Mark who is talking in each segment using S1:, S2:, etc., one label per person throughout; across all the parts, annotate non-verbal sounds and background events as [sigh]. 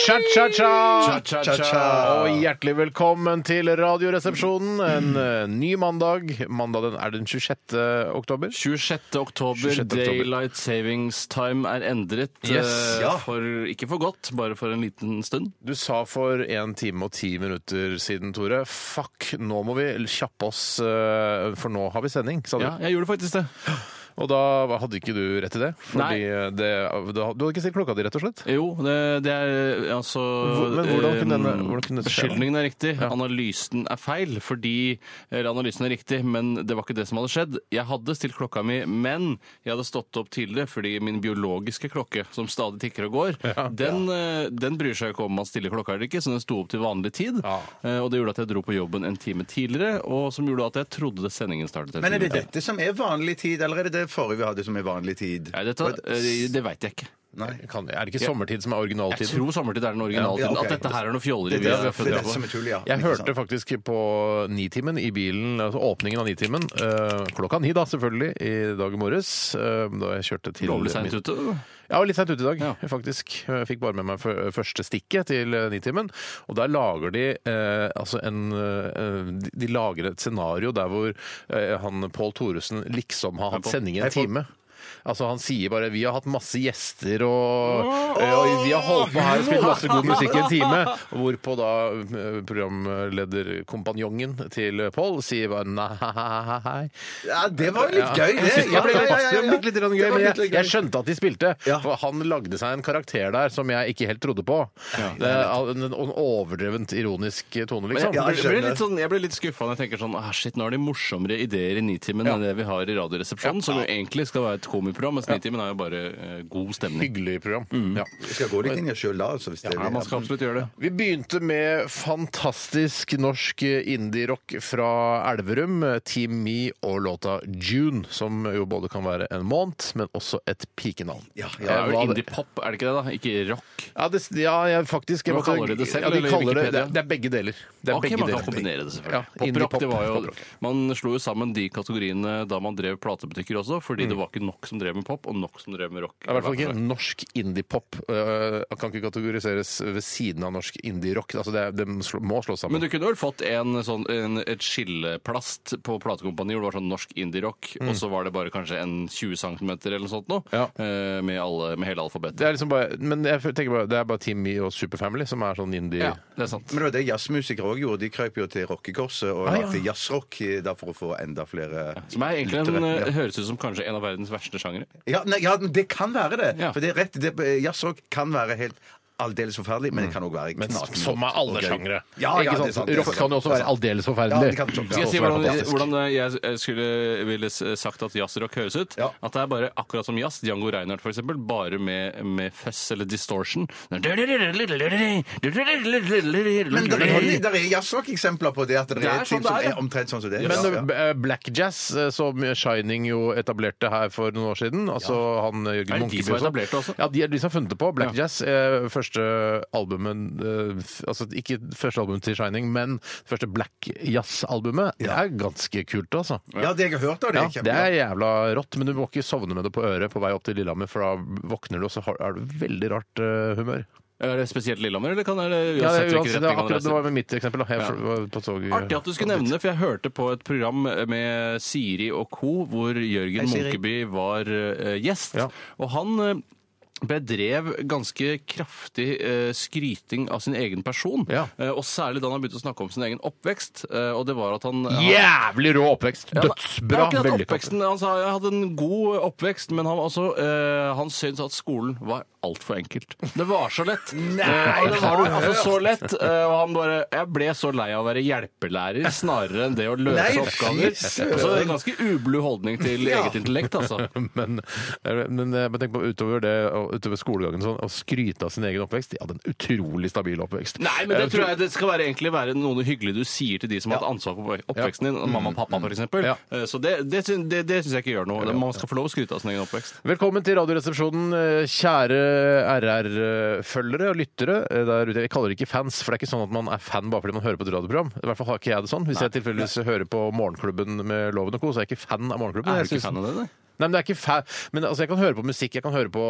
S1: Cha-cha-cha!
S2: Cha-cha-cha.
S1: Og hjertelig velkommen til Radioresepsjonen.
S3: Mm.
S1: En eh, ny mandag. Mandagen er den 26. oktober.
S3: 26. oktober,
S1: 26. oktober.
S3: Daylight Savings Time er endret.
S1: Yes.
S3: eh,
S1: Ja.
S3: for, ikke for godt, bare for en liten stund.
S1: Du sa for en time og ti minutter siden, Tore, fuck, nå må vi kjappe oss, eh, for nå har vi sending, sa du.
S3: Ja, jeg gjorde faktisk det.
S1: Og da hadde ikke du rett i det. Fordi det, du hadde ikke stilt klokka di, rett og slett.
S3: Jo, det, det er altså
S1: Hvor- men hvordan kunne denne- hvordan kunne dette skje, da?
S3: Beskyldningen er riktig, analysen er feil. Fordi eh, Eller analysen er riktig, men det var ikke det som hadde skjedd. Jeg hadde stilt klokka mi, men jeg hadde stått opp tidligere fordi min biologiske klokke, som stadig tikker og går, den, eh, den bryr seg ikke om man stiller klokka eller ikke, så den sto opp til vanlig tid.
S1: Ja.
S3: Eh, Og det gjorde at jeg dro på jobben en time tidligere, og som gjorde at jeg trodde det sendingen startet. en
S2: Men er det
S3: time tidligere.
S2: dette som er vanlig tid, eller er det det forrige vi hadde som er vanlig tid?
S3: Nei, dette, eh, det veit jeg ikke.
S2: Nei.
S1: Kan, er det ikke sommertid som er
S3: Jeg
S1: originaltiden?
S3: tror sommertid er den originale
S2: Ja,
S3: tiden.
S2: ok.
S3: At dette her er noe fjolleri.
S2: Det er det,
S3: vi
S2: det,
S3: har
S2: er
S3: funnet
S2: det
S3: på.
S2: som er tull, ja.
S1: Jeg
S2: Ikke sant?
S1: hørte faktisk på Nitimen i bilen, altså åpningen av Nitimen, eh, klokka ni da, selvfølgelig, i dag morges, eh, da jeg kjørte til
S3: Lovlig seint ute. da.
S1: Ja, jeg var litt sent ute i dag,
S3: Ja.
S1: faktisk. Jeg fikk bare med meg fø- første stikket til eh, Nitimen. Og der lager de eh, altså en eh, de- De lager et scenario der hvor eh, han Pål Thoresen liksom har hatt sending i en time. Altså Han sier bare 'vi har hatt masse gjester', og, eh, og 'vi har holdt på her og spilt masse god musikk i en time'. Hvorpå da eh, programlederkompanjongen til Pål sier bare 'nei'.
S2: Ja, det var litt gøy, det.
S1: Jeg synes det
S2: Ja, ja,
S1: ble
S2: ja, ja,
S1: pass- det
S2: ja.
S1: ble litt grann gøy,
S2: Det var
S1: men
S2: litt
S1: jeg,
S2: gøy.
S1: jeg skjønte at de spilte.
S2: Ja.
S1: For han lagde seg en karakter der som jeg ikke helt trodde på. Det er en, en overdrevent ironisk tone,
S3: Men jeg,
S1: liksom.
S2: Ja, jeg
S3: jeg, blir
S2: skjønner.
S3: litt sånn, jeg blir litt skuffa når jeg tenker sånn ah, Shit, nå har de morsommere ideer i Nitimen enn det vi har i Radioresepsjonen, som jo egentlig skal være et komiprogram, mens Nitimen er jo bare eh, god stemning.
S1: Hyggelig program. Ja.
S2: Jeg skal gå litt inn i oss sjøl da, altså. Hvis det
S3: Ja, man skal absolutt gjøre det.
S1: Vi begynte med fantastisk norsk indie-rock fra Elverum. Team Me og låta June, som jo både kan være en måned, men også et pikenavn.
S2: Ja,
S3: Det
S2: ja.
S3: er jo
S1: hva-
S3: indie-pop, er det ikke det, da? Ikke rock.
S1: Ja, det, ja jeg, faktisk. Jeg
S3: Hva
S1: måtte-
S3: kaller de det selv,
S1: Ja, de
S3: eller
S1: kaller det, det,
S3: Wikipedia?
S1: er- det er begge deler. Det er
S3: Ok,
S1: begge
S3: man kan
S1: deler.
S3: kombinere det, selvfølgelig.
S1: Ja,
S3: Poprock,
S1: indie-pop.
S3: det var jo,
S1: Poprock.
S3: man slo jo sammen de kategoriene da man drev platebutikker også, fordi det var ikke nok som drev med pop, og nok som drev med rock.
S1: Mm. Det er i hvert fall ikke norsk indie-pop. øh, kan ikke kategoriseres ved siden av norsk indie-rock. Altså, det, er- det må slå- må slås sammen.
S3: Men du kunne vel fått en, sånn, en, et skilleplast på platekompani hvor det var sånn norsk indie-rock, og så var det bare kanskje en 20 cm eller noe sånt nå,
S1: Mm. Ja.
S3: eh, med, alle, med hele alfabetet.
S1: det er liksom bare, men jeg tenker bare, det er bare Team Me og Superfamily som er sånn indie...
S3: ja, det er sant.
S2: Men det var det jazzmusikere òg gjorde. De krøp jo til rockekorset og lagde jazzrock eh, da for å få enda flere
S3: Som er egentlig en,
S2: lyttere.
S3: eh, høres ut som kanskje en av verdens verste sjangere.
S2: Ja, nei, ja, men det kan være det.
S3: Ja.
S2: For det er rett. Det, eh, jazzrock kan være helt aldeles forferdelig, men det kan òg være knakende
S1: Som er alle
S2: og gøy.
S1: sjangere.
S2: Ja, ja,
S1: Ikke
S2: det er
S1: sant?
S2: sant, det er
S1: Rock kan jo også
S2: sant.
S1: være aldeles
S2: Ja,
S1: forferdelig.
S2: det kan det også.
S3: Skal jeg si
S1: også være
S3: hvordan,
S1: fantastisk.
S3: hvordan det- jeg eh, skulle ville s- eh, sagt at jazzrock høres ut?
S2: Ja.
S3: At det er bare akkurat som jazz. Django Reinhardt, f.eks., bare med, med fuzz eller distortion. Men det
S2: Men det er,
S3: er
S2: der er jazzrock-eksempler på det. At det,
S3: Det
S2: er,
S3: er
S2: ting
S3: sånn det er,
S2: som
S3: ja.
S2: er omtrent sånn som det. er.
S1: Men
S2: ja.
S1: eh, Black Jazz, eh, som Shining jo etablerte her for noen år siden Altså han eh, Jørgen
S3: Er det de
S1: Munkeby
S3: som har
S1: og sånn.
S3: etablert det også?
S1: Ja, de er de som har funnet det på. Black
S3: Ja.
S1: Jazz. eh, Første albumet eh, f- Altså ikke første albumet til Shining, men første Black Jazz-albumet. Det
S2: Ja.
S1: er ganske kult, altså.
S2: ja, det jeg har hørt av det.
S1: Ja,
S2: er
S1: det
S2: kjempebra.
S1: er jævla rått, men du må ikke sovne med det på øret på vei opp til Lillehammer, for da våkner du, og så har- er du veldig rart eh, humør.
S3: det spesielt Lillehammer, eller kan det uansett,
S1: Ja, det, er
S3: hvilken
S1: uansett, det,
S3: retning
S1: var
S3: man
S1: akkurat, det
S3: reiser?
S1: var med mitt eksempel. Da. Jeg
S3: Ja.
S1: var på tog, eh,
S3: Artig at du skulle nevne det, for jeg hørte på et program med Siri og co., hvor Jørgen
S2: Siri.
S3: Munkeby var eh, gjest.
S1: Ja.
S3: Og han eh, bedrev ganske kraftig eh, skryting av sin egen person.
S1: Ja.
S3: Eh, og særlig da han begynte å snakke om sin egen oppvekst. eh, og det var at han
S1: Jævlig rå oppvekst!
S3: han-
S1: Dødsbra!
S3: Det var ikke den
S1: Vellykka.
S3: oppveksten. Han sa jeg hadde en god oppvekst, men han, var også, eh, han syntes at skolen var altfor enkelt. Det var så [laughs] lett. Eh, det var altså så [laughs] lett. eh, og han bare Jeg ble så lei av å være hjelpelærer snarere enn det å løse
S2: Nei, fy
S3: oppgaver.
S2: søren.
S3: Altså, en
S1: [laughs]
S3: ganske ublu holdning til eget intellekt, altså.
S1: eh, men, men, men tenk på utover det å utover skolegangen og sånn, og skryte av sin egen oppvekst. De hadde en utrolig stabil oppvekst. Eh,
S3: Nei, men det tror jeg det skal være, egentlig være noe hyggelig du sier til de som har hatt ansvar for oppveksten din, mamma og pappa f.eks.
S1: Ja.
S3: Eh, Så det, det, syn- det, det syns jeg ikke gjør noe. Man skal få lov å skryte av sin egen oppvekst.
S1: Velkommen til Radioresepsjonen, eh, kjære RR-følgere og lyttere eh, der ute. Jeg kaller det ikke fans, for det er ikke sånn at man er fan bare fordi man hører på et radioprogram. I hvert fall har ikke jeg det sånn. Hvis jeg tilfeldigvis hører på Morgenklubben med Loven og co., så er jeg ikke fan av Morgenklubben.
S3: Er
S1: Jeg
S3: du ikke
S1: synes-
S3: fan av det? Nei?
S1: Nei, men det er ikke fa Men altså, jeg kan høre på musikk. Jeg kan høre på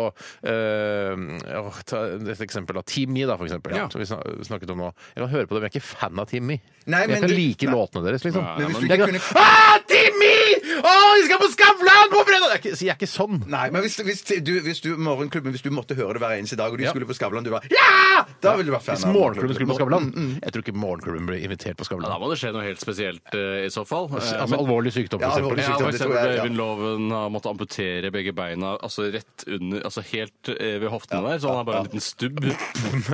S1: eh, åh, ta et eksempel av Timmy, da, for eksempel.
S3: Ja.
S1: Som vi sna- snakket om nå. Jeg kan høre på det, men jeg er ikke fan av Timmy.
S2: Nei,
S1: jeg
S2: men
S1: kan
S2: du-
S1: like
S2: Nei.
S1: låtene deres, liksom.
S3: Nei, men-
S2: hvis du
S1: Jeg
S2: ikke
S1: kan,
S2: kunne
S1: ah, Timmy! Å, de skal på Skavlan på fredag! Jeg er ikke, jeg er ikke sånn.
S2: Nei, men hvis, hvis, du, hvis du morgenklubben, hvis du måtte høre det hver eneste dag, og de
S1: Ja.
S2: skulle på Skavlan, du var Ja! Da ville du vært fan
S1: Hvis Morgenklubben skulle på Skavlan Jeg tror ikke Morgenklubben blir invitert på
S3: Ja, da
S1: Skavlan.
S3: må det skje noe helt spesielt eh, i så fall. Eh,
S1: Altså
S3: men-
S1: alvorlig sykdom,
S2: Ja,
S1: for eksempel.
S2: alvorlig
S3: ja,
S2: sykdom,
S3: for
S2: det tror
S3: eksempel
S2: jeg, ja.
S3: Øyvind Loven har måttet amputere begge beina altså rett under, altså helt eh, ved hoftene der, så han har bare en liten stubb.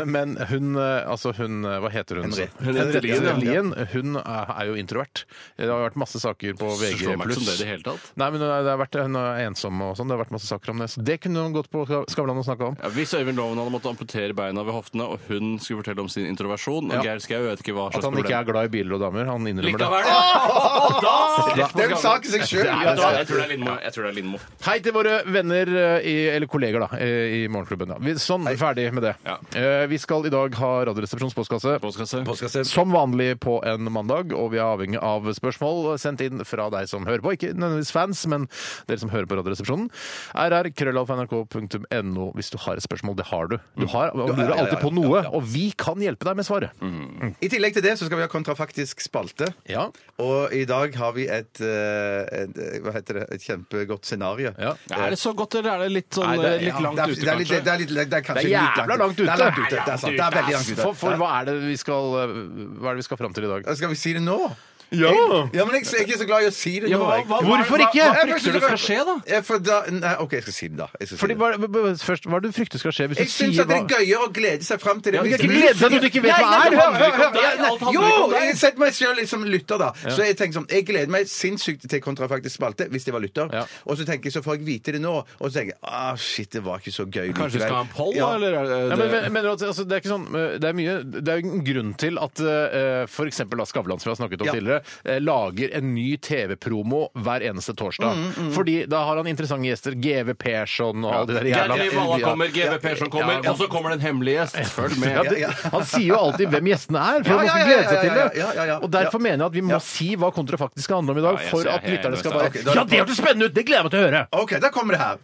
S1: Men hun, eh, altså hun eh, Hva heter hun?
S2: Henriette.
S1: Hun,
S3: Henriette Lien,
S1: Henriette
S3: ja.
S1: Lien, hun er er jo introvert. Det har vært masse saker på
S3: Slår
S1: VG+.
S3: meg ikke som det i det hele tatt.
S1: Nei, men hun er- det har vært, hun er ensom og sånn. Det har vært masse saker om det. Så det kunne hun gått på Skav- Skavlan og snakka om.
S3: Ja, hvis Øyvind Loven hadde måttet amputere beina ved hoftene, og hun skulle fortelle om sin introversjon og
S1: Ja.
S3: Geir Skau, jeg vet ikke hva
S1: At
S3: slags
S1: han
S3: problem
S1: ikke er glad i biler og damer. Han innrømmer det.
S3: Likevel, ja. Da-
S2: Ah! Det er jo en sak i seg sjøl.
S3: Nei, vet du hva, Jeg tror det er Lindmo. Jeg tror det er Lindmo.
S1: Hei til våre venner, eh, i, eller kolleger da, eh, i Morgenklubben. Da. Vi, sånn, ferdig med det.
S3: Ja.
S1: Eh, Vi skal i dag ha Radioresepsjonens postkasse.
S3: Postkasse.
S1: Som vanlig på en mandag, og vi er avhengig av spørsmål sendt inn fra deg som hører på. Ikke nødvendigvis fans, men dere som hører på Radioresepsjonen. rr.krøllalfa.nrk.no hvis du har et spørsmål. Det har du. Du har, og
S2: Mm. ja,
S1: lurer
S2: ja,
S1: alltid
S2: ja, Mm.
S1: på noe, og vi kan hjelpe deg med svaret.
S2: I tillegg til det så skal vi ha kontrafaktisk spalte.
S1: Ja.
S2: Og i dag har vi et, eh, et eh, Hva heter det? Et kjempegodt scenario.
S1: Ja.
S3: Er det så godt, eller er det litt, sånn,
S1: Nei, det-
S3: litt
S2: Ja,
S3: langt
S2: det er-
S3: ute,
S2: det er
S3: kanskje?
S2: litt- Det er, litt, det er kanskje
S1: Det er
S2: litt
S1: jævla langt ute!
S2: Det er langt ute, det er sant. Det er veldig langt ute.
S1: For, for hva er det vi skal eh, Hva er det vi skal fram til i dag?
S2: Ja. Skal vi si det nå?
S1: Ja!
S2: Ja, men jeg, jeg er ikke så glad i å si det
S3: Ja,
S2: nå.
S3: hva-
S2: jeg.
S3: hva-
S1: Hvorfor
S3: hva-
S1: ikke?
S3: Hva,
S2: Jeg
S3: hva frykter du skal
S2: forstår-
S3: skje, da?
S2: Ja, for da, nei, OK, jeg skal si det, da. Jeg, skal si
S1: Fordi,
S2: det.
S1: hva, hva- hva- først, hva er det du frykter skal skje? Hvis
S2: jeg
S1: du
S2: syns
S1: sier
S2: at det er
S1: hva
S2: gøyere å glede seg fram til det.
S1: Ja, men
S2: Hvis-
S1: ikke glede deg når du ikke vet
S2: Nei,
S1: hva
S2: nei,
S1: er.
S2: det handler ikke om
S3: Det
S2: deg.
S3: handler ikke om deg. Alt
S2: Jo!
S3: handler ikke om deg.
S2: Jeg setter meg sjøl som lytter, da. Så jeg tenker sånn, jeg gleder meg sinnssykt til kontrafaktisk spalte hvis det var lytter.
S1: Ja.
S2: Og så tenker jeg, så får jeg vite det nå, og så tenker jeg ah, shit, det var ikke så gøy.
S3: Kanskje vi
S2: likevel.
S3: skal ha en poll, da?
S2: Ja.
S3: Eller er det,
S1: Nei, men, men, mener du at, altså, det er ikke sånn eh, Det er mye Det er jo en grunn til at eh, for eksempel da Skavlan, som vi har snakket om
S2: Ja.
S1: tidligere, eh, lager en ny TV-promo hver eneste torsdag.
S2: Mm,
S1: Fordi da har han interessante gjester. GV Persson og alle de der
S3: Geir
S1: jævla
S3: Trivalla
S1: Ja.
S3: kommer, GV Persson kommer, og så kommer det en hemmelig gjest. Følg med.
S1: Ja, det,
S2: Ja, ja.
S1: han sier jo alltid hvem gjestene er, for
S2: Ja,
S1: man
S2: ja,
S1: skal
S2: ja,
S1: glede seg til
S2: ja,
S1: det.
S2: ja, ja, ja, ja.
S1: Og derfor
S2: Ja.
S1: mener jeg at vi må
S2: Ja.
S1: si hva kontrafaktisk skal handle om i dag,
S3: Ja, jeg
S1: for
S3: ser-
S1: at
S3: jeg er
S1: lytterne
S3: enig
S1: skal
S3: med
S1: bare
S2: deg. Ok, da er
S1: Ja,
S2: det
S1: det hørtes spennende ut! Det gleder jeg meg til å høre!
S2: OK, da kommer det her.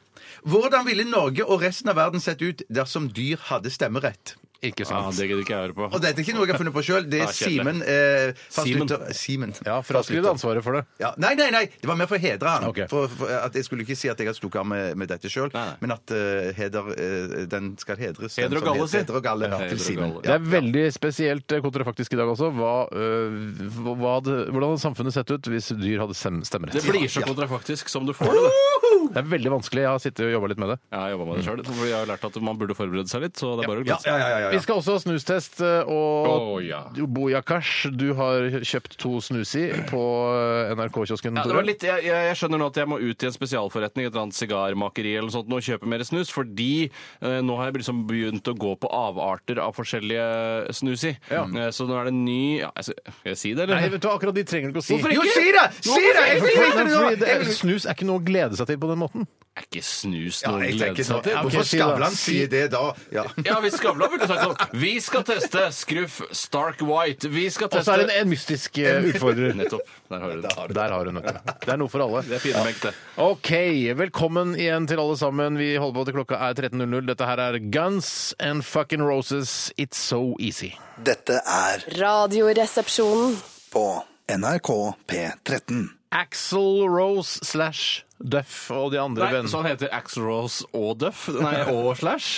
S2: Hvordan ville Norge og resten av verden sett ut dersom dyr hadde stemmerett?
S1: Ikke
S3: Ja,
S1: sant.
S3: det gidder ikke jeg høre på.
S2: Og dette er ikke noe jeg har funnet på sjøl. Det
S3: Ah,
S2: er
S3: kjedelig.
S2: Simen eh,
S3: Simen.
S2: fastlytter. Simen.
S1: Ja, Fraskriv deg ansvaret for det.
S2: Ja. Nei, nei, nei! Det var mer for å hedre han.
S1: Ok.
S2: For, for at jeg skulle ikke si at jeg har stukket av med, med dette sjøl,
S3: Nei, nei.
S2: men at eh, heder, eh, den skal hedres. den
S3: Heder og
S2: som
S3: galle,
S2: hed-
S3: si.
S2: Heder og galle
S3: Ja, heder
S2: til
S3: og
S2: Simen.
S3: galle.
S1: Det er veldig spesielt eh, kontrafaktisk i dag også. Hva, øh, hva, hadde- hvordan hadde samfunnet sett ut hvis dyr hadde stem- stemmerett?
S3: Det
S1: Det,
S3: blir så kontrafaktisk som du får det. [laughs] da.
S1: er veldig vanskelig. Jeg har sittet og jobba litt med det.
S3: Jeg har jobba med det sjøl, for jeg har lært at man burde forberede seg litt. Så det er bare å
S2: Ja,
S3: glede seg.
S2: ja, ja, ja, ja.
S1: Vi skal også ha snustest, eh, og
S3: Å, ja.
S1: Jo, Boja Kash, du har kjøpt to snus i på eh, NRK-kiosken.
S3: Ja, det
S1: Tore.
S3: var litt, jeg, jeg jeg skjønner nå at jeg må ut i en spesialforretning, et eller annet sigarmakeri eller noe sånt, nå og kjøpe mer snus, fordi eh, nå har jeg liksom begynt å gå på avarter av forskjellige snus i. Eh, så nå er det en ny ja, altså, Skal jeg si det,
S1: Nei,
S3: eller?
S1: vet du, hva, akkurat de trenger du ikke å si.
S3: Hvorfor
S2: Jo, si det! Si det! Jeg
S1: Fordi-
S2: sier det nå!
S1: fordi
S2: Jeg
S1: det-
S2: vil-
S1: Snus er ikke noe å glede seg til på den måten.
S3: Er ikke snus
S2: Ja,
S3: noe å
S2: jeg
S3: glede
S2: tenker
S3: seg
S2: sånn.
S3: til?
S1: Ja, ok,
S2: Hvorfor
S1: si det, da.
S2: Skavlan sier det da? Ja.
S3: Ja, vi Skavlan ville sagt sånn. Vi skal teste Scruff Stark White. Vi skal
S1: Og så
S3: teste
S1: er det en, en mystisk eh, utfordrer.
S3: Nettopp. Der har du det.
S1: Der har hun, vet du. Det er noe for alle.
S3: Det er finebenk, det.
S1: Ok, velkommen igjen til alle sammen. Vi holder på til klokka er 13.00. Dette her er Guns and Fucking Roses, It's So Easy.
S4: Dette er
S5: Radioresepsjonen.
S4: på NRK P13.
S1: Axel Rose slash Duff og de andre
S3: Nei, så
S1: [laughs] vennene.
S3: han heter Axl Rose og Duff? Nei, og Slash?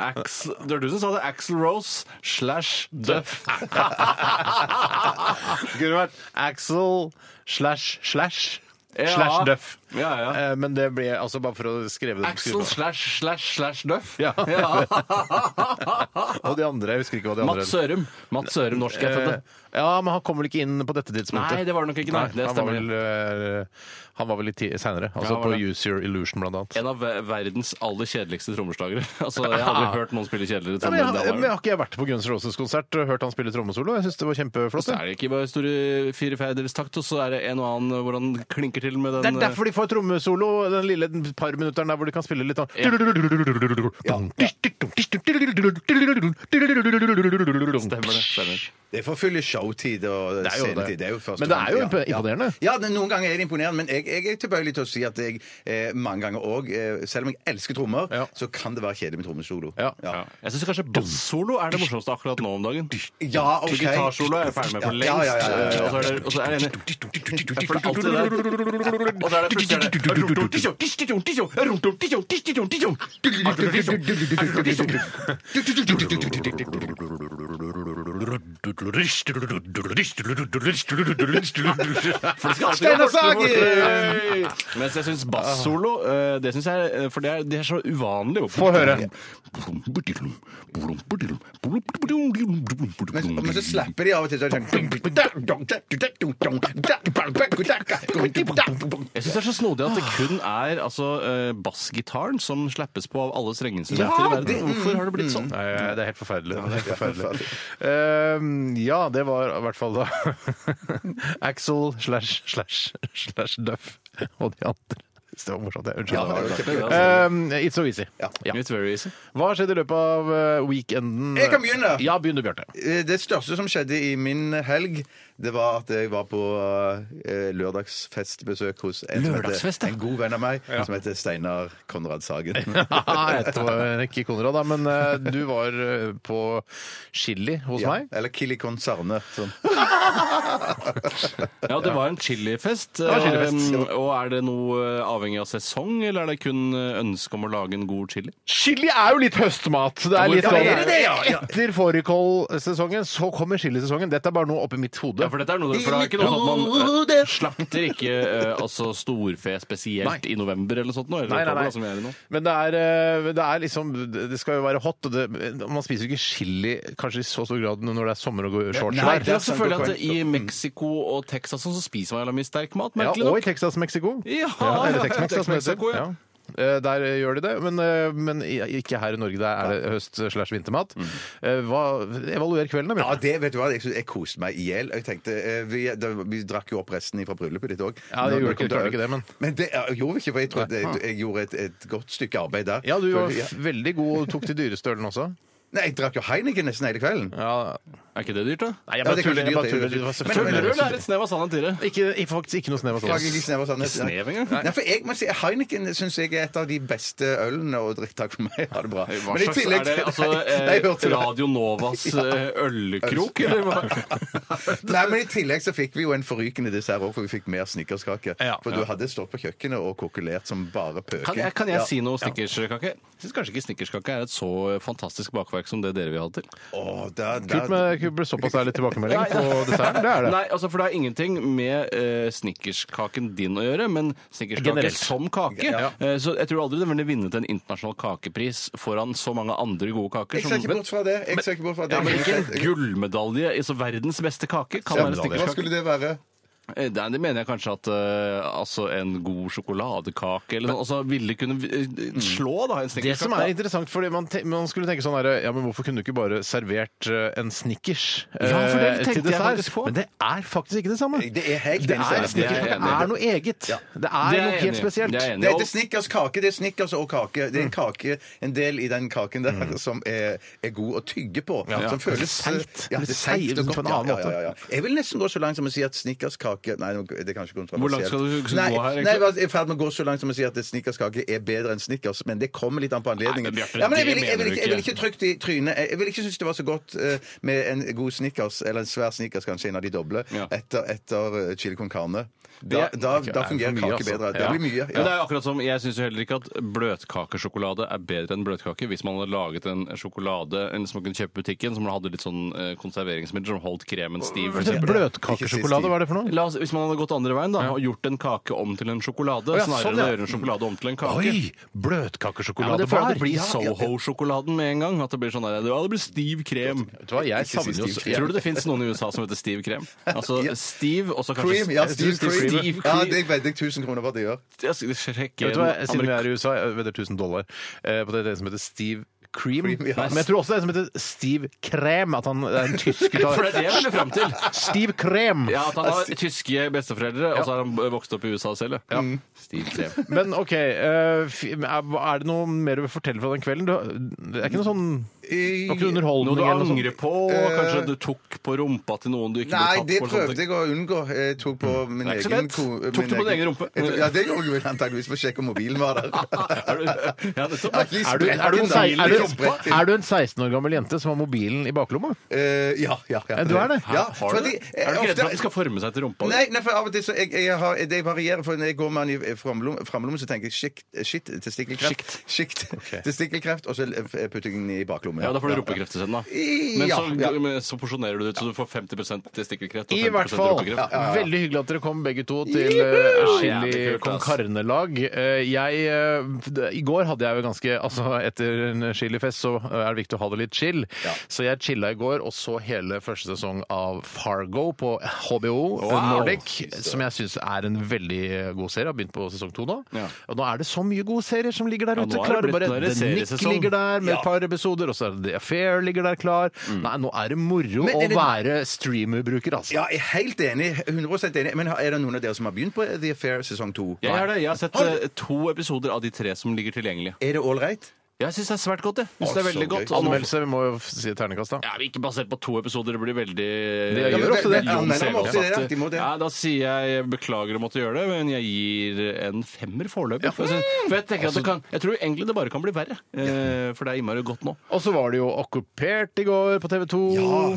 S3: Ax, det var du som sa det. Axl Rose slash Duff.
S1: Skulle vært Axel slash slash.
S3: Ja.
S1: slash døff.
S3: Ja, ja.
S1: Eh, Men det ble altså bare for å skreve det
S3: Axel slash slash slash Duff.
S1: [laughs] Ja.
S3: [laughs] Ja.
S1: Og de andre, jeg husker ikke hva de andre
S3: Mats Sørum. Mats Sørum, norsk jeg fødte.
S1: Eh, Ja, men han kom vel ikke inn på dette tidspunktet?
S3: Nei, det var det nok ikke, nei. Det
S1: han, var
S3: stemmer.
S1: vel, eh, han var vel litt seinere. Altså
S3: han var
S1: på
S3: det.
S1: Use Your Illusion, blant annet.
S3: Eh, En av ver- verdens aller kjedeligste trommeslagere. [laughs] altså, jeg har aldri hørt noen spille kjedeligere
S1: Nei,
S3: trommer
S1: men,
S3: enn det
S1: jeg,
S3: han
S1: men jeg
S3: har.
S1: har ikke vært på Guns N' Roses-konsert og hørt han spille trommesolo. Jeg syns det var kjempeflott.
S3: Så er
S1: jeg.
S3: det ikke bare store fireferders takt, og så er det en og annen hvor han klinker til med den eh,
S1: Det er derfor de får trommesolo, den lille den par minutteren der hvor de kan spille litt sånn
S3: Stemmer det. Stemmer.
S2: Det er for å fylle showtid og
S1: Det er jo det.
S2: scenetid. Det er jo første
S1: Men det er jo
S2: gang.
S1: imp- imponerende.
S2: [laughs] Ja, det, noen ganger er det imponerende, men jeg, jeg er tilbøyelig til å si at jeg eh, mange ganger òg, eh, selv om jeg elsker trommer,
S1: Ja.
S2: så kan det være kjedelig med trommesolo.
S1: Ja.
S3: Ja. Jeg syns kanskje bassolo er det morsomste akkurat nå om dagen.
S2: Ja, ok.
S3: For Gitarsolo er jeg ferdig med for lengst.
S2: Ja, ja, ja, ja, ja.
S3: Og så er det- Og så er det en For det er alltid det der. Og så er det plutselig det. For det skal alltid
S2: Steinar
S3: gå fortere
S2: Sagen!
S3: og fortere. Mens jeg syns bassolo eh, Det syns jeg eh, For det er, det er så uvanlig.
S1: Få høre.
S2: Men, men så slapper de av og til så er det sånn
S3: Jeg syns det er så snodig at det kun er altså, eh, bassgitaren som slappes på av alle strengeinstrumenter i verden. Hvorfor har det blitt sånn?
S1: Nei, eh, det er helt forferdelig. Mm. Det er helt forferdelig. Ehm, ja, det var i hvert fall da [laughs] Axel slash slash slash Duff og de andre. Det var morsomt. jeg. Unnskyld. Ehm, it's so easy. Ja.
S3: It's very easy.
S1: Hva har skjedd i løpet av eh, weekenden?
S2: Jeg kan begynne.
S1: Ja, begynn du, [laughs] Bjarte.
S2: Eh, Det største som skjedde i min helg, det var at jeg var på eh, lørdagsfestbesøk hos en, som
S3: Lørdagsfest,
S2: heter,
S3: ja.
S2: en god venn av meg som heter Steinar Konrad
S3: [laughs]
S2: Sagen.
S1: Jeg tror ikke Konrad, da, men eh, du var eh, på chili hos
S2: Ja,
S1: meg.
S2: eller Kili Konserne. Sånn.
S3: Ja, det var en chilifest.
S1: var chilifest.
S3: eh, og er det noe eh, avhengig av sesong, eller er det kun eh, ønske om å lage en god chili?
S1: Chili er jo litt høstmat. Det er litt
S2: Ja,
S1: sånn,
S2: er det det, ja, ja.
S1: Etter fårikålsesongen så kommer chilisesongen. Dette er bare noe oppi mitt
S3: Ja,
S1: hode.
S3: for dette er noe, for det er ikke noe sånn at man eh, slakter ikke eh, altså storfe spesielt i november eller noe sånt nå, eller
S1: Nei,
S3: oktober,
S1: nei, nei.
S3: da, som vi er i nå.
S1: Men det er, eh, det er liksom Det skal jo være hot. Og det, man spiser jo ikke chili kanskje i så stor grad når det er sommer og går shorts.
S2: Nei,
S1: der.
S2: det er
S3: Jeg også
S2: sant,
S3: føler
S2: godt
S3: at i Mexico og Texas og sånn, så spiser man jævla mye sterk mat,
S1: ja,
S3: merkelig
S1: og
S3: nok.
S1: i Texas, Mexico.
S3: Ja,
S1: eller
S3: ja,
S1: Tex-Mex, da, som det
S3: Tex-Mexico,
S1: heter.
S3: ja.
S1: Ja. Eh, Der eh, gjør de det, men, eh, men i- ikke her i Norge. Der er det høst-slash-vintermat. Eh, Evaluer kvelden, da.
S2: Ja,
S1: Bjarte.
S2: det vet du hva, jeg, synes- jeg koste meg i hjel. Jeg tenkte, eh, vi, da, vi drakk jo opp resten fra bryllupet ditt òg.
S1: Ja, det gjorde ikke- klarte ikke det, men-
S2: Men det ja, gjorde vi ikke, for jeg trodde jeg, jeg gjorde et, et godt stykke arbeid der.
S1: Ja, du var
S2: Følte- ja.
S1: f- veldig god og tok til dyreste ølen også.
S2: Nei, jeg drakk jo Heineken nesten hele kvelden.
S1: Ja.
S3: Er ikke det dyrt, da?
S1: Nei, jeg
S2: Ja,
S1: bare
S2: det
S1: tuller.
S2: er kanskje
S1: Jeg bare tuller.
S2: dyrt, det er
S1: Det var
S2: dyrt. Men- men-
S1: selvfølgelig-
S3: Tørrøl er et snev av sand i det.
S1: Ikke, ikke- faktisk ikke noe snev av
S2: Lager de
S1: salt.
S2: snev og sandnes.
S3: Snev engang?
S2: Nei, for jeg må si, Heineken syns jeg er et av de beste ølene å drikke. Takk for meg, ha det bra.
S3: Hva slags er det? Altså,
S2: Nei, jeg
S3: eh,
S2: hørte det.
S3: Radio Novas eh, ølkrok, eller
S2: [laughs]
S3: hva?
S2: Nei, men I tillegg så fikk vi jo en forrykende dessert òg, for vi fikk mer snickerskake.
S1: Ja.
S2: for du hadde stått på kjøkkenet og kokkelert som bare pøken.
S3: Kan jeg, kan jeg
S2: Ja.
S3: si noe snickerskake? Jeg syns kanskje ikke snickerskake er et så eh, fantastisk bakverk som det dere vil ha til.
S2: Å, der- der-
S1: Kult med kult med såpass ærlig tilbakemelding på desserten. Det er det.
S3: Nei, altså, for det har ingenting med eh, snickerskaken din å gjøre, men snickerskake
S1: Generelt.
S3: som kake. Eh, så jeg tror aldri den ville vunnet en internasjonal kakepris foran så mange andre gode kaker.
S2: Jeg ser ikke
S3: som,
S2: bort fra det. Jeg ser ikke bort fra det.
S3: ja, men ikke en gullmedalje i så verdens beste kake kan
S2: Ja,
S3: være
S2: Hva
S3: snickerskake.
S2: skulle det være?
S3: Eh, Nei, det mener jeg kanskje at eh, altså en god sjokoladekake eller noe altså, ville kunne eh, slå da en
S1: Det som er
S3: snickerskake.
S1: interessant, fordi man, te man skulle tenke sånn her, ja, men hvorfor kunne du ikke bare servert eh, en Snickers eh,
S3: Ja, for det tenkte
S1: til
S3: jeg
S1: dessert?
S3: faktisk på.
S1: Men det er faktisk ikke det samme.
S2: Det er helt
S1: Det
S2: enig,
S1: er,
S3: Det er
S2: Steinar.
S3: jeg
S1: Snickers, det
S3: enig i.
S1: er noe eget. Det er
S3: Det er
S1: noe
S3: jeg enig i.
S1: helt spesielt.
S3: Det er jeg enig i.
S2: Det heter Snickers kake. Det er Snickers og kake. Det er en kake, en del i den kaken der
S3: Mm.
S2: som er, er god å tygge på.
S1: Ja.
S2: Som føles eh,
S1: Seigt.
S2: Ja, det
S1: Litt
S2: er seigt
S1: seigt,
S2: og
S1: på en
S2: godt.
S1: annen
S2: Ja,
S1: måte.
S2: ja, ja, ja. Jeg vil nesten gå så langt som å si at snickerskake Nei, nå- det er kanskje kontroversielt.
S3: Hvor langt skal du- skal du
S2: nei,
S3: gå her, egentlig?
S2: Nei, jeg er i ferd med å gå så langt som å si at snickerskake er bedre enn snickers, men det kommer litt an på
S3: Nei,
S2: anledningen.
S3: men Bjarte,
S2: Ja, men jeg
S3: det
S2: vil, jeg, vil
S3: mener du
S2: ikke, jeg vil
S3: ikke.
S2: ikke trygt i trynet. Jeg jeg vil ikke synes det var så godt eh, med en god snickers, eller en svær snickers, kanskje en av de doble,
S3: Ja.
S2: etter, etter eh, chili con carne. Da,
S3: Det-
S2: da,
S1: det er
S2: da
S1: for
S2: fungerer
S1: mye,
S2: kake
S1: altså.
S2: bedre. Det
S1: Ja.
S2: blir mye.
S3: Men det er jo akkurat som, Jeg syns heller ikke at bløtkakesjokolade er bedre enn bløtkake. Hvis man hadde laget en sjokolade en som man kunne kjøpe i butikken, som hadde litt sånn eh, konserveringsmiddel som holdt kremen stiv. for eksempel.
S1: Bløtkakesjokolade, hva er det for noe?
S3: La altså, hvis man hadde gått andre veien da, og gjort en kake om til en sjokolade,
S1: Å, ja,
S3: snarere
S1: sånn,
S3: enn å
S1: ja.
S3: gjøre en sjokolade om til en kake.
S1: Oi!
S3: Ja, men det
S1: Bløtkakesjokoladebar.
S3: føler jeg det blir
S1: Ja, ja, ja.
S3: Soho-sjokoladen med en gang. At det blir sånn der, ja, det blir stiv krem.
S1: Vet du hva, jeg
S2: Ikke si
S1: savner jo
S2: stiv
S1: jeg-
S3: Tror du det fins noen i USA som heter stiv krem? Altså
S2: Ja.
S3: stiv, og så kanskje
S2: Cream, ja,
S3: Stiv
S2: Steve Cream.
S3: Steve
S2: Ja,
S3: cream.
S2: det er veldig 1000 kroner på at jeg gjør.
S3: Jeg skal sjekke
S1: Vet du hva,
S3: en
S1: Siden vi
S3: amerik-
S1: er i USA, jeg vedder 1000 dollar eh, på det, det som heter Steve Cream.
S2: Cream, ja.
S1: Men jeg tror også det er en som heter Steve Krem. At han er en tysker.
S3: [laughs] For det er det jeg ville fram til.
S1: Steve Krem!
S3: Ja, at han har tyske besteforeldre, og så har han vokst opp i USA selv. Ja. Mm. Stiv krem.
S1: Men OK, eh, f- er det noe mer du vil fortelle fra den kvelden? Du- Det er ikke noe sånn det var ikke noe underholdning?
S3: Noe du
S1: eller noe sånt?
S3: angrer på, og kanskje du tok på rumpa til noen du ikke ble
S2: Nei,
S3: tatt
S2: det
S3: på. eller sånne
S2: prøvde jeg å unngå. Jeg tok på min
S3: Det er ikke sånn. Mm. så
S2: egen
S3: lett.
S2: ko...
S3: Tok
S2: min
S3: du på din egen rumpe?
S2: Jeg tok- [laughs] Ja, det gjorde jeg vel antageligvis for å sjekke om mobilen
S3: [laughs]
S2: var der.
S3: Er
S2: [laughs]
S3: sånn. du- ja, nettopp.
S2: Jeg
S1: Er
S2: har ikke
S1: du, er, du en,
S2: sprekken, da.
S1: sei- er,
S2: Jeg har ikke
S1: du,
S2: sprekken.
S1: er du en 16 år gammel jente som har mobilen i baklomma?
S2: Eh, ja, ja, ja.
S1: Ja, du er det.
S2: Ja,
S3: Har du
S2: fordi,
S3: det? Er du ikke redd
S2: ofte-
S3: for at det skal forme seg til rumpa? di?
S2: Nei, nei, for av og til så jeg, jeg har, det varierer. For når jeg går med den i framlommen, framlommen så tenker jeg shit, shit testikkelkreft. Shit. Testikkelkreft, og så putter jeg den i baklommen.
S3: Ja, da får du rumpekreft isteden, da.
S2: I-
S3: Men
S2: ja,
S3: så,
S2: ja.
S3: men så porsjonerer du det ut, så du får 50 testikkelkreft og
S1: I
S3: 50
S1: hvert fall.
S3: rumpekreft.
S1: Veldig hyggelig at dere kom begge to til eh,
S3: Ja, jævlig
S1: Chili
S3: kult,
S1: Kong
S3: ass.
S1: Karne-lag. Eh, Jeg eh, d- I går hadde jeg jo ganske Altså, etter en chilifest så eh, er det viktig å ha det litt chill. Så jeg chilla i går og så hele første sesong av Fargo på HBO Nordic, som jeg syns er en veldig god serie. Jeg Har begynt på sesong to nå.
S3: Ja.
S1: Og nå er det så mye gode serier som ligger der
S3: Ja,
S1: ute.
S3: nå er det
S1: Klarer
S3: blitt-
S1: bare
S3: nå er det
S1: The Nick
S3: seriesesong.
S1: ligger der med et par episoder, og så er det The Affair ligger der klar.
S3: Mm.
S1: Nei, nå er det moro
S2: Men er
S1: å
S2: det-
S1: være streamerbruker, altså.
S2: Ja, jeg er helt enig. 100 enig. Men er det noen av dere som har begynt på The Affair sesong to?
S3: Jeg har, det. jeg har sett eh, to episoder av de tre som ligger tilgjengelige.
S2: Er det ålreit?
S3: Jeg syns det er svært godt, jeg. Jeg Synes det er
S2: Å, så
S3: veldig godt.
S2: gøy.
S3: Og nå-
S1: Anmeldelse, vi må jo si terningkast, da.
S3: Ja, men Ikke basert på to episoder. Det blir veldig
S1: Det gjør ofte det.
S3: Jon
S2: Ja, men de må ofte det,
S3: Selås-aktig.
S2: de må det.
S3: Ja, da sier jeg jeg beklager å måtte gjøre det, men jeg gir en femmer foreløpig. For, jeg synes- for jeg tenker
S2: Altså-
S3: at det kan Jeg tror egentlig det bare kan bli verre, eh, for det er innmari godt nå.
S1: Og så var det jo Okkupert i går på TV 2.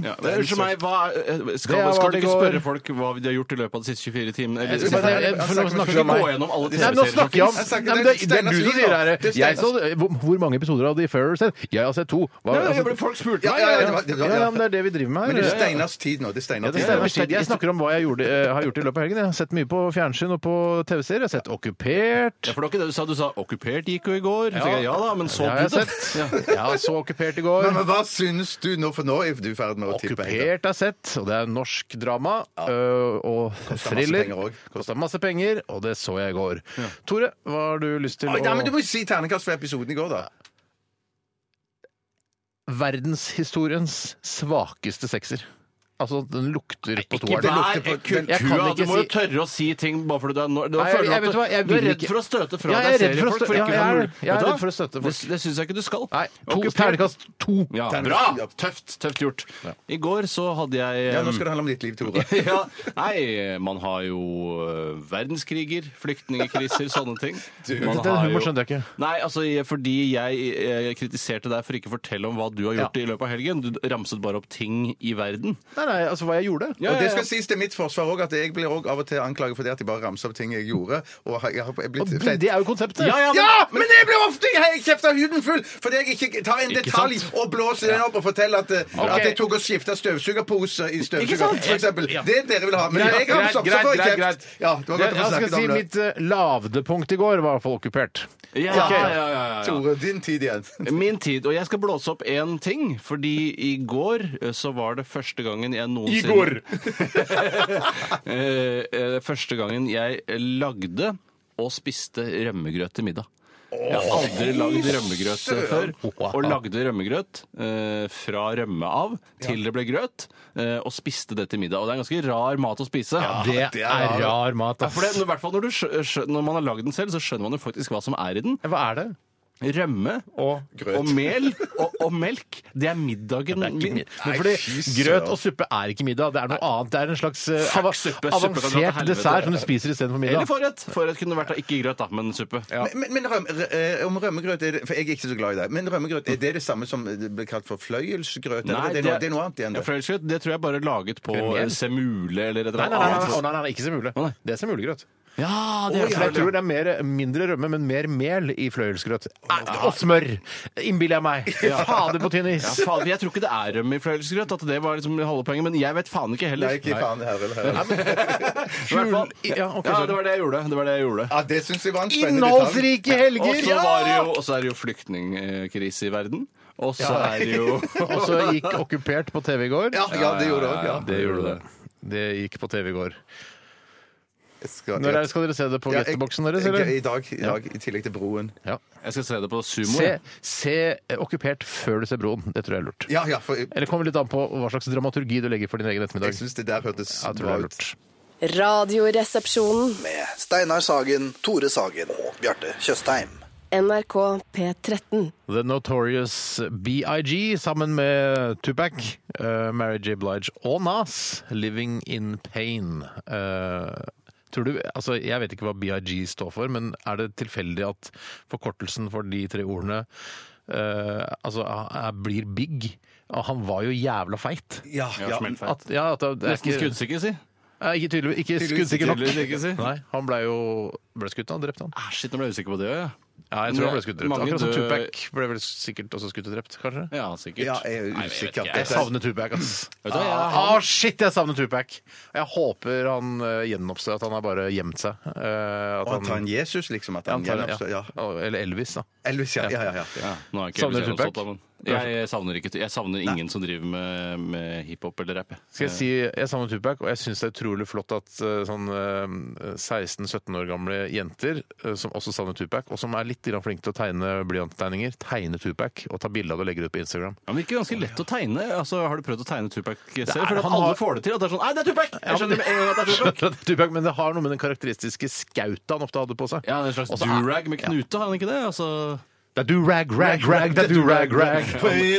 S3: Ja, men Unnskyld meg, hva, eh,
S1: Det
S3: skal,
S1: var
S3: skal du
S1: det
S3: ikke
S1: går.
S3: spørre folk hva de har gjort i løpet av de siste 24 timene? Eller-
S1: Jeg skal bare- jeg- for nå snakker vi
S3: Skal
S1: om
S3: vi
S1: meg.
S3: gå gjennom alle
S1: Nei, nå
S3: TV-serier som
S1: snakker jeg om
S2: Jeg snakker-
S1: Nei, men det, det er
S2: Steinar
S1: du som
S2: Svin,
S1: sier det
S2: da.
S1: her. eh,
S2: Det er
S1: Jeg så,
S2: Steinar-
S1: hvor, hvor mange episoder av The Affair har du sett? Jeg har sett to. Hva,
S3: Nei,
S1: altså-
S3: men Folk spurte
S2: Ja,
S3: meg!
S2: ja, ja, det
S3: ja.
S2: var- det var-
S1: ja, ja, men det er det vi driver med
S2: Men det er
S1: her.
S2: Steinars tid nå. Det er
S1: Ja,
S2: Steinars
S1: det
S2: tid.
S1: stemmer. Shit, Jeg snakker om hva jeg gjorde, eh, har gjort i løpet av helgen. Jeg har sett mye på fjernsyn og på TV-serier. Jeg har sett Okkupert.
S3: Ja, for det var ikke det du sa. Du sa 'okkupert' gikk jo i går. Ja, jeg, ja da, men så
S1: Det har jeg
S3: du det?
S1: sett. Ja, så Okkupert i går.
S2: Men, men hva syns du nå, for nå er du i ferd med å tippe helt?
S1: Okkupert er sett, og det er norsk drama øh, og
S2: Koster masse
S1: thriller.
S2: penger også.
S1: Kosta masse penger, og det så jeg i går. Tore, hva har du lyst til
S2: Oi,
S1: å
S2: Nei, men du må jo si terningkast for episoden i går, da.
S1: Verdenshistoriens svakeste sekser. Altså, den lukter på
S3: Ikke
S1: toeren.
S3: vær
S2: lukter på-
S3: kukua.
S1: Jeg kan ikke
S3: Du må jo
S1: si-
S3: tørre å si ting bare fordi du er nor- du
S1: Nei, jeg-
S3: føler
S1: jeg
S3: at
S1: vet
S3: du-
S1: hva,
S3: Du
S1: jeg
S3: er
S1: vil
S3: redd
S1: ikke-
S3: for å støte fra
S1: Ja, jeg er
S3: deg
S1: redd for å
S3: seriefolk.
S1: stø-
S3: for ikke
S1: ja,
S3: å
S1: jeg
S3: ha mulighet.
S1: er- jeg er
S3: Vet du
S1: redd
S3: hva?
S1: for å støte folk.
S3: Det, det syns jeg ikke du skal.
S1: Nei, to,
S3: Okkupert-
S1: terningkast to.
S3: Ja,
S2: Terningkast-
S3: bra! Tøft, tøft gjort. I går så hadde jeg
S2: Ja, Nå skal det handle om ditt liv,
S1: [laughs]
S2: Tore.
S3: [laughs] ja, nei, man har jo eh, verdenskriger, flyktningkriser, sånne [laughs] ting. Man
S1: Dette- den
S3: har jo-
S1: humoren skjønte jeg ikke.
S3: Nei, altså, jeg- Fordi jeg eh, kritiserte deg for ikke å fortelle om hva du har gjort i løpet av helgen. Du ramset bare opp ting i verden.
S1: Nei, nei, altså hva jeg gjorde.
S3: Ja,
S2: Og
S3: ja,
S2: det
S3: ja.
S2: skal sies til mitt forsvar òg, at jeg blir også av og til anklaget for det at jeg bare ramser opp ting jeg gjorde. Og har- jeg har jeg er blitt
S1: Og det,
S2: flett.
S1: det er jo konseptet.
S3: Ja, ja, men-
S2: Ja, men jeg blir ofte he- kjeft av huden full fordi jeg ikke tar en
S3: Ikke
S2: detalj
S3: sant?
S2: og blåser den opp og forteller at, eh,
S1: Ok.
S2: at jeg tok og skifta støvsugerpose i
S3: Ikke
S2: støvsugeren.
S3: sant?
S2: For eksempel.
S3: Ja.
S2: Det dere vil ha. Men jeg ramser opp, så får jeg kjeft. Ja, det var
S1: Jeg,
S2: godt å få
S1: skal
S2: snakket
S1: si
S2: om det.
S1: mitt eh, lavdepunkt i går var i hvert fall okkupert.
S3: Ja,
S1: Ok.
S3: ja, ja, ja, ja.
S2: Tore, din tid igjen.
S3: Min tid. Og jeg skal blåse opp én ting, fordi i går eh, så var det første gangen jeg noensinne [laughs] Eh, eh, første gangen jeg lagde og spiste rømmegrøt til middag. Jeg har aldri lagd rømmegrøt før. Og lagde rømmegrøt eh, fra rømme av til det ble grøt, eh, og spiste det til middag. Og det er en ganske rar mat å spise.
S1: Ah, Det er rar mat,
S3: Ja,
S1: ass.
S3: for det, I hvert fall når, du skjø, skjø, når man har lagd den selv, så skjønner man jo faktisk hva som er i den.
S1: Hva er det?
S3: Rømme og,
S2: grøt.
S3: mel og, og melk. Det er middagen min.
S1: Men fordi Grøt og suppe er ikke middag. Det er noe annet. Det er en slags eh,
S3: Fuck
S1: ava-
S3: suppe. Suppe kan dra til
S1: avansert
S3: helvete.
S1: dessert som du spiser istedenfor
S3: Eller
S1: middag.
S3: forrett. Forrett kunne vært da ikke grøt, da, men suppe.
S2: Men, men røm, r- eh, om rømmegrøt er det, For jeg er ikke så glad i det. Men rømmegrøt, er det det samme som det blir kalt for fløyelsgrøt? eller det, er noe, det er noe annet igjen.
S3: Ja,
S2: det.
S3: fløyelsgrøt, det tror jeg bare er laget på
S1: Mel?
S3: eh, semule eller et
S1: Nei,
S3: eller
S1: nei, nei, nei,
S3: annet.
S1: nei, nei, nei, ikke semule.
S3: Å, nei.
S1: Det er semulegrøt.
S3: Ja,
S1: Å, ja, jeg tror det er mer, eh, mindre rømme, men mer mel i fløyelsgrøt. Eh, Og smør! Innbiller jeg meg. Fader på tynn is!
S3: Ja, faen, jeg tror ikke det er rømme i fløyelsgrøt, at det var liksom halve poenget, men jeg vet faen ikke heller.
S2: Nei, ikke
S3: Nei.
S2: faen herre eller herre.
S3: I hvert fall-
S1: Jul- ja, ok,
S3: ja,
S1: så-
S3: det var det jeg gjorde. Det var det jeg gjorde.
S2: Ja, det syns jeg var en spennende detalj.
S1: Innholdsrike
S3: Og
S1: helger!
S3: så var det jo- og så er det jo flyktningkrise i verden. Og så er det [laughs] jo
S1: Og så gikk Okkupert på TV i går.
S2: Ja, ja, det gjorde det òg. Ja.
S1: Det gjorde det. Det gikk på TV i går.
S2: Jeg skal-
S1: Når er det skal dere se det på
S2: Ja, jeg-
S1: getteboksen deres,
S2: jeg-
S1: eller?
S2: I dag, i dag, i tillegg til Broen.
S1: Ja.
S3: Jeg skal se det på sumo.
S1: Se,
S3: jeg.
S1: se eh, Okkupert før du ser Broen. Det tror jeg er lurt.
S2: Ja, ja, for jeg,
S1: Eller kommer litt an på hva slags dramaturgi du legger for din egen
S2: jeg
S1: ettermiddag.
S2: syns det der hørtes
S1: Jeg tror det
S2: bra
S1: er
S2: ut.
S1: lurt.
S5: Radioresepsjonen.
S4: Med Steinar Sagen, Tore Sagen og Bjarte Tjøstheim.
S5: NRK P13.
S1: The Notorious BIG sammen med Tupac, eh, Mary J. Blige og Nas, 'Living in Pain'. Eh, tror du, altså Jeg vet ikke hva BIG står for, men er det tilfeldig at forkortelsen for de tre ordene eh, altså, er- er- blir big? Ah, Han var jo jævla feit.
S2: Ja, ja.
S1: At, ja, at det, det er
S3: Nesten
S1: ikke,
S3: skuddsikker, si.
S1: Nei, ikke, tydelig, ikke
S3: Tydeligvis-
S1: skuddsikker nok.
S3: tydeligvis ikke, si.
S1: Nei, han ble jo ble skutt, han drepte han.
S3: Ah, shit, nå ble jeg usikker på det òg, jeg.
S1: Ja, jeg tror han ble skutt og drept.
S3: Mange
S1: Akkurat som
S3: døde-
S1: Tupac ble vel sikkert også skutt og drept, kanskje?
S3: Ja, sikkert.
S2: Ja, jeg er
S3: Nei, vet
S2: usikker.
S3: ikke,
S1: Jeg
S3: jeg.
S1: savner Tupac, ass.
S3: Vet du hva, jeg-
S1: Ah, shit, jeg savner Tupac! Jeg håper han uh, gjenoppstår, at han har bare gjemt seg. Eh, at
S2: Og at han Jesus, liksom. At han
S1: Ja, han
S2: gjenoppstår.
S1: tar- ja.
S2: Ja.
S1: Eller Elvis, da.
S2: Elvis, ja. ja, ja, ja.
S3: Ja, nå er ikke
S1: Savner
S3: Elvis
S1: du Tupac?
S3: Gjennomstått, da, men- Jeg, jeg savner, ikke, jeg savner ingen som driver med, med hiphop eller rap. jeg.
S1: Skal jeg si jeg savner Tupac, og jeg syns det er utrolig flott at eh, sånn eh, 16-17 år gamle jenter eh, som også savner Tupac, og som er litt grann flinke til å tegne blyanttegninger, tegner Tupac og tar bilde av det og legger det ut på Instagram.
S3: Han virker ganske lett å tegne. Altså, har du prøvd å tegne Tupac selv?
S1: er-
S3: For at
S1: han
S3: alle
S1: har-
S3: får det til. At det er sånn Nei, det er Tupac! Jeg skjønner med en gang at det er Tupac.
S1: Skjønner at det er [laughs] Tupac, men det har noe med den karakteristiske skauta han ofte hadde på seg.
S3: Ja, det er en slags
S1: Og så er-
S3: durag med knute, har han ikke det? Altså,
S1: Det er du rag, rag, rag, det er du rag, rag.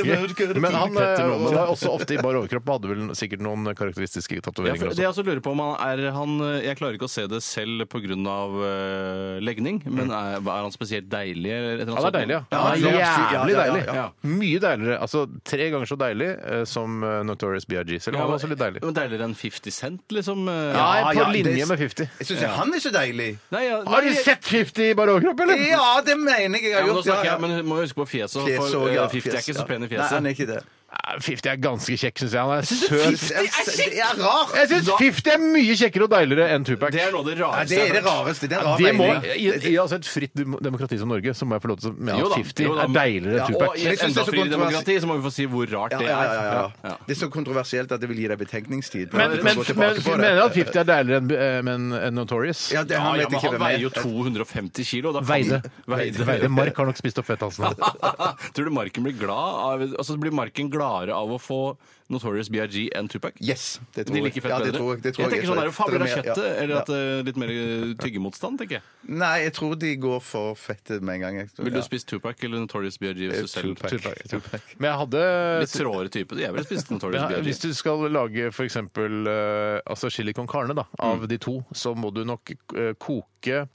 S1: Men han
S3: Petter
S1: eh,
S3: Norman.
S1: var også ofte i bar overkropp og hadde vel sikkert noen karakteristiske
S3: ja, for
S1: tatoveringer
S3: det jeg
S1: også.
S3: også lurer på om han er han, Jeg klarer ikke å se det selv pga. Uh, legning, men er, er han spesielt deilig? Eller et eller
S1: Han
S3: annet
S1: er
S3: sånt?
S1: deilig, ja.
S3: han
S1: Han
S3: er
S1: er
S2: ja,
S1: jævlig
S2: ja, ja,
S1: deilig.
S3: ja.
S1: Mye deiligere. Altså tre ganger så deilig eh, som eh, Notorious BRG. Selv om han var også litt deilig.
S3: Men Deiligere enn 50 Cent, liksom? eh,
S1: Ja,
S2: ja,
S1: på
S2: ja,
S1: linje
S2: det-
S1: med 50.
S2: Jeg syns han er så deilig!
S3: Nei, ja, nei,
S1: Har du sett 50 i bar overkropp, eller?
S2: Ja, det mener jeg jeg
S3: Ja,
S2: har
S3: men nå
S2: gjort!
S3: snakker jeg, men du må jo huske på fjeset.
S2: Fjes
S3: for
S2: og-
S3: eh,
S2: ja,
S3: 50 er
S2: fjes,
S3: ikke så
S2: ja.
S3: pen i
S2: Nei, han
S3: fjeset.
S2: er ikke det.
S1: Eh, 50 er ganske kjekk, syns jeg. Han er søt.
S2: Det er kjekt! Det er rart!
S1: Jeg syns 50 er mye kjekkere og deiligere enn Tupac.
S3: Det er noe av det
S2: Nei,
S3: rareste
S2: det er
S3: jeg
S2: det
S3: har hørt.
S2: rareste. Det er en
S1: Ja,
S2: rar
S1: det må,
S2: mening.
S1: i, I altså et fritt dem- demokrati som Norge så må jeg få lov til å mene
S3: Jo
S1: at
S3: da,
S1: 50
S3: jo da,
S1: er
S3: men-
S1: deiligere enn
S3: Og
S1: Tupac.
S3: i et
S2: Jeg synes det
S3: enda
S2: er så
S3: friere
S2: kontrovers-
S3: demokrati så må vi få si hvor rart
S2: Ja,
S3: det
S2: ja, ja, ja,
S3: er.
S2: ja. Det er så kontroversielt at det vil gi deg betenkningstid. på
S1: Men,
S2: at du
S1: men,
S2: går tilbake
S1: men
S2: på det.
S1: mener du at 50 er deiligere enn eh, men- enn Notorious?
S2: Ja, det,
S3: Ja,
S2: han
S3: ja,
S2: vet
S3: men
S2: ikke
S3: han
S2: hvem jeg
S3: veier
S2: er.
S3: jo 250 kilo. Da kan-
S1: Veide.
S3: Veide.
S1: Veide. Mark har nok spist opp
S2: [laughs]
S1: fetthalsen.
S3: [laughs] Tror du marken blir glad av, altså blir marken gladere av å få Notorious BIG enn Tupac?
S2: Yes, det tror
S3: De liker
S2: jeg.
S3: fett
S2: Ja, det
S3: bedre.
S2: tror jeg, det tror
S3: jeg tenker sånn er det fabler av
S2: mer- ja.
S3: kjøttet, eller at eh, litt mer eh, tyggemotstand, tenker jeg.
S2: Nei, jeg tror de går for fettet med en gang. jeg tror-
S3: Vil
S2: ja. Eh,
S3: du spise Tupac eller Notorious BIG hvis du selv
S1: Tupac. Men jeg hadde
S3: Litt tråere type. Jeg ville spist Notorious
S1: ja,
S3: BIG.
S1: Hvis du skal lage f.eks. Uh, altså chili con carne da,
S2: Mm.
S1: av de to, så må du nok eh, koke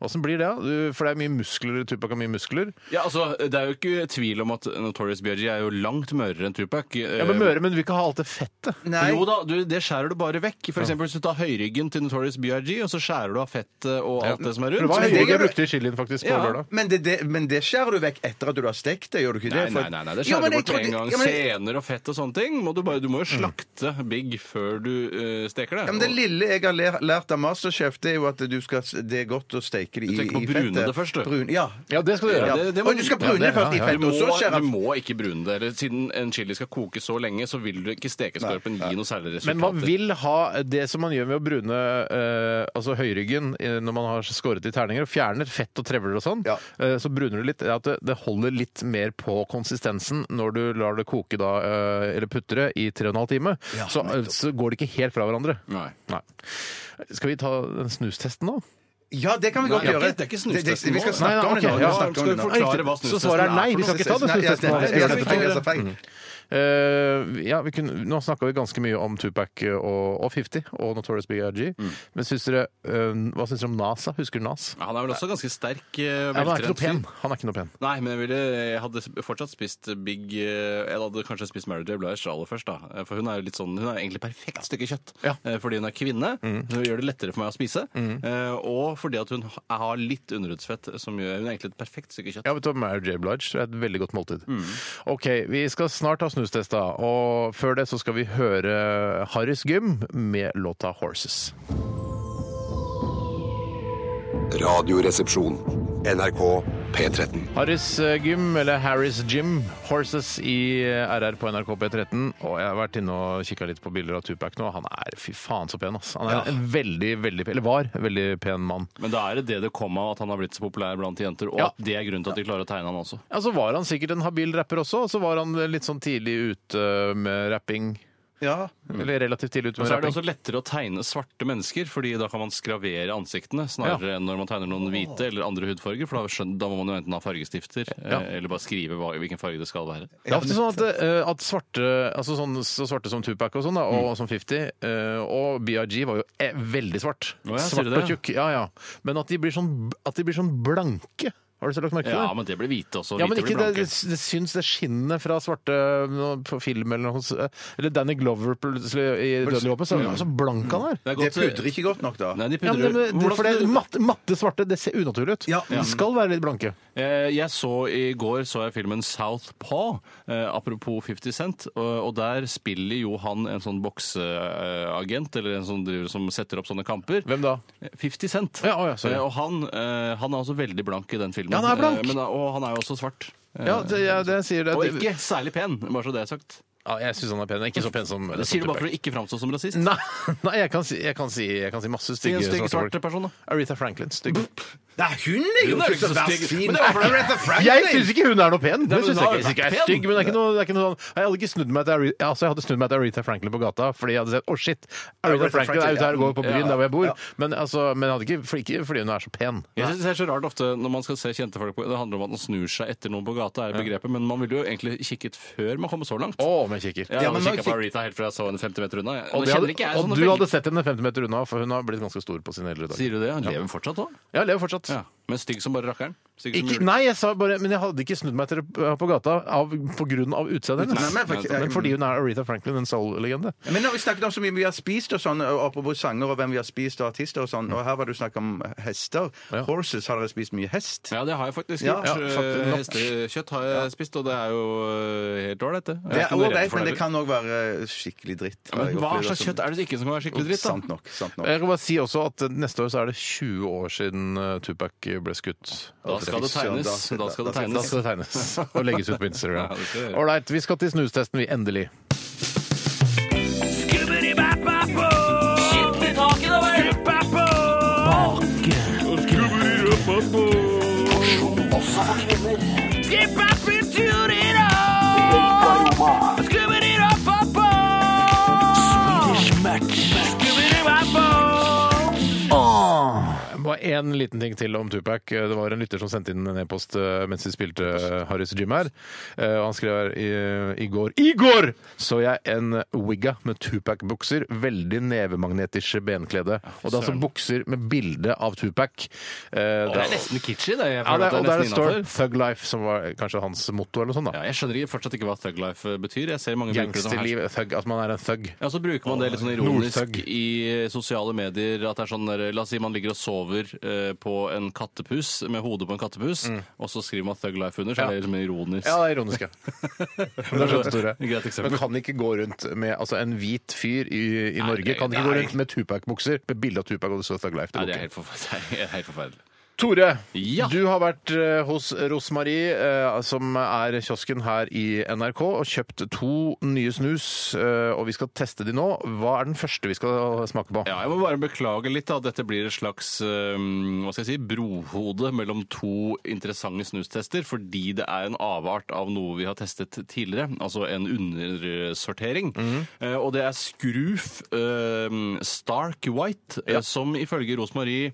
S1: Åssen blir det? da? Du, for det er mye muskler, Tupac har mye muskler.
S2: Eh,
S3: Ja, altså, det er jo ikke tvil om at Notorious BIG er jo langt mørere enn Tupac. Eh,
S1: Ja, men Møre, men du vil ikke ha alt det fettet.
S2: Nei.
S3: Jo da, du, det skjærer du bare vekk. For eksempel hvis du tar høyryggen til Notorious BIG, og så skjærer du av fettet og alt det som er
S1: Det
S3: rundt.
S1: var
S2: Men
S1: høyrygg
S2: det
S1: jeg
S2: gjør-
S1: brukte i chilien faktisk på
S3: Ja.
S1: lørdag.
S2: Men det, det, men det skjærer du vekk etter at du har stekt det, gjør du ikke det?
S3: Nei, nei,
S2: For-
S3: nei, nei, det
S2: Jo,
S3: skjærer
S2: men
S3: du bort
S2: jeg
S3: med en
S2: trodde-
S3: gang.
S2: Ja, men- Mm.
S3: Sener og fett og sånne ting. Må du, bare, du må jo slakte big før du eh, steker det.
S2: Ja, men Det lille jeg har lært, lært av Masterchef, det er jo at du skal, det er godt å steke det i, i
S3: tenker på
S2: fettet.
S3: å brune det først, du.
S2: Brun, ja.
S1: Ja, det skal du gjøre.
S2: Ja,
S3: det- det
S2: Og du skal
S1: Ja,
S2: brune
S1: det-
S2: det først i
S1: ja, ja.
S3: Du
S2: fettet,
S3: må,
S2: og så skjærer
S3: du må ikke brune det. Eller, siden en chili skal koke så lenge, så vil du ikke stekeskorpen gi noe særlig
S1: Men man
S3: resultater.
S1: vil ha det som man gjør ved å brune eh, altså høyryggen eh, når man har skåret i terninger, og fjerner fett og trevler og sånn,
S2: Ja.
S1: eh, så bruner det litt. er At det, det holder litt mer på konsistensen når du lar det koke da, eh, eller putte det i 3 15 time. så, så går det ikke helt fra hverandre.
S3: Nei.
S1: Skal vi ta den snustesten nå?
S2: Ja, det kan vi godt
S3: Nei, det er
S2: gjøre.
S3: ikke- det er ikke snustesten
S2: Vi skal
S3: nå.
S2: snakke
S1: Nei,
S2: om det
S1: nei,
S2: nå.
S1: ok,
S2: vi
S1: ja,
S2: snakker om
S3: skal
S2: det
S3: vi
S2: nå.
S3: forklare hva
S1: Så svaret
S3: snustesten
S1: er
S3: er
S1: nei,
S3: for
S1: vi
S3: noe?
S1: skal ikke ta den
S2: Nei, jeg- jeg-
S1: snustesten.
S2: jeg- jeg- jeg- jeg- jeg- jeg-
S1: nå.
S2: jeg- jeg- jeg- jeg- jeg- jeg- jeg- jeg- jeg- jeg- jeg-
S1: Eh, ja, vi kunne, nå snakka vi ganske mye om Tupac eh, og, og 50 og Notorious B.I.G. Men syns dere, eh, hva syns dere om Nas? da? Husker du Nas?
S3: Ja, han er vel også ganske sterk. eh,
S1: Ja, men han er ikke noe pen.
S3: veltrent fyr.
S1: Han er ikke noe pen.
S3: Nei, men jeg, ville, jeg hadde fortsatt spist Big eh, Jeg hadde kanskje spist Mary J. Blige aller først, da. Eh, For hun er jo litt sånn Hun er egentlig perfekt stykke kjøtt.
S1: Ja.
S3: Eh, Fordi hun er kvinne. Hun gjør det lettere for meg å spise. eh, Og fordi at hun ha- har litt underhudsfett, som gjør Hun er egentlig et perfekt stykke kjøtt.
S1: Ja, vet du, hva, Mary J. Blige er et veldig godt måltid. Ok, vi skal snart ha snustest, da. Og før det så skal vi høre Harrys Gym med låta 'Horses'.
S6: Radioresepsjon. NRK P13.
S1: Harrys eh, Gym, eller Harrys Gym, Horses i RR på NRK P13. Og jeg har vært inne og kikka litt på bilder av Tupac nå. Han er fy faen så pen, ass. Han er en veldig, veldig pen, eller var en veldig pen mann.
S3: Men da er det det det kom av at han har blitt så populær blant jenter, og
S1: Ja.
S3: at det er grunnen til at de klarer å tegne han også.
S1: Ja, så var han sikkert en habil rapper også, og så var han litt sånn tidlig ute med rapping.
S2: Ja.
S1: Eller relativt tidlig ute
S3: Mm. Men
S1: med
S3: så er det
S1: rapping.
S3: også lettere å tegne svarte mennesker, fordi da kan man skravere ansiktene, snarere enn når man tegner noen hvite eller andre hudfarger, for da, skjøn- da må man jo enten ha fargestifter, eh,
S1: Ja.
S3: eller bare skrive hva, hvilken farge det skal være.
S1: Det er ofte sånn at, eh, at svarte, altså sånn, så svarte som Tupac og sånn, da,
S3: Mm.
S1: og som 50, eh, og BRG var jo eh, veldig svart.
S3: Å ja, sier
S1: svart
S3: du det?
S1: og tjukk. Ja, ja. Men at de blir sånn, at de blir sånn blanke. Har du så lagt merke til
S3: Ja,
S1: det?
S3: men det blir hvite også.
S1: Ja, men
S3: hvite
S1: ikke
S3: blir
S1: det,
S3: blanke.
S1: det, det syns det skinnet fra svarte no, på film eller noe sånt. Eller Danny Glover plutselig i Dødelig våpen. Så,
S3: Mm.
S1: så blank han er.
S3: er
S2: Det
S3: godt- eh,
S2: pudrer ikke godt nok, da.
S3: Nei, de
S1: Ja, men
S3: pudrer.
S1: det, det,
S3: Hvordan
S1: for det,
S3: skal du-
S1: matte, matte svarte, det ser unaturlig ut.
S2: Ja.
S1: De skal være litt blanke.
S3: Eh, Jeg så I går så jeg filmen Southpaw, eh, apropos 50 Cent. Og, og der spiller jo han en sånn bokseagent, eller en som, driver, som setter opp sånne kamper.
S1: Hvem da?
S3: 50 Cent.
S1: Ja, å ja, sorry.
S3: Eh, og han, eh, han er også veldig blank i den filmen.
S1: Ja, han er blank.
S3: Eh, men, og han er jo også svart. Eh,
S1: Ja, det, ja, det sier det.
S3: og ikke særlig pen, bare så det er sagt.
S1: Ja, jeg syns han er pen. Ikke så pen som
S3: Det
S1: som
S3: sier du bare
S1: Tupac.
S3: for å ikke framstå som rasist.
S1: Nei, [laughs] nei jeg, kan si, jeg, kan si, jeg kan si masse
S3: Si
S1: stygge
S3: en stygg
S1: svarte
S3: svart
S1: folk.
S3: person, da.
S1: Aretha Franklin. Stygg.
S2: Nei, hun er jo
S3: Hun er jo
S2: ikke så verst
S3: stygg.
S2: fin.
S3: Men det er for-
S2: Aretha Franklin!
S1: Jeg syns ikke hun er noe pen! Det
S3: men
S1: synes
S3: hun har
S1: jeg ikke.
S3: vært
S1: Jeg synes ikke jeg er
S3: pen.
S1: stygg, men det er ikke noe, det er ikke noe sånn Jeg hadde ikke snudd meg til Aretha, altså, jeg hadde snudd meg til Aretha Franklin på gata fordi jeg hadde sett Å, shit! Aretha Franklin er ute her og går på byen der hvor jeg bor. Men, altså, men jeg hadde ikke, for ikke fordi hun er så pen.
S3: Jeg synes Det er så rart ofte når man skal se kjente folk på Det handler om at man snur seg etter noen på gata, er begrepet. Men man ville jo egentlig kikket før man kommer så langt.
S1: Å, om jeg
S3: Jeg
S1: kikker.
S3: hadde
S2: Ja, men man
S3: kikket på
S2: kik-
S3: Aretha helt fra jeg så henne 50 meter unna. Jeg-
S1: Og,
S3: Nå
S1: det
S3: kjenner
S1: hadde,
S3: ikke jeg
S1: og
S3: sånne
S1: du
S3: veldig-
S1: hadde sett henne 50 meter unna, for hun har blitt ganske stor på sine eldre dager.
S3: Sier du det? Han lever fortsatt òg?
S1: Jeg lever fortsatt.
S3: Ja. Men stygg som bare rakkeren? Stygg som
S1: Ikke,
S3: jul-
S1: nei, jeg sa bare, men jeg hadde ikke snudd meg til det eh, på gata av, på grunn av utseendet
S2: Nei, men
S1: hennes.
S2: faktisk-
S1: Men fordi hun er Aretha Franklin, en soul-legende.
S2: Men når vi snakket om så mye vi har spist og sånn, og apropos sanger og hvem vi har spist og artister og sånn, og her var det jo snakk om hester. Horses, har dere spist mye hest?
S3: Ja, det har jeg faktisk
S2: Ja,
S3: gjort.
S2: ja,
S3: Eh,
S2: faktisk nok.
S3: Hestekjøtt har jeg spist, og det er jo eh, helt ålreit, det. Jeg
S2: Det
S3: er
S2: er
S3: ikke noe redd
S2: ålreit,
S3: for
S2: men det
S3: heller.
S2: kan òg være eh, skikkelig dritt.
S3: Ja, Men hva slags kjøtt er det ikke som kan være skikkelig dritt, da? Eh.
S2: Sant nok. sant nok.
S1: Jeg kan bare si også at neste år så er det 20 år siden eh, Tupac ble skutt.
S3: Da skal det tegnes.
S2: Søndag.
S3: Da skal det
S1: Da
S3: tegnes.
S1: skal det
S3: [laughs]
S1: tegnes og legges ut på Instagram.
S3: Ja, det skal det gjøre.
S1: Ålreit, vi skal til snustesten, vi. Endelig. Bare én liten ting til om Tupac. Det var en lytter som sendte inn en e-post eh, mens vi spilte eh, Harrys Gym her. Eh, og Han skrev her i, eh, i går I går så jeg en wigga med Tupac-bukser. Veldig nevemagnetische benklede. Og det er altså bukser med bilde av Tupac. Eh,
S3: Det er nesten kitschy, det. Jeg
S1: ja,
S3: føler
S1: det,
S3: at
S1: er- og
S3: det
S1: der
S3: er
S1: det
S3: nesten
S1: står
S3: innenfor.
S1: 'Thug Life', som var kanskje hans motto eller noe sånt.
S3: Ja,
S1: da.
S3: jeg skjønner ikke- fortsatt ikke hva thug life eh, betyr. Jeg ser mange bruker det som hashtag.
S1: Gangsterliv, thug, at man er en thug.
S3: Ja, så bruker man det litt sånn ironisk
S1: Nordthug.
S3: i eh, sosiale medier. At det er sånn der, La oss si man ligger og sover eh, på en kattepus, med hodet på en kattepus, og så skriver man Thug Life under, så er Mm. det liksom ironisk.
S1: Ja, det
S3: [laughs]
S1: er ironisk, ja. Men da skjønte du det. sånn
S3: Greit eksempel.
S1: Men kan ikke gå rundt med altså en hvit fyr i, i Norge kan ikke gå
S3: nei.
S1: rundt med Tupac-bukser med bilde av Tupac og det står Thug Life.
S3: Nei,
S1: Det
S3: det
S1: går
S3: er
S1: ikke.
S3: helt forferdelig. [laughs] Det er helt forferdelig.
S1: Tore,
S3: Ja.
S1: du har vært eh, hos Rosmarie, eh, som er kiosken her i NRK, og kjøpt to nye snus. eh, og vi skal teste de nå. Hva er den første vi skal smake på?
S3: Ja, jeg må bare beklage litt da, at dette blir et slags um, hva skal jeg si, brohode mellom to interessante snustester, fordi det er en avart av noe vi har testet tidligere, altså en undersortering. Eh, og det er ehm, Skruf eh, Stark White, eh, som ifølge Rosmarie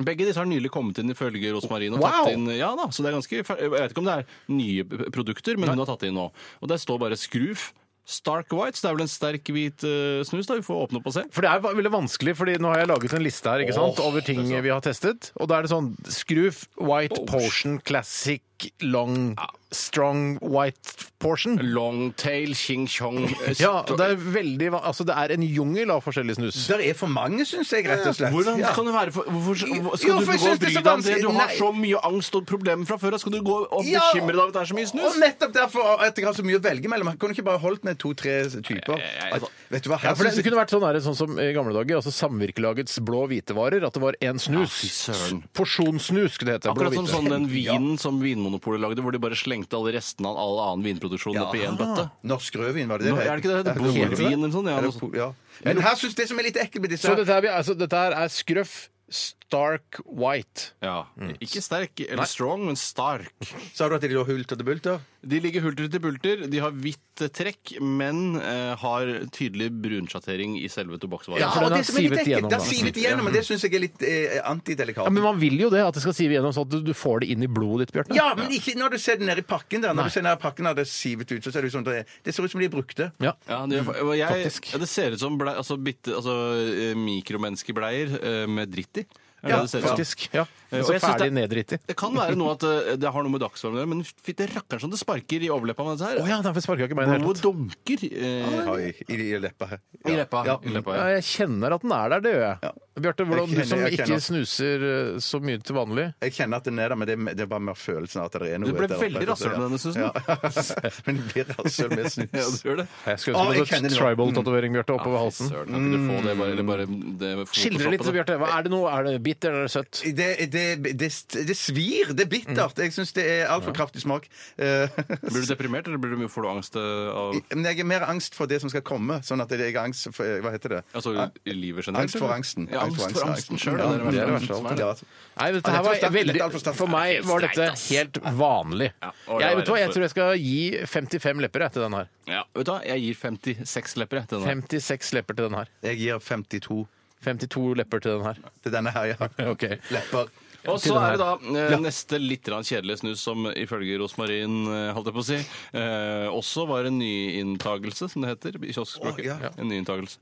S3: Begge disse har nylig kommet inn ifølge Rosmarin. Og
S1: Wow!
S3: tatt inn, ja da, så det er ganske, fer- Jeg vet ikke om det er nye p- produkter, men hun har tatt det inn nå. Og der står bare Skruf. Stark White, så det er vel en sterk hvit eh, snus. da, Vi får åpne opp og se.
S1: For det er va- veldig vanskelig, fordi nå har jeg laget en liste her ikke sant, Oh,
S3: Åh,
S1: over ting vi har testet. Og da er det sånn Scroof, White Potion, Classic, Long, Strong, White Portion.
S3: Longtail, Ching Chong
S2: [laughs]
S3: eh,
S1: Ja, og det er veldig va- Altså, det er en jungel av forskjellig snus.
S2: Det er for mange, syns jeg, rett og slett.
S3: Hvordan
S2: Ja.
S3: kan det være for, hvorfor, Skal
S2: Jo,
S3: du
S2: for jeg
S3: gå
S2: synes
S3: og bry
S2: det er så
S3: deg om det? Du
S2: vanskelig.
S3: har
S2: Nei.
S3: så mye angst og problemer fra før. da. Skal du gå og
S2: Ja.
S3: bekymre deg over at det er så mye snus?
S2: Og nettopp derfor at jeg har så mye å velge mellom. Jeg kunne ikke bare holdt med to-tre typer.
S3: Eh, altså-
S2: At, vet du hva,
S1: Ja,
S2: her
S1: for det,
S2: synes
S1: det
S2: jeg
S1: kunne vært sånn, her, sånn som i gamle dager, altså samvirkelagets blå hvitevarer, at det var én
S3: fy
S1: snus.
S3: søren.
S1: Porsjonssnus, skulle det hete.
S3: Akkurat som sånn
S1: blå-hvite.
S3: den vinen som Vinmonopolet lagde, hvor de bare slengte alle restene av all annen vinproduksjon opp i én bøtte.
S2: Norsk rødvin, var det det?
S3: Nå- er det ikke det det heter?
S2: Ja,
S3: Blodvin eller noe sånt, ja,
S2: Er det
S3: noe sånt.
S2: po- ja. Men her synes det som er litt ekkelt med disse
S1: [laughs] Så dette her, blir- altså, dette her er Scruff, Stark, White.
S3: Ja. Mm. Ikke sterk eller strong, men stark.
S2: Sa du at de lå hult og det bulter?
S3: De ligger hulter til bulter, de har hvitt eh, trekk, men eh, har tydelig brunsjattering i selve tobakksvaren.
S1: Ja, for den har sivet gjennom,
S2: Det
S1: da.
S2: har
S3: altså.
S2: sivet igjennom, og det syns jeg er litt eh, antidelikat.
S1: Ja, men man vil jo det, at det skal sive gjennom sånn at du- du får det inn i blodet ditt, Bjarte.
S2: Ja, men ikke når du ser den nedi pakken der. Når du ser nedi pakken der det er sivet ut, så ser det ut som det, det ser ut som de er brukte.
S1: Ja.
S3: Ja, det, gjør- og jeg,
S1: faktisk.
S3: ja, det ser ut som blei, altså, bitte, altså, eh, mikromenneskebleier eh, med dritt i. Er det
S1: Ja,
S3: det det ser ut som?
S1: faktisk. Ja.
S3: Eh, og
S1: Så
S3: jeg synes det-
S1: ferdig nedritt i.
S3: Det kan være noe at eh, det har noe med dagsformen å gjøre, men fytte rakkeren som det sparker i overleppa med dette her.
S1: Å ja, derfor sparka ikke meg i det hele
S3: Blodet
S1: tatt.
S3: dunker. Eh,
S2: Oi, i, i leppa her.
S3: I leppa.
S2: Ja.
S3: I leppa
S1: Ja,
S3: ja.
S1: jeg kjenner at den er der, det gjør jeg. Bjarte, hvordan
S2: Jeg
S1: du som
S2: kjenner- jeg
S1: ikke
S2: kjenner-
S1: snuser eh, så mye til vanlig
S2: Jeg kjenner at den er der, men det, det er bare mer følelsen av at det er noe
S3: Du ble
S2: der oppe.
S3: veldig rasshøl med denne snusen.
S2: Ja. [laughs] men det blir rasshøl med
S3: [laughs] Ja, du
S2: snus.
S3: gjør det.
S1: Ah, Jeg Mm. skulle
S2: Å, jeg
S1: ønske du hadde
S2: kjenner det.
S1: tribal-tatovering, Bjarte, oppover
S3: Fy
S1: halsen.
S3: søren, kan ikke du få det bare, eller bare det
S1: Ah, Skildre litt,
S3: photoshoppe det?
S1: Bjarte. Hva Er det noe? Er det bitter eller søtt?
S2: Det, det, det, det svir. Det er bittert. Jeg syns det er altfor kraftig smak. Eh, [laughs]
S3: Blir du deprimert, eller blir du, får du angst eh, av
S2: Men jeg er mer angst for det som skal komme. Sånn at jeg har angst for Hva heter det?
S3: altså, i livet generelt?
S2: Angst for
S3: eller?
S2: angsten.
S3: Ja, angst for angsten sjøl.
S2: Ja,
S3: det er det verste.
S2: som
S3: som er det.
S2: Ja.
S1: Nei, dette
S2: Ja,
S1: her
S2: dette var
S1: var
S2: sterkt. Dette er alt
S1: veldig
S2: for sterkt.
S1: For meg var dette helt vanlig.
S3: Ja,
S1: Jeg,
S3: og det var
S1: vet du hva,
S3: rett
S1: jeg
S3: for-
S1: tror jeg skal gi 55 lepper jeg, til den her.
S3: Ja, vet du hva, jeg gir 56 lepper jeg, til den.
S1: 56 lepper til den her.
S2: Jeg gir 52
S1: 52 lepper til den her.
S2: til denne her, ja.
S1: Ok.
S2: Lepper.
S3: Og
S1: til
S3: så
S1: den
S3: er det da
S1: her.
S3: eh, neste litt grann kjedelige snus som ifølge Rosmarin eh, holdt jeg på å si, eh, også var en nyinntakelse, som det heter i kioskspråket.
S2: Å, ja.
S3: En nyinntakelse.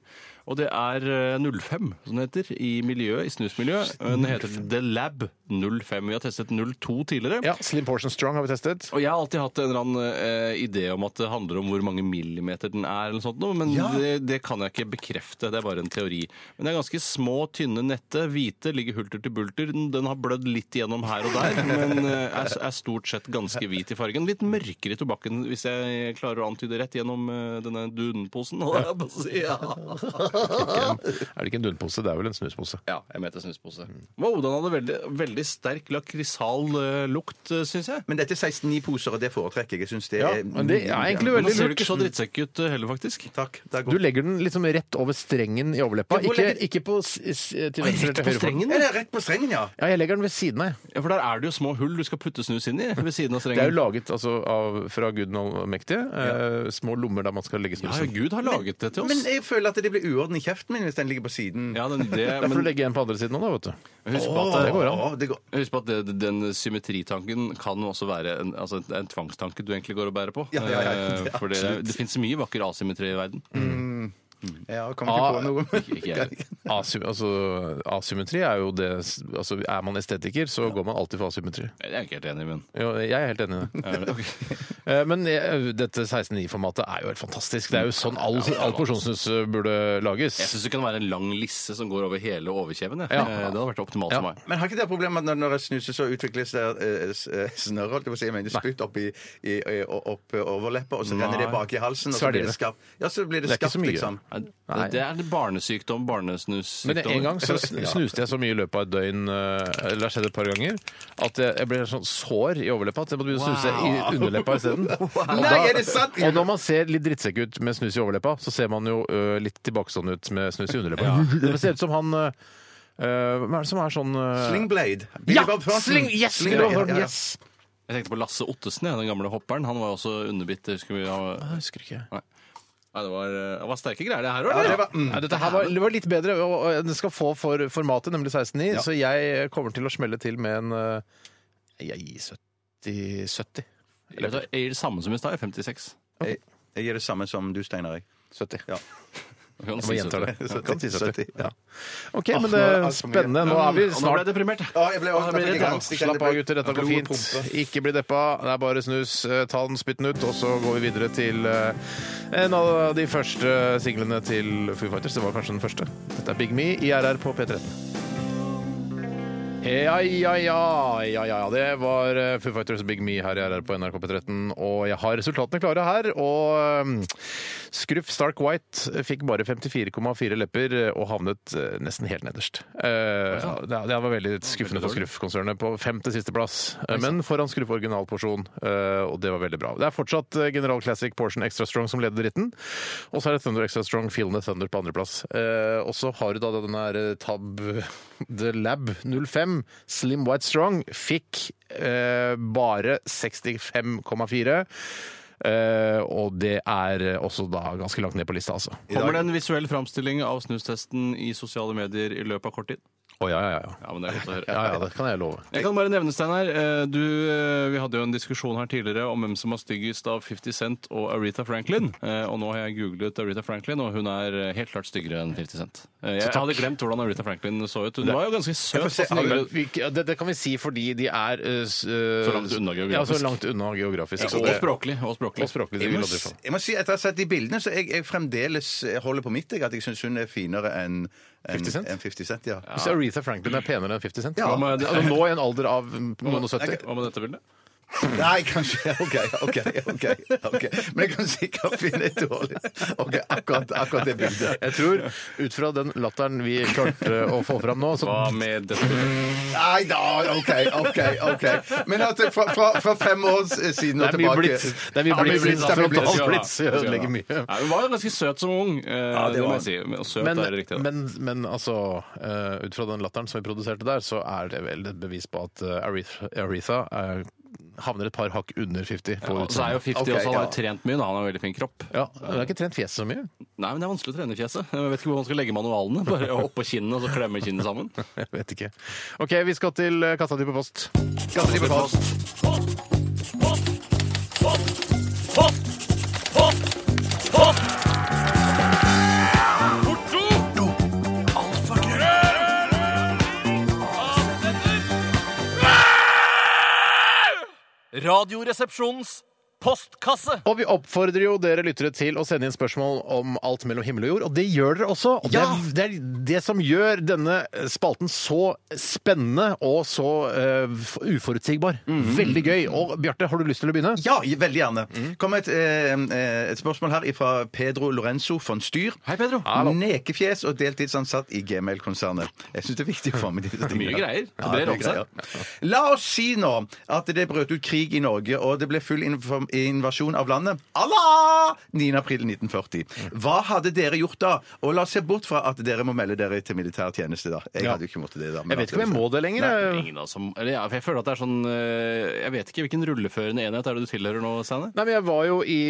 S3: Og det er eh, 05, som det heter, i miljøet, i snusmiljøet. Den heter The Lab 05. Vi har testet 02 tidligere.
S1: Ja, Slim Portion Strong har vi testet.
S3: Og jeg har alltid hatt en eller annen eh, idé om at det handler om hvor mange millimeter den er, eller noe sånt, noe, men det, det kan jeg ikke bekrefte. Det er bare en teori. Men det er ganske små, tynne nette. Hvite ligger hulter til bulter. Den, den har blødd litt gjennom her og der, men eh, er, er stort sett ganske hvit i fargen. Litt mørkere i tobakken, hvis jeg klarer å antyde rett, gjennom eh, denne dunposen. holdt jeg på å si. Ja.
S1: Er det ikke en dunpose? Det er vel en snuspose.
S3: Ja, jeg mente snuspose. Wow, den hadde veldig, veldig sterk lakrisal eh, lukt, eh, syns jeg.
S2: Men dette er 16-9 poser, og det foretrekker jeg. Jeg syns det
S1: Ja,
S2: er
S1: men det er egentlig
S3: Men
S1: veldig
S3: nå ser du
S1: lurt.
S3: ikke så drittsekk ut eh, heller, faktisk.
S2: Takk. Det er
S1: Du
S2: godt.
S1: legger den liksom rett over strengen i overleppa.
S2: Ja, hvor
S1: Ikke,
S2: legger-
S1: ikke på, s- s- til
S3: Oi,
S1: venstre eller
S3: rett
S1: til
S3: på
S1: høyre. for den.
S3: strengen,
S2: Er
S3: ja.
S2: det rett på strengen, ja?
S1: Ja, jeg legger den ved siden av. jeg.
S3: Ja, For der er det jo små hull du skal putte snus inn i. ved siden av
S1: Det er jo
S3: strengen.
S1: laget altså, av, fra Gud den allmektige. Eh, små lommer der man skal legge
S3: Ja, ja,
S1: snusen.
S3: Gud har laget det til oss.
S2: Men jeg føler at det blir uorden i kjeften min hvis den ligger på siden.
S3: Ja, den, det,
S1: Da får du
S3: men
S1: legge en på andre siden òg, da, vet du.
S3: husk på
S2: Å,
S3: at,
S2: det
S3: det-
S2: går an. Det går.
S3: husk på at det, den symmetritanken kan også være en, altså, det er en tvangstanke du egentlig går og bærer på.
S2: Ja, ja, ja, ja,
S3: Eh, For det,
S2: absolutt.
S3: det fins mye vakker asymmetri i verden.
S2: Ja, jeg kommer ikke
S1: Ah,
S2: på noe.
S3: ikke jeg.
S1: Asym altså, asymmetri er jo det altså, Er man estetiker, så går man alltid for asymmetri.
S3: Det er jeg ikke helt enig i, men
S1: Jo, jeg er helt enig i det.
S3: Er det- ok.
S1: Eh, Men jeg, dette 16.9-formatet er jo helt fantastisk. Det er jo sånn all, all porsjonsnus burde lages.
S3: Jeg syns det kan være en lang lisse som går over hele overkjeven. jeg.
S1: Ja.
S3: Eh, Det hadde vært optimalt
S1: Ja.
S3: for meg.
S2: Men har ikke det problemet at når, når jeg snuser, så utvikles det eh, s- eh, snørr, holdt jeg på å si, jeg mener spytt opp i, i, i opp overleppa, og så renner det bak i halsen, og så blir det skarpt. Ja, så blir det,
S1: Det er ikke
S2: skarpt,
S1: så mye.
S2: liksom.
S3: Nei, Det er barnesykdom, barnesnussykdom.
S1: Men en gang så
S2: [laughs]
S1: sn- snuste jeg så mye i løpet av et døgn, eh, eller det har skjedd et par ganger, at jeg jeg ble helt sånn sår i overleppa at jeg måtte begynne å snuse i underleppa isteden.
S2: [laughs]
S1: Og
S2: Nei,
S1: da-
S2: er det sant?
S1: Og når man ser litt drittsekk ut med snus i overleppa, så ser man jo ø, litt tilbakestående ut med snus i underleppa. [laughs] Det ser ut som han ø, ø, Hva er det som er sånn ø,
S2: Slingblade. Billy
S1: Ja!
S2: Bob Thornton.
S1: Sling, yes!
S2: Sling-
S1: Billy Bob
S2: ja,
S1: Thornton,
S2: ja, ja.
S1: yes.
S3: Jeg tenkte på Lasse Ottesen, ja, den gamle hopperen. Han var jo også underbitt. Husker vi, han var-
S1: Jeg Ah, husker ikke.
S3: Nei. Nei, det var, eh, det var sterke greier, det her òg.
S2: Ja, det var- mm.
S1: Nei, dette her var, det var litt bedre, og, og den skal få for formatet, nemlig 16.9, så jeg kommer til å smelle til med en eh, Jeg gir 70. 70.
S3: Jeg gir det samme som i stad, 56.
S2: Jeg, jeg gir det samme som du, Steinar. jeg.
S1: 70.
S2: Ja.
S3: Jeg kan
S1: Jeg
S3: si
S1: må gjenta
S2: [laughs]
S1: det.
S3: 70.
S1: Jeg kan si 70.
S2: 70,
S1: Ja. OK,
S2: Åh,
S1: men
S2: nå
S1: det
S2: er det
S1: Ah, er
S2: altfor mye.
S1: spennende. Nå
S3: Og Nå
S1: er vi
S3: ble jeg
S1: snart
S3: deprimert. jeg.
S2: Å, jeg ble-
S3: Å, nå ble jeg
S2: jeg fikk
S3: redd.
S2: angst.
S1: Slapp av, gutter. Dette går
S2: Blodet
S1: fint.
S2: pumper.
S1: Ikke bli deppa. Det er bare snus. Eh, Ta den, spytt den ut, og så går vi videre til eh, en av de første singlene til Foo Fighters. Det var kanskje den første. Dette er Big Me i RR på P13. Ja, ja, ja, ja, ja, ja. Det var eh, Foo Fighters Big Me her i RR på NRK P13. Og jeg har resultatene klare her. Og mm, Scruff Stark White fikk bare 54,4 lepper eh, og havnet eh, nesten helt nederst. Eh, ja, det var veldig skuffende for Scruff-konsernet på femte sisteplass. Eh, Men foran Scruff originalporsjon, eh, og det var veldig bra. Det er fortsatt eh, General Classic Portion Extra Strong som leder dritten. Og så er det Thunder Extra Strong Feel the Thunder på andreplass. Eh, og så har du da denne her eh, Tab [laughs] The Lab 05, Slim White Strong, fikk eh, bare 65,4. Eh, og det er eh, også da ganske langt ned på lista, altså.
S3: Kommer det en visuell framstilling av snustesten i sosiale medier i løpet av kort tid?
S1: Å ja, ja, ja.
S3: Ja, men det er godt å høre.
S1: Ja, ja, det kan jeg love.
S3: Jeg kan bare nevne, Steinar, eh, du, eh, vi hadde jo en diskusjon her tidligere om hvem som var styggest av 50 Cent og Aretha Franklin. Eh, Og nå har jeg googlet Aretha Franklin, og hun er eh, helt klart styggere enn 50 Cent. Eh, Jeg hadde glemt hvordan Aretha Franklin så ut. Hun var jo ganske søt.
S1: Jeg får se-
S3: og snill.
S1: Vi- ja, det, det kan vi si fordi de er eh, s- eh,
S3: Så langt unna geografisk.
S1: Ja, så langt unna geografisk.
S3: Ja,
S1: Så
S3: og
S1: det-
S3: språklig. Og språklig.
S1: og språklig.
S2: Jeg
S1: Det
S2: må,
S1: vil aldri
S2: s-
S1: få.
S2: jeg må si, Etter å ha sett de bildene, så jeg, jeg fremdeles holder på mitt. Jeg, at jeg syns hun er finere enn enn-
S1: 50 Cent?
S2: enn 50 Cent. Ja.
S1: Hvis Aretha Franklin er penere enn 50 Cent
S2: Ja.
S1: hva med- altså, Nå i en alder av noen og 70
S3: Hva med dette bildet?
S2: Nei, kanskje [laughs] OK, OK. ok, ok. Men jeg kan sikkert finne et dårlig Ok, akkurat, akkurat det [laughs] bildet.
S1: Jeg tror, ut fra den latteren vi klarte å få fram nå, så
S3: Hva med dette
S1: [laughs]
S3: bildet?
S2: Nei da, OK, OK. ok. Men at det fra, fra, fra fem år
S1: det er
S2: siden og
S1: mye
S2: tilbake
S1: blits. Det er mye
S2: Ja,
S1: blits.
S2: det er mye blits.
S1: Alt blits ødelegger mye.
S3: Nei, hun var jo ganske søt som ung. Ja, det, må jeg si. Men Søt
S1: Men,
S3: er det riktig. da.
S1: men, men altså, eh, ut fra den latteren som vi produserte der, så er det vel et bevis på at eh, Aretha, Aretha er, havner et par hakk under 50. På
S3: Og så er jo 50
S2: Ok,
S3: også, han har jo
S2: ja.
S3: trent mye, da. han har veldig fin kropp.
S1: ja, Hun har ikke trent fjeset så mye.
S3: Nei, men det er vanskelig å trene i fjeset. Jeg vet ikke hvor man skal legge manualene. Bare oppå kinnene og så klemme kinnene sammen.
S1: Jeg vet ikke. OK, vi skal til eh, Katta di på post.
S2: Katta di på post.
S7: Radioresepsjonens postkasse.
S1: Og vi oppfordrer jo dere lyttere til å sende inn spørsmål om alt mellom himmel og jord, og det gjør dere også. Og det, er, det er det som gjør denne spalten så spennende og så eh, f- uforutsigbar. Veldig gøy. Og Bjarte, har du lyst til å begynne?
S2: Ja, veldig gjerne. Kom et, eh, eh, et spørsmål her fra Pedro Lorenzo von Styr.
S3: Hei, Pedro.
S2: Nekefjes og deltidsansatt i Gmail-konsernet. Jeg syns det er viktig å få med disse tingene.
S3: Mye greier. Det
S2: Ja, det
S3: brer
S2: er
S3: om seg.
S2: greier. La oss si nå at det brøt ut krig i Norge, og det ble full inv- invasjon av landet. Allah! 9. april 1940. Hva hadde dere gjort da? Og la oss se bort fra at dere må melde dere til militær tjeneste, da. Jeg
S1: Ja.
S2: hadde jo ikke måttet det, da. men
S1: Jeg vet
S2: at-
S1: ikke om jeg må det lenger. eh. jeg.
S3: Ingen eh, av oss som, eller, ja, for jeg føler at det er sånn eh, Jeg vet ikke hvilken rulleførende enhet er det du tilhører nå, Steinar?
S1: Nei, men jeg var jo i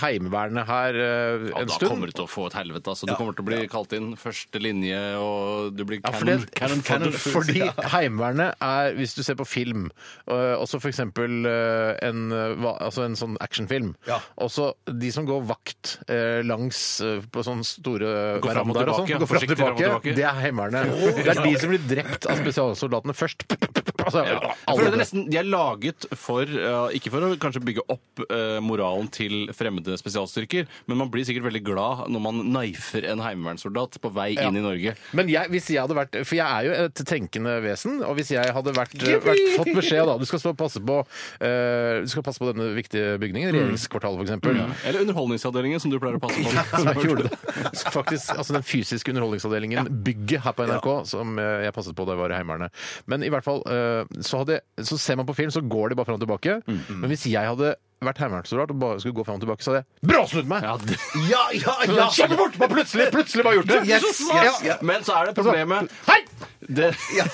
S1: Heimevernet her eh,
S3: Ja,
S1: en
S3: da
S1: stund.
S3: kommer du til å få et helvete. Altså. Du kommer til å bli kalt inn første linje, og du blir
S1: Ja, for
S3: cannon,
S1: det-
S3: cannon
S1: cannon-
S3: fodder.
S1: fordi Heimevernet er, hvis du ser på film, øh, også for eksempel øh, en, øh, hva- altså en sånn actionfilm,
S2: Ja.
S1: også de som går vakt øh, langs øh, på sånne store
S3: Går fram og
S1: verandaer og
S3: tilbake,
S1: sånn, går fram og
S3: forsiktig fram og
S1: tilbake,
S3: tilbake.
S1: det er Heimevernet. Det er de som blir drept av spesialsoldatene først. [laughs] Altså,
S3: Ja. Jeg
S1: alle
S3: føler det
S1: dør.
S3: nesten, de er laget for eh, Ikke for å kanskje bygge opp eh, moralen til fremmede spesialstyrker, men man blir sikkert veldig glad når man knifer en heimevernssoldat på vei inn i Norge.
S1: Men jeg, hvis jeg hadde vært For jeg er jo et tenkende vesen, og hvis jeg hadde vært, vært fått beskjed da Du skal stå og passe på eh, Du skal passe på denne viktige bygningen, regjeringskvartalet f.eks. eksempel
S3: Eller Underholdningsavdelingen, som du pleier å passe
S2: [laughs]
S3: på.
S1: som jeg gjorde det. Så Faktisk, altså Den fysiske underholdningsavdelingen, bygget her på NRK, som eh, jeg passet på da jeg var i Heimevernet. Men i hvert fall, eh, så, hadde, så ser man på film, så går de bare fram og tilbake. Men hvis jeg hadde vært heimevernssoldat og bare skulle gå fram og tilbake, så hadde jeg bråsnudd meg!
S3: Ja, det-
S1: ja, ja, ja. Kjapt bort! Bare plutselig, plutselig bare gjort det!
S2: Yes, Altså, yes,
S1: ja.
S2: ja.
S3: Men så er det problemet
S1: Hei!
S3: Det,
S2: [laughs]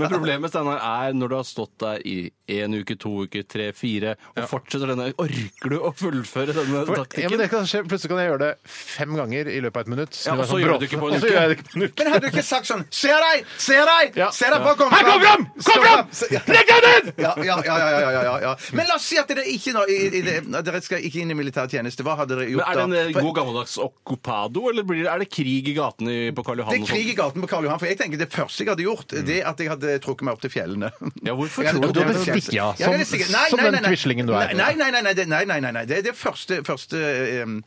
S3: Men problemet Steinar, er når du har stått der i én uke, to uker, tre, fire, og fortsetter denne Orker du å fullføre denne
S1: For, ja, men
S3: taktikken?
S1: det kan skje. Plutselig kan jeg gjøre det fem ganger i løpet av et minutt.
S3: Ja, og
S1: Det er
S3: så
S1: sånn
S3: gjør du det ikke på en
S1: brått. Og så
S3: uke.
S1: gjør jeg det ikke på en uke.
S2: Men hadde du ikke sagt sånn Se deg! Se deg!
S1: Ja.
S2: Se deg bare kom
S1: Hei, kom fram! Kom fram!
S2: Se- ja.
S1: Legg deg ned!
S2: Ja, ja, ja, ja, ja, ja, ja, ja. Men la oss si at dere ikke nå, i, i, det- dere skal ikke inn i militær tjeneste. Hva hadde dere
S3: Men
S2: gjort
S3: Er det
S2: da?
S3: en eh,
S2: For-
S3: god gammeldags okkupado, eller blir det, er det krig i gatene i- på Karl
S2: Det
S3: Johan?
S2: er
S3: og
S2: krig
S3: sånt?
S2: i gaten på Karl Johan. For jeg tenker det første jeg hadde gjort, det er at jeg hadde trukket meg opp til fjellene.
S3: Ja, hvorfor
S2: Jeg hadde
S3: tror du
S1: det?
S2: trukket meg opp til fjellene.
S1: Ja,
S2: Ja,
S1: som-
S2: det er sikkert. Nei,
S1: som
S2: nei, nei,
S1: den
S2: nei.
S1: quislingen du er.
S2: Nei, nei, nei, nei, det- nei, nei, nei, nei. Det er det første, første eh, em,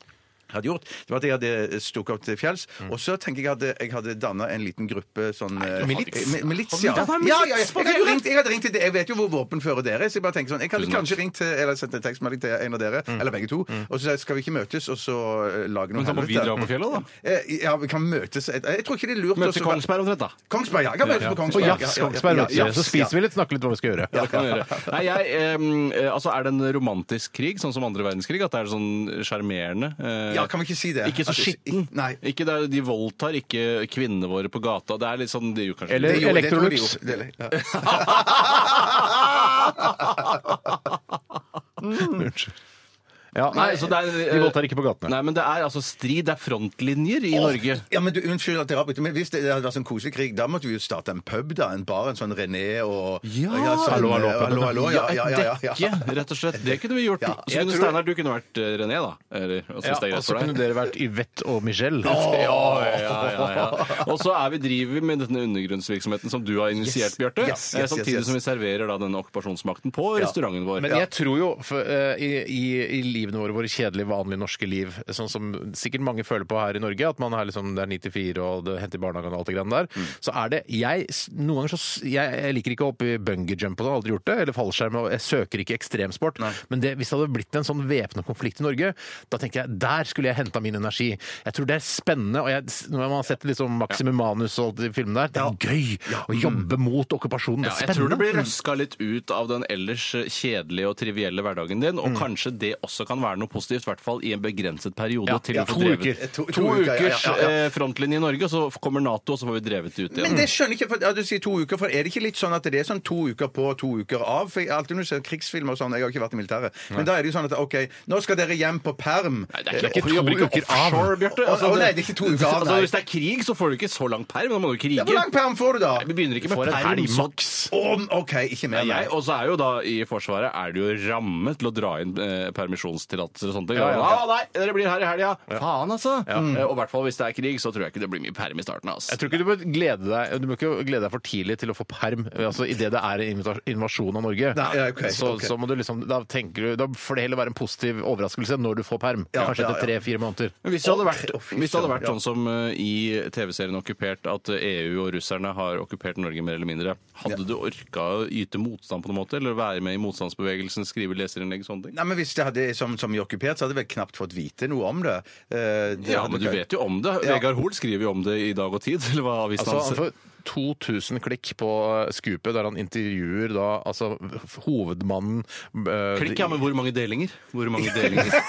S2: jeg hadde gjort, det var at jeg hadde eh, stukket opp til fjells. Og så tenker jeg at eh, jeg hadde danna en liten gruppe sånn eh,
S1: milits?
S2: mi- Milits, ja.
S3: Hadde du dannet
S2: ja, ja, ja.
S3: milits på
S2: Jeg, hadde jo
S3: fjellet?
S2: ringt, jeg hadde ringt til Jeg vet jo hvor våpenføre dere er, så jeg bare tenker sånn Jeg hadde
S3: Tusen takk.
S2: kanskje ringt til, eller sendt en tekstmelding til en av dere, eller begge to, og så sa jeg, skal vi ikke møtes, og så eh, lage noe
S3: Men da må vi dra på fjellet, da.
S2: Eh, Ja, vi kan møtes Jeg jeg tror ikke det er lurt
S3: Møtes i
S2: å-
S3: Kongsberg omtrent, da.
S2: Kongsberg, ja. Jeg kan møtes på
S1: På
S2: Kongsberg.
S1: jafs,
S2: Ja, ja, ja.
S1: Kongsberg,
S2: Ja,
S1: Rotsjø.
S2: jafs,
S1: Så spiser vi litt, snakker litt om hva vi skal gjøre.
S3: Det kan vi gjøre. Nei, jeg, em, eh, altså, er det en romantisk krig, sånn som andre verdenskrig? At det er sånn sjarmerende? eh,
S2: Ja, kan vi ikke si det?
S3: Ikke så
S2: At det-
S3: skitten.
S2: Nei.
S3: Ikke der de voldtar ikke kvinnene våre på gata. Det er litt sånn det gjør kanskje
S1: Eller
S2: Det gjorde- det tror de
S1: Electrolux.
S2: gjorde. Det- ja.
S1: Unnskyld. Ja,
S3: Nei, så det er,
S1: de voldtar ikke på gatene.
S3: [laughs] Nei, men det er altså strid, det er frontlinjer i Norge.
S2: Ja, men du, Unnskyld at jeg avbryter, men hvis det hadde vært sånn koselig krig, da måtte vi jo starte en pub, da. En bar, en sånn René og
S3: Ja,
S2: sånn,
S1: hallo, hallo,
S2: eh, hallo, hallo, ja, ja, ja, ja, ja.
S3: Dekke, rett og slett. Det kunne vi gjort.
S2: Ja,
S3: Så
S2: jeg
S3: kunne
S2: tror-
S3: Steinar, du kunne vært eh, René, da. Eller, altså,
S1: Ja,
S3: hvis det er
S1: og
S3: greit
S1: så
S3: for
S1: kunne
S3: deg.
S1: dere vært Yvette og Michelle.
S3: [laughs] Ja, ja, ja, ja. Og så er vi driver med denne undergrunnsvirksomheten som du har initiert,
S2: Yes.
S3: Bjarte.
S2: Yes,
S3: eh,
S2: yes,
S3: samtidig
S2: yes, yes.
S3: som vi serverer da denne okkupasjonsmakten på restauranten vår.
S1: Men
S3: Ja.
S1: jeg tror jo for, eh, i, i, i livene våre, våre kjedelige, vanlige norske liv, sånn som sikkert mange føler på her i Norge, at man er liksom, det er 94 og det henter i barnehagen og alt det greiene
S3: Mm.
S1: der, så er det jeg, s- Noen ganger så s- jeg, jeg liker ikke å hoppe i bungee jump og sånn, aldri gjort det, eller fallskjerm, og jeg søker ikke ekstremsport, men det, hvis det hadde blitt en sånn væpna konflikt i Norge, da tenker jeg der skulle jeg henta min energi. Jeg tror det er spennende, og jeg, s- når man har sett liksom Maximum Manus og alt de filmene der, det er gøy å jobbe mot
S3: Mm.
S1: okkupasjonen. Det
S3: Ja,
S1: er
S3: jeg tror
S1: spennende.
S3: du blir røska litt ut av den ellers eh, kjedelige og trivielle hverdagen din, og kanskje det også kan være noe positivt, i hvert fall i en begrenset periode.
S1: Ja,
S3: til
S1: ja,
S3: vi får
S1: to
S3: drevet-
S1: uker.
S3: To,
S2: To- to uker, ja, ja,
S3: ukers
S2: ja, ja.
S3: eh, frontlinje i Norge, og så kommer Nato, og så får vi drevet det ut
S2: Men
S3: igjen.
S2: det skjønner jeg ikke, for ja, du sier to uker, for er det ikke litt sånn at det er sånn to uker på, to uker av? For jeg, alltid når du ser krigsfilmer og sånn, jeg har ikke vært i militæret, men da er det jo sånn at OK, nå skal dere hjem på perm.
S3: Nei, det er ikke,
S1: ikke
S3: du jobber
S1: to
S3: ikke
S1: uker av.
S3: offshore, Bjarte.
S2: Å, å, nei, det er ikke to uker av,
S3: altså,
S2: nei.
S3: hvis det er krig, så får du ikke så lang perm. Da må du krige.
S2: Ja, hvor lang perm får du da?
S3: Nei, Vi begynner ikke
S1: Får
S3: med
S1: en
S3: perm.
S1: helg
S3: så-
S1: maks.
S2: Å, OK, ikke mer.
S3: Nei,
S2: nei.
S3: jeg, og så er jo da I Forsvaret er det jo ramme til å dra inn eh, permisjonstillatelser og sånt.
S1: Ja, ja, ja.
S3: Å, nei, dere blir her i helga! Faen, altså! Eh, og i hvert fall hvis det er krig, så tror jeg ikke det blir mye perm i starten. Altså.
S1: Jeg tror ikke du bør glede deg Du må ikke glede deg for tidlig til å få perm altså idet det er en invita- invasjon av Norge.
S2: Nei, ja, ok,
S1: så,
S2: ok.
S1: så må du liksom Da tenker du Da får det heller være en positiv overraskelse når du får perm.
S2: Ja,
S1: Kanskje
S2: ja, ja.
S1: etter tre-fire måneder.
S3: Men Hvis det hadde vært,
S2: Å, fy
S3: hvis det hadde vært
S2: søren, ja.
S3: sånn som eh, i TV-serien Okkupert, at eh, EU og russerne har okkupert Norge mer eller mindre, hadde du orka å yte motstand på noen måte? Eller være med i motstandsbevegelsen, skrive leserinnlegg og sånne ting?
S2: Nei, men Hvis det hadde som, som i okkupert, så hadde jeg vel knapt fått vite noe om det. Eh, det
S3: Ja,
S2: hadde
S3: men du
S2: ikke-
S3: vet jo om det.
S2: Ja.
S3: Vegard Hoel skriver jo om det i Dag og Tid, [laughs] eller hva avisen
S1: Altså, han
S3: hans
S1: får 2000 klikk på Scoopet, der han intervjuer da altså hovedmannen eh,
S3: Klikk, ja, men hvor mange delinger? Hvor [laughs] mange delinger?
S1: [laughs]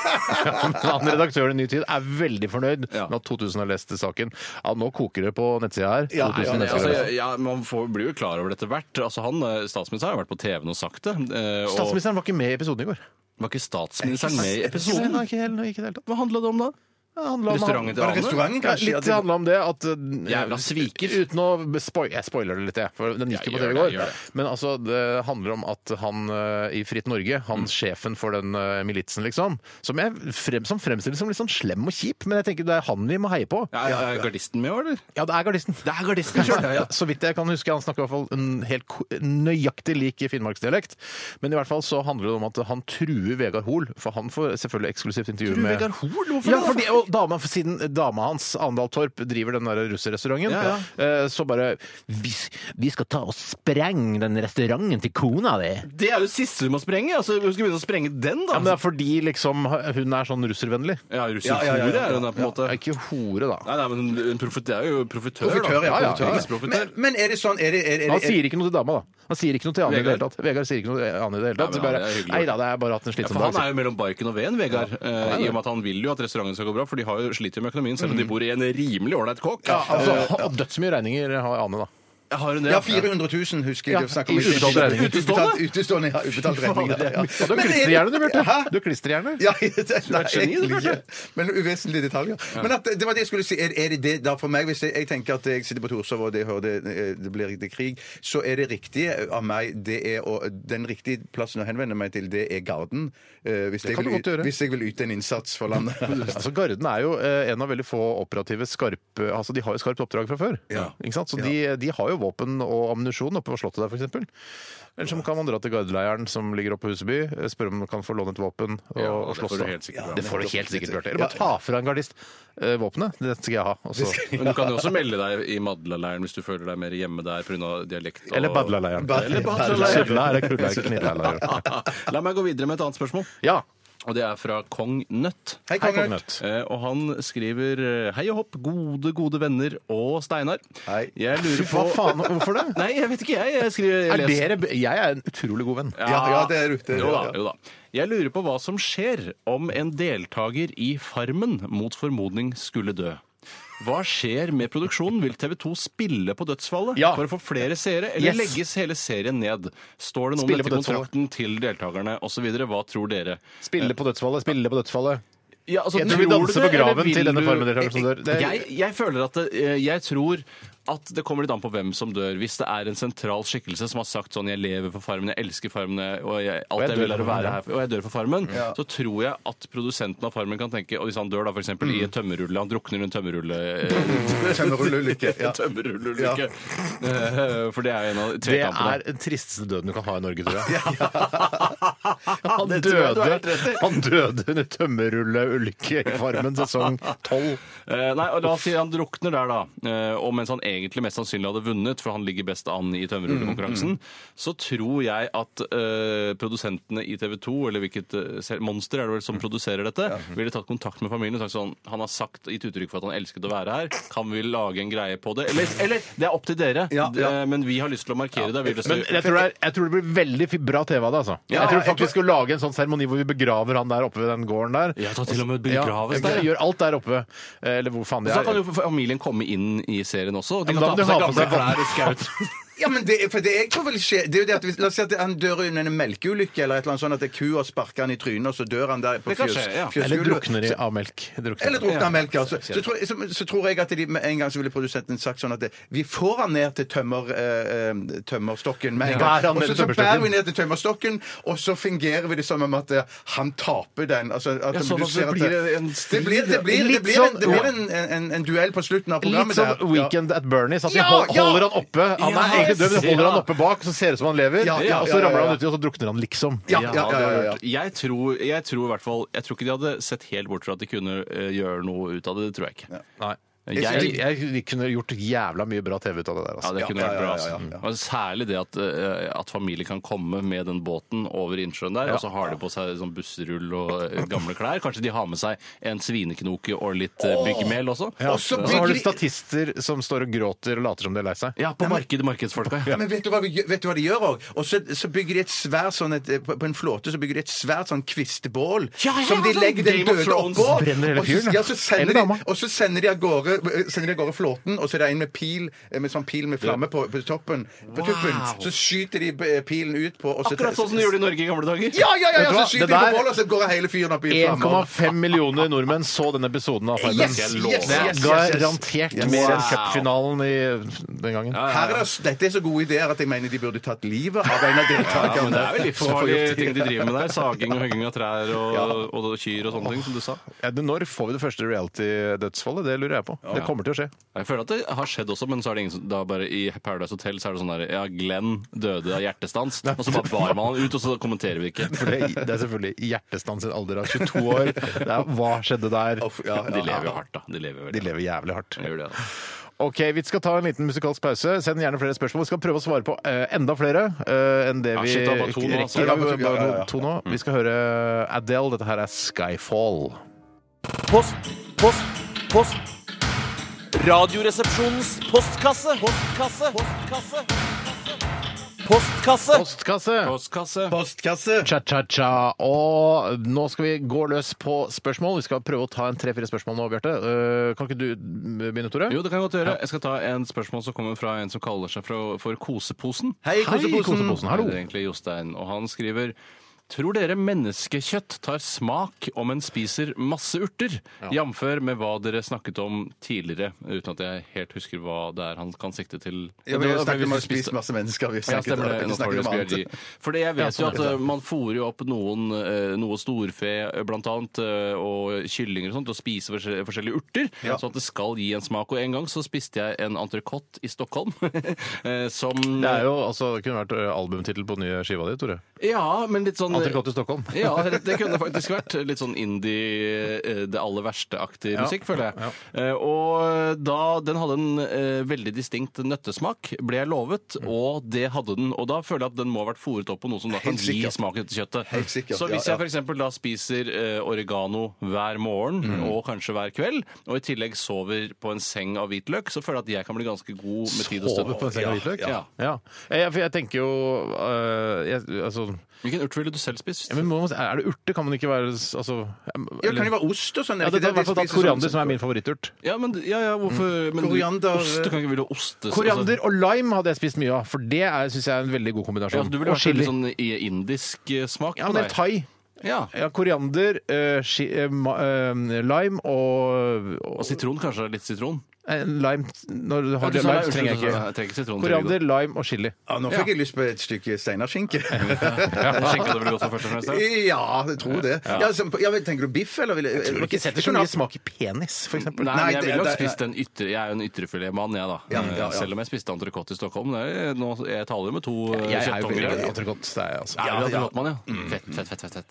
S1: Han redaktøren i Ny Tid er veldig fornøyd
S3: Ja.
S1: med at 2000 har lest saken. Ja, nå koker det på nettsida her.
S2: Ja,
S1: 2000
S2: ja,
S3: Men,
S2: det er
S3: altså,
S1: nettsider.
S3: ja, ja, man får, blir jo klar over det etter hvert. Altså, han, eh, statsministeren har jo vært på TV-en og sagt det. eh, Og
S1: Statsministeren var ikke med i episoden i går.
S3: var ikke statsministeren med i
S1: Ikke
S3: episoden?
S1: det, ikke helt, ikke helt.
S3: Hva handla det om da?
S1: Det handler om-
S3: Restauranten til
S2: Var det
S3: Ane?
S2: restauranten,
S1: Ja,
S2: kanskje?
S1: litt det handla om det at uh,
S3: Jævla sviker.
S1: Uten å spoil, Jeg spoiler det litt, jeg. For den gikk
S3: Ja,
S1: jo på
S3: gjør
S1: TV i
S3: det,
S1: går.
S3: gjør det.
S1: Men altså, det handler om at han uh, i Fritt Norge,
S3: Mm.
S1: han sjefen for den uh, militsen, liksom, som, jeg frem, som fremstilles som litt sånn slem og kjip, men jeg tenker det er han vi må heie på.
S3: Ja, er- er gardisten med, eller?
S1: Ja, det er gardisten. Det er gardisten selv, [laughs] ja, ja. Så vidt jeg kan huske, han snakker i hvert fall en helt ko- nøyaktig lik finnmarksdialekt. Men i hvert fall så handler det om at han truer Vegard Hoel, for han får selvfølgelig eksklusivt intervju med
S3: Vegard Hoel? Hvorfor
S1: Ja,
S3: det?
S1: fordi, og dama, siden dama hans, Andal Torp, driver den der russerrestauranten,
S3: Ja,
S1: eh, så bare vi, vi skal ta og spreng den restauranten til kona di.
S3: Det er jo siste du må sprenge! Altså, hun skal begynne å sprenge den, da!
S1: Ja, men det er fordi liksom hun er sånn russervennlig.
S3: Ja, russer
S2: Ja, ja, ja, ja.
S3: hore er hun da, på en måte.
S1: Ja, Ikke hore, da.
S3: Nei, nei, men en profit, det er jo profitør,
S2: Profitør,
S3: da.
S2: ja.
S1: ja,
S2: profitør.
S3: Krigsprofitør.
S2: Men, men er det sånn er det, er, er,
S1: Han
S2: er,
S1: sier ikke noe til dama, da. Han sier ikke noe til Anne i det
S3: Vegard?
S1: hele tatt. Vegard sier ikke noe til Anne i det hele tatt.
S3: Nei, men
S1: Så
S3: han
S1: bare,
S3: er hyggelig.
S1: nei da, det er bare hatt en
S3: Ja,
S1: slitsom
S3: for
S1: dag.
S3: han er jo mellom barken og veden, Vegard. eh, I og med at han vil jo at restauranten skal gå bra, for de har jo sliter jo med økonomien, selv om de bor i en rimelig ålreit kåk.
S1: Ja, altså, og dødsmye regninger har Ane, da.
S3: Har hun det?
S2: Ja, 400 000 husker jeg.
S1: Ja,
S2: det snakker om.
S1: utestående regning.
S2: Utestående? Utestående, ja. Utbetalt regning. ja, ja.
S1: Og du har
S2: Men er-
S1: klisterhjerne, du, Bjarte.
S2: Hæ?
S1: Du har klisterhjerne.
S2: Ja, [laughs] det, nei,
S1: et geni, du,
S2: egentlig
S1: Bjarte.
S2: ikke. Men uvesentlige detaljer. Men at, det var det jeg skulle si. Er, er det det da for meg, hvis jeg, jeg tenker at jeg sitter på Torshov og det, hører det, eh, det blir det krig, så er det riktige av meg det er å, Den riktige plassen å henvende meg til, det er Garden. eh, hvis, jeg
S1: kan
S2: vil,
S1: du godt
S2: yte-
S1: gjøre.
S2: hvis jeg vil yte en innsats for
S1: [laughs]
S2: landet.
S1: Altså, Garden er jo eh, en av veldig få operative skarpe Altså, de har jo skarpt oppdrag fra før.
S2: Ja.
S1: Ikke sant? Så de, de har jo våpen og ammunisjon oppe på slottet der, f.eks. Eller så kan man dra til gardeleiren som ligger oppe på Huseby, eh, spørre om man kan få låne et våpen og,
S3: Ja,
S1: og
S3: det
S1: slåss.
S3: får du
S1: da.
S3: helt sikkert,
S1: det får du helt sikkert, Bjarte. Eller
S2: Ja,
S1: bare ta fra en gardist eh, våpenet. Det skal jeg ha. og så-
S3: Men du kan jo også melde deg i Madla-leiren hvis du føler deg mer hjemme der pga. dialekt. Og...
S1: Eller Badlaleiren.
S2: Eller
S3: Badlaleiren.
S1: Sudla eller Krullberg-Knileiren.
S3: La meg gå videre med et annet spørsmål.
S1: Ja.
S3: Og det er fra Kong Nøtt.
S2: Hei,
S1: Hei,
S2: kongen.
S1: Kongenøtt.
S3: Eh, Og han skriver eh, Hei og hopp, gode, gode venner og Steinar.
S2: Hei.
S3: Jeg lurer på
S1: Hva faen? Hvorfor det?
S3: Nei, jeg vet ikke, jeg. Jeg, skriver, jeg
S1: Er
S3: leser.
S1: dere, b- jeg er en utrolig god venn.
S2: Ja, ja, det er du. Det er du,
S3: jo da,
S2: ja.
S3: jo da. Jeg lurer på hva som skjer om en deltaker i Farmen mot formodning skulle dø. Hva skjer med produksjonen? Vil TV 2 spille på dødsfallet
S1: Ja.
S3: for å få flere seere, eller
S1: Yes.
S3: legges hele serien ned? Står det noe om
S1: Spille
S3: dette i
S1: på dødsfallet.
S3: kontrakten til deltakerne osv.? Hva tror dere?
S1: Spille på dødsfallet, spille på dødsfallet.
S3: Ja, altså,
S1: Jeg tror vi
S3: tror du
S1: danser
S3: det,
S1: på graven
S3: eller vil
S1: til denne
S3: du-
S1: farmedeltakeren som dør. Det-
S3: Jeg, jeg føler at det, eh, jeg tror at det kommer litt an på hvem som dør. Hvis det er en sentral skikkelse som har sagt sånn 'jeg lever for Farmen', 'jeg elsker Farmen', og jeg, alt
S1: jeg
S3: jeg
S1: dør
S3: vil er
S1: for
S3: å være her,
S1: Farmen,
S3: og jeg dør for Farmen, så tror jeg at produsenten av Farmen kan tenke Og hvis han dør da f.eks. i
S1: Mm.
S3: et tømmerrulle, han drukner i en tømmerrulle
S1: [laughs]
S3: eh,
S2: Tømmerrulleulykke. Ja.
S3: Tømmerrulleulykke. Eh, [laughs] For det er jo en av
S1: Det
S3: tvekampene.
S1: er den tristeste døden du kan ha i Norge,
S3: [laughs]
S1: tror jeg. Han
S3: det tror jeg du har
S1: døde, han døde under tømmerrulleulykke i Farmen sesong 12.
S3: Eh, nei, og La oss si han drukner der, da. Eh, og mens han egentlig mest sannsynlig hadde vunnet, for han ligger best an i tømmerrullekonkurransen,
S1: Mm,
S3: så tror jeg at eh, produsentene i TV 2, eller hvilket eh, sel- monster er det vel
S1: Mm.
S3: som produserer dette, ville tatt kontakt med familien og sagt sånn Han har sagt, gitt uttrykk for at han elsket å være her. Kan vi lage en greie på det? Eller, eller det er opp til dere,
S2: Ja, ja.
S3: Eh, men vi har lyst til å markere det. Vi har lyst
S1: Men
S3: til
S1: jeg tror, det er, jeg tror det blir veldig fi- bra TV av det. altså.
S3: Ja,
S1: jeg tror
S3: jeg
S1: faktisk vi skal lage en sånn seremoni hvor vi begraver han der oppe ved den gården der.
S3: Ja, ta til og med
S1: Ja,
S3: begraves
S1: vi
S3: der. ja.
S1: Gjør alt der oppe. eh, Eller hvor faen de
S3: Så da kan
S1: er.
S3: jo familien komme inn i serien også. og De
S1: Ja,
S3: kan ta
S1: men da
S3: på
S1: må
S3: seg
S1: de
S3: gamle
S1: ha
S3: klær og skaut.
S2: Ja, men det, for det jeg tror vil skje, det er jo det at hvis, La oss si at han dør under en melkeulykke, eller et eller annet sånt at det er kua sparker han i trynet, og så dør han der på
S3: Det kan
S2: fjøs.
S3: skje, ja.
S1: [laughs]
S2: fjøsgulvet.
S1: Eller drukner i av melk. Drukner.
S2: Eller drukna av melk, altså. Så tror, jeg, så, så tror jeg at de med en gang så ville produsenten sagt sånn at det, vi får han ned til tømmer, eh, eh, tømmerstokken med en
S1: Ja. Bærer han
S2: gang. Og
S1: ned til
S2: så, så bærer
S1: tømmerstokken.
S2: vi ned til tømmerstokken, og så fungerer vi det som om at eh, han taper den. Altså, at
S3: sånn
S2: du
S3: at det
S2: ser at
S3: blir en strid,
S2: det blir, det blir,
S1: Litt
S2: det blir,
S1: sånn-
S2: en- det blir en, en, en duell på slutten av
S1: Litt
S2: programmet.
S1: som
S2: der.
S1: Weekend at Bernies. At de
S2: sånn- Ja,
S1: hol-
S2: ja!
S1: holder han oppe. Han
S3: Ja,
S1: er egentlig død, men de
S3: jeg
S1: holder
S3: ser
S1: han
S3: det.
S1: oppe bak, så ser det ut som han lever.
S2: Ja, ja,
S1: og
S2: ja,
S1: så
S2: ja,
S1: ramler
S2: ja.
S1: han uti, og så drukner han liksom.
S2: Ja, ja, ja, ja, ja.
S3: Jeg tror, jeg tror i hvert fall Jeg tror ikke de hadde sett helt bort fra at de kunne eh, gjøre noe ut av det. Det tror jeg ikke.
S1: Nei.
S3: Jeg-
S1: Jeg, jeg kunne gjort jævla mye bra TV ut av det der.
S3: Ja,
S1: Altså.
S3: det kunne
S2: ja,
S3: vært
S2: ja,
S3: bra.
S2: ja, ja,
S3: Altså. Og Særlig det at, eh, at familier kan komme med den båten over innsjøen der, og så har de på seg sånn busserull og eh, gamle klær. Kanskje de har med seg en svineknoke og litt eh, byggmel også?
S1: Ja.
S2: Og
S1: Og
S2: så
S1: så har du
S2: bygger-
S1: statister som står og gråter og later som de er lei seg.
S3: Ja, på markedet, markedsfolka. Ja.
S2: Men vet du hva, vi, gjør- vet du hva de gjør òg? Og så, så bygger de et svært sånn et, på på en flåte så bygger de et svært sånn kvistbål
S3: Ja, ja,
S2: som de
S3: sånn
S2: legger den
S3: Game of
S2: døde
S3: Thrones.
S2: oppå.
S1: Brenner hele
S2: og så-
S1: fyren,
S2: Ja, så sender
S1: eller
S2: de,
S1: dama.
S2: og så sender de av gårde, eh, sender de av gårde flåten, og så er det en med pil med sånn pil med flamme på, på toppen. På tuppen. Så skyter de eh, pilen ut på og så,
S3: Akkurat sånn som de gjorde i Norge i gamle dager.
S2: Ja, ja, ja!
S1: Vet
S2: ja
S1: du
S2: så
S1: hva? Det
S2: skyter de på
S1: der-
S2: bålet, og så går hele fyren opp i flammer.
S1: 1,5 millioner nordmenn så denne episoden av Farmen.
S2: Yes, yes,
S3: Jeg
S2: yes,
S3: lover.
S1: Det er
S2: yes, yes.
S1: garantert mer enn
S3: Wow.
S1: cupfinalen i den gangen.
S2: Her er det, dette er så gode ideer at jeg mener de burde tatt livet av en av
S3: Ja, men
S2: deltakerne.
S3: det er jo
S2: For å få
S3: livsfarlige
S2: gjort det.
S3: ting de driver med der. Saging og hugging av trær og, og kyr og sånne ting, som du sa.
S1: Ja, det- Når får vi det første reality-dødsfallet? Det lurer jeg på. Det kommer til å skje.
S3: Jeg føler at det har skjedd også, men så er det ingen som da bare I Paradise Hotel så er det sånn der Ja, Glenn døde av hjertestans, og så bare bar man han ut, og så kommenterer vi ikke.
S1: For det, det er selvfølgelig hjertestans i en alder av 22 år. Det er, hva skjedde der?
S2: Uff, ja, ja.
S3: De lever jo hardt, da. De lever jo
S1: De
S3: veldig
S1: lever jævlig hardt.
S3: hardt. De gjør det, da.
S1: Ok, Vi skal ta en liten musikalsk pause. Send gjerne flere spørsmål. Vi skal prøve å svare på eh, enda flere eh, enn det
S3: Ja,
S1: vi
S3: shit, det var bare to nå, altså.
S1: rekker. Ja,
S2: Ja, ja, ja, ja. Mm.
S1: bare to nå. Vi skal høre Adele. Dette her er 'Skyfall'.
S7: Post, post, post. Radioresepsjonens postkasse. Postkasse. Postkasse. Postkasse.
S1: Postkasse!
S3: Postkasse.
S2: Postkasse.
S1: Cha-cha-cha. Og nå skal vi gå løs på spørsmål. Vi skal prøve å ta en tre-fire spørsmål nå, Bjarte. Eh, Kan ikke du begynne, Tore?
S3: Jo, det kan jeg godt gjøre. Jeg skal ta en spørsmål som kommer fra en som kaller seg for, for Koseposen.
S2: Hei, Koseposen.
S1: hallo.
S3: Det er egentlig Jostein, og han skriver Tror dere menneskekjøtt tar smak om en spiser masse urter? Jamfør med hva dere snakket om tidligere, uten at jeg helt husker hva det er han kan sikte til.
S2: Ja,
S3: Det
S2: men jeg
S3: var-
S2: snakket om å
S3: hvis du spiste-
S2: spise masse mennesker. Vi
S3: ja,
S2: snakket,
S3: stemmer det.
S2: vi snakket
S3: Notorious
S2: om annet.
S3: B.I.G. For det jeg
S1: Ja,
S3: vet jo
S1: sånn
S3: at
S1: er det.
S3: eh, man fôrer jo opp noen eh, noe storfe, eh, blant annet, eh, og kyllinger og sånt, og spiser forskjell- forskjellige urter,
S2: Ja.
S3: sånn at det skal gi en smak. Og en gang så spiste jeg en entrecôte i Stockholm, [laughs] eh, som
S1: Det er jo, altså, det kunne vært eh, albumtittel på den nye skiva di, Tore.
S3: Ja, men litt sånn
S1: Antikott i Stockholm.
S3: [laughs] ja, det det kunne det faktisk vært. Litt sånn indie, eh, det aller verste-aktig
S1: Ja.
S3: musikk, føler jeg.
S1: Ja.
S3: Eh, Og da den hadde en eh, veldig distinkt nøttesmak, ble jeg lovet,
S1: Mm.
S3: og det hadde den. Og da føler jeg at den må ha vært fòret opp på noe som da kan
S2: Helt
S3: gi
S2: sikkert.
S3: smak til kjøttet.
S2: Helt sikkert,
S3: Så hvis
S2: ja, ja.
S3: jeg f.eks. da spiser eh, oregano hver morgen,
S1: Mm.
S3: og kanskje hver kveld, og i tillegg sover på en seng av hvitløk, så føler jeg at jeg kan bli ganske god med tid og
S1: Sover
S3: stund.
S1: på en seng av hvitløk?
S3: Ja.
S1: Ja. Jeg, for jeg tenker jo eh, jeg, altså,
S3: Hvilken urt ville du selv spist?
S1: ja, men må man, Er det urte? Kan man ikke være altså,
S2: Ja, kan det være ost og sånn?
S1: Ja,
S2: Er
S1: det
S2: ikke
S1: er i hvert fall
S2: de
S1: tatt
S2: spiser
S1: koriander,
S2: sånn-
S1: som er min favoritturt.
S3: Ja, men, ja, ja, hvorfor men,
S2: Koriander-
S3: Ost, altså. du kan ikke ville oste
S1: Mm. Koriander og lime hadde jeg spist mye av, for det syns jeg er en veldig god
S3: Ja,
S1: kombinasjon.
S3: du ville
S1: og
S3: vært en
S1: chili.
S3: litt sånn i- indisk eh, smak
S1: Ja,
S3: på
S1: men
S3: deg.
S1: thai.
S3: Ja.
S1: Ja, koriander, eh, chi, eh, ma, eh, lime og,
S3: Og sitron, kanskje litt sitron?
S1: Eh, Lime Når du har
S3: Ja, du sa
S1: lime,
S3: lime,
S1: trenger
S3: unnskyld,
S1: jeg ikke.
S3: du sa- jeg trenger ikke sitron, [laughs]
S1: Koriander, lime og chili.
S2: Ja, nå fikk jeg lyst på et stykke steinerskinke.
S3: Skjenka det vel godt for først og fremst? da?
S2: Ja, jeg tror det. Ja, som- ja, men tenker du biff, eller? vil- Jeg
S1: Tror du ikke Mm. setter så mye smak i penis, for eksempel?
S3: Nei,
S2: Nei,
S3: men jeg
S2: det-
S3: ville nok
S2: det-
S3: spist en ytre Jeg er jo en ytrefiletmann, jeg, da.
S2: Ja, ja, ja.
S3: Selv om jeg spiste entrecôte i Stockholm. Det er, nå, jeg taler jo med to eh,
S1: Jeg er jo
S3: kjøttunger.
S1: veldig glad i
S3: her.
S1: entrecôte. Det er jeg, altså.
S3: Er
S1: Ja,
S3: du
S1: ja.
S3: entrecôtemann, ja? Fett, fett, fett. fett, fett.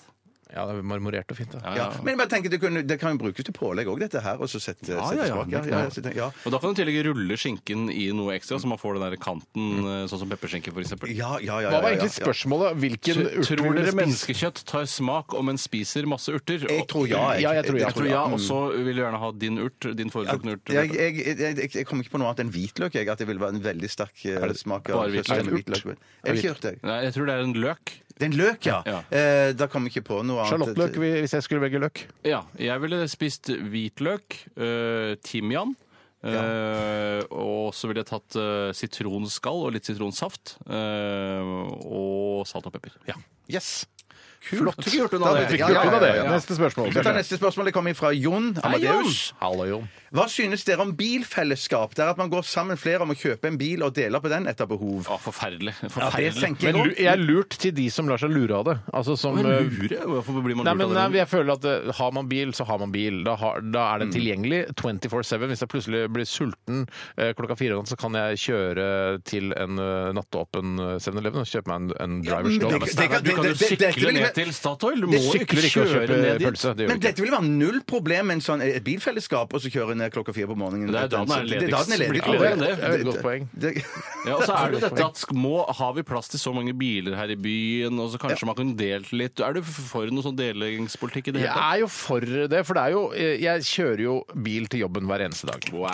S1: ja, det er marmorert og fint. Da.
S2: Ja, men jeg bare tenker, det, kunne, det kan jo brukes til pålegg òg, dette her. Og så sette,
S3: Ja,
S2: sette
S3: ja, ja.
S2: smak. Ja, ja, ja, så tenker jeg, ja.
S3: Og da kan du i tillegg rulle skinken i noe ekstra, så man får den der kanten,
S1: Mm.
S3: eh, sånn som pepperskinke, for eksempel.
S2: Ja, ja, ja, ja,
S1: Hva var
S2: ja,
S1: egentlig
S2: ja.
S1: spørsmålet? Hvilken
S3: Tror
S1: urt
S3: tror
S1: ville
S3: dere
S1: spist?
S3: menneskekjøtt tar smak om en spiser masse urter?
S2: Jeg tror ja. Mm.
S1: Ja, jeg tror ja.
S3: Jeg tror ja, Mm. og så vil du gjerne ha din urt, din foretrukne urt.
S2: Jeg, jeg, jeg, jeg, jeg kommer ikke på noe annet enn hvitløk. Jeg, at det vil være en veldig sterk eh, smak av
S3: bare hvitløk?
S2: kjøttdeig med
S1: Er det urt?
S2: hvitløk. Er det ikke hørt, jeg?
S3: Nei, jeg tror det er en løk.
S2: Det er en løk, ja.
S3: Ja.
S2: Eh, da kommer jeg ikke på noe annet.
S1: Sjalottløk, vi- hvis jeg skulle velge løk.
S3: Ja, jeg ville spist hvitløk, øh, timian. øh, og så ville jeg tatt øh, sitronskall og litt sitronsaft. øh, og salt og pepper. Ja.
S1: Yes!
S3: Jeg tror
S1: Flott.
S3: ikke jeg har gjort unna
S1: Da
S3: det.
S1: fikk
S2: Ja,
S1: vi
S2: ja,
S1: gjort unna
S2: ja,
S1: det.
S2: ja, ja.
S1: Neste spørsmål.
S2: Vi tar neste spørsmål. Det kommer fra Jon Amadeus.
S1: Hallo, Jon.
S2: Hva synes dere om bilfellesskap? Det er at man går sammen flere om å kjøpe en bil og deler på den etter behov.
S3: Å, forferdelig.
S2: Ja, det
S3: forferdelig.
S2: tenker
S1: Men
S2: jeg
S1: lu- jeg er lurt til de som lar seg lure av det. Altså som
S3: Men
S1: eh,
S3: lure? Hvorfor blir man
S1: Nei, men
S3: lurt
S1: nei,
S3: av det?
S1: jeg føler at eh, har man bil, så har man bil. Da, har, da er det
S3: Mm.
S1: tilgjengelig 24-7. Hvis jeg plutselig blir sulten eh, klokka fire om natten, så kan jeg kjøre til en eh, nattåpen eh, 7-Eleven og kjøpe meg en, en drivers dog.
S2: det- det-
S3: du kan jo
S2: det- det- dette
S3: sykle
S2: vil jeg-
S3: ned til Statoil. Du må
S1: Jeg
S3: jo ikke
S1: sykler ikke og
S3: kjøre
S1: kjøper
S3: ned dit.
S1: pølse. Det gjør
S2: Men
S1: jeg ikke.
S2: dette vil være null problem med en sånn, et bilfellesskap, og så kjøre ned klokka fire på morgenen.
S3: Det er da den er
S2: Det da den er
S3: ledigst.
S2: ledig.
S3: Blir ikke
S1: det. Det er et godt poeng.
S2: Det- det-
S3: Ja, og så er det jo dette at sk- må, Har vi plass til så mange biler her i byen, og så kanskje man kan delt litt? Er du f- for noe sånn delingspolitikk i det
S1: Jeg
S3: hele tatt?
S1: er jo for det, for det er jo eh, Jeg kjører jo bil til jobben hver eneste dag.
S3: Wow.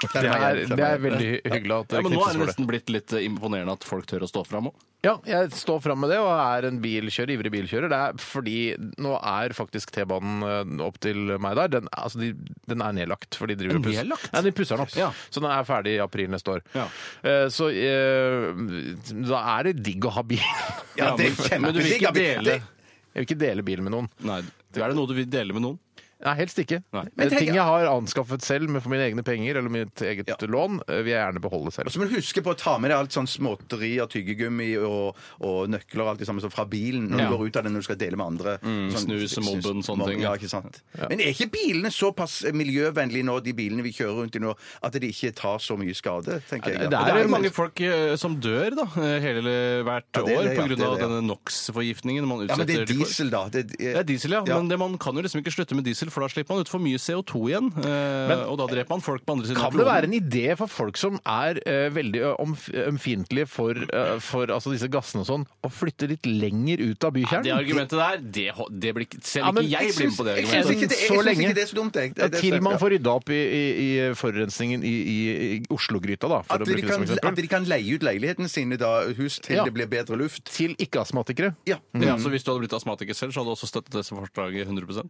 S1: Det er, det er veldig hyggelig at
S3: Ja,
S1: det
S3: men nå er det
S1: knipses for det.
S3: nesten blitt litt eh, imponerende at folk tør å stå fram òg.
S1: Ja, jeg står fram med det og er en bilkjører, ivrig bilkjører. Det er fordi nå er faktisk T-banen eh, opp til meg der. Den, altså de, den er nedlagt. For de driver og pusser-
S3: Nedlagt?
S1: Nei, de pusser den opp.
S3: Ja.
S1: Så den er ferdig i april neste år.
S3: Ja.
S1: Eh, Så eh, da er det digg å ha bil. [laughs]
S2: Ja, det er
S3: Men du vil
S2: kjempedigg.
S3: ikke
S2: av bil.
S3: dele
S2: Det-
S1: Jeg vil ikke dele bil med noen.
S3: Nei, Er det noe du vil dele med noen?
S1: Nei, helst ikke.
S3: Nei.
S1: Eh,
S2: tenk-
S1: Ting jeg har anskaffet selv med for mine egne penger eller mitt eget lån, eh, vil jeg gjerne beholde selv.
S2: Og så må du huske på å ta med deg alt sånn småtteri og tyggegummi og, og nøkler og alt det samme som fra bilen når du går ut av den når du skal dele med andre. Sånn-
S3: snus, mobben, sånne ting.
S2: Ja, ikke sant. Men er ikke bilene såpass miljøvennlige nå, de bilene vi kjører rundt i nå, at de ikke tar så mye skade, tenker jeg.
S1: det
S3: Det er
S1: jo
S3: jo mange folk eh, som dør da, eh, hele hvert
S2: Ja, det er
S3: år pga.
S2: det, ja, det er det, ja.
S3: denne NOx-forgiftningen man
S2: Ja,
S3: utsetter.
S2: men det er
S3: de for.
S2: diesel, da.
S3: Det er diesel, ja. Men det, man kan jo liksom ikke slutte med diesel elbil, for da slipper man ut for mye CO2 igjen. eh, og da dreper man folk på andre siden
S1: Kan det være en idé for folk som er eh, veldig ø, omf- ømfintlige for, eh, for altså, disse gassene og sånn, å flytte litt lenger ut av bykjernen?
S3: Det argumentet der, det, ho- det blir, ikke- selv
S1: Ja, men
S3: ikke jeg blir med på det.
S2: Jeg syns
S3: argumentet.
S2: ikke, det- jeg
S1: Så
S2: synes
S1: lenge-
S2: ikke det er så dumt, jeg. Det-
S1: Ja,
S2: det er
S1: Eh, Til
S2: så-
S1: man
S2: ja.
S1: får rydda opp i, i, i forurensningen i, i, i Oslo-gryta, da, for
S2: At
S1: å bruke
S2: de,
S1: det som
S2: kan, at
S1: eksempel.
S2: de kan leie ut leilighetene sine, da, hus, til
S1: Ja.
S2: det blir bedre luft.
S1: Til ikke-astmatikere.
S2: Ja.
S3: Ja,
S1: Mm.
S3: så Hvis du hadde blitt astmatiker selv, så hadde du også støttet dette forslaget 100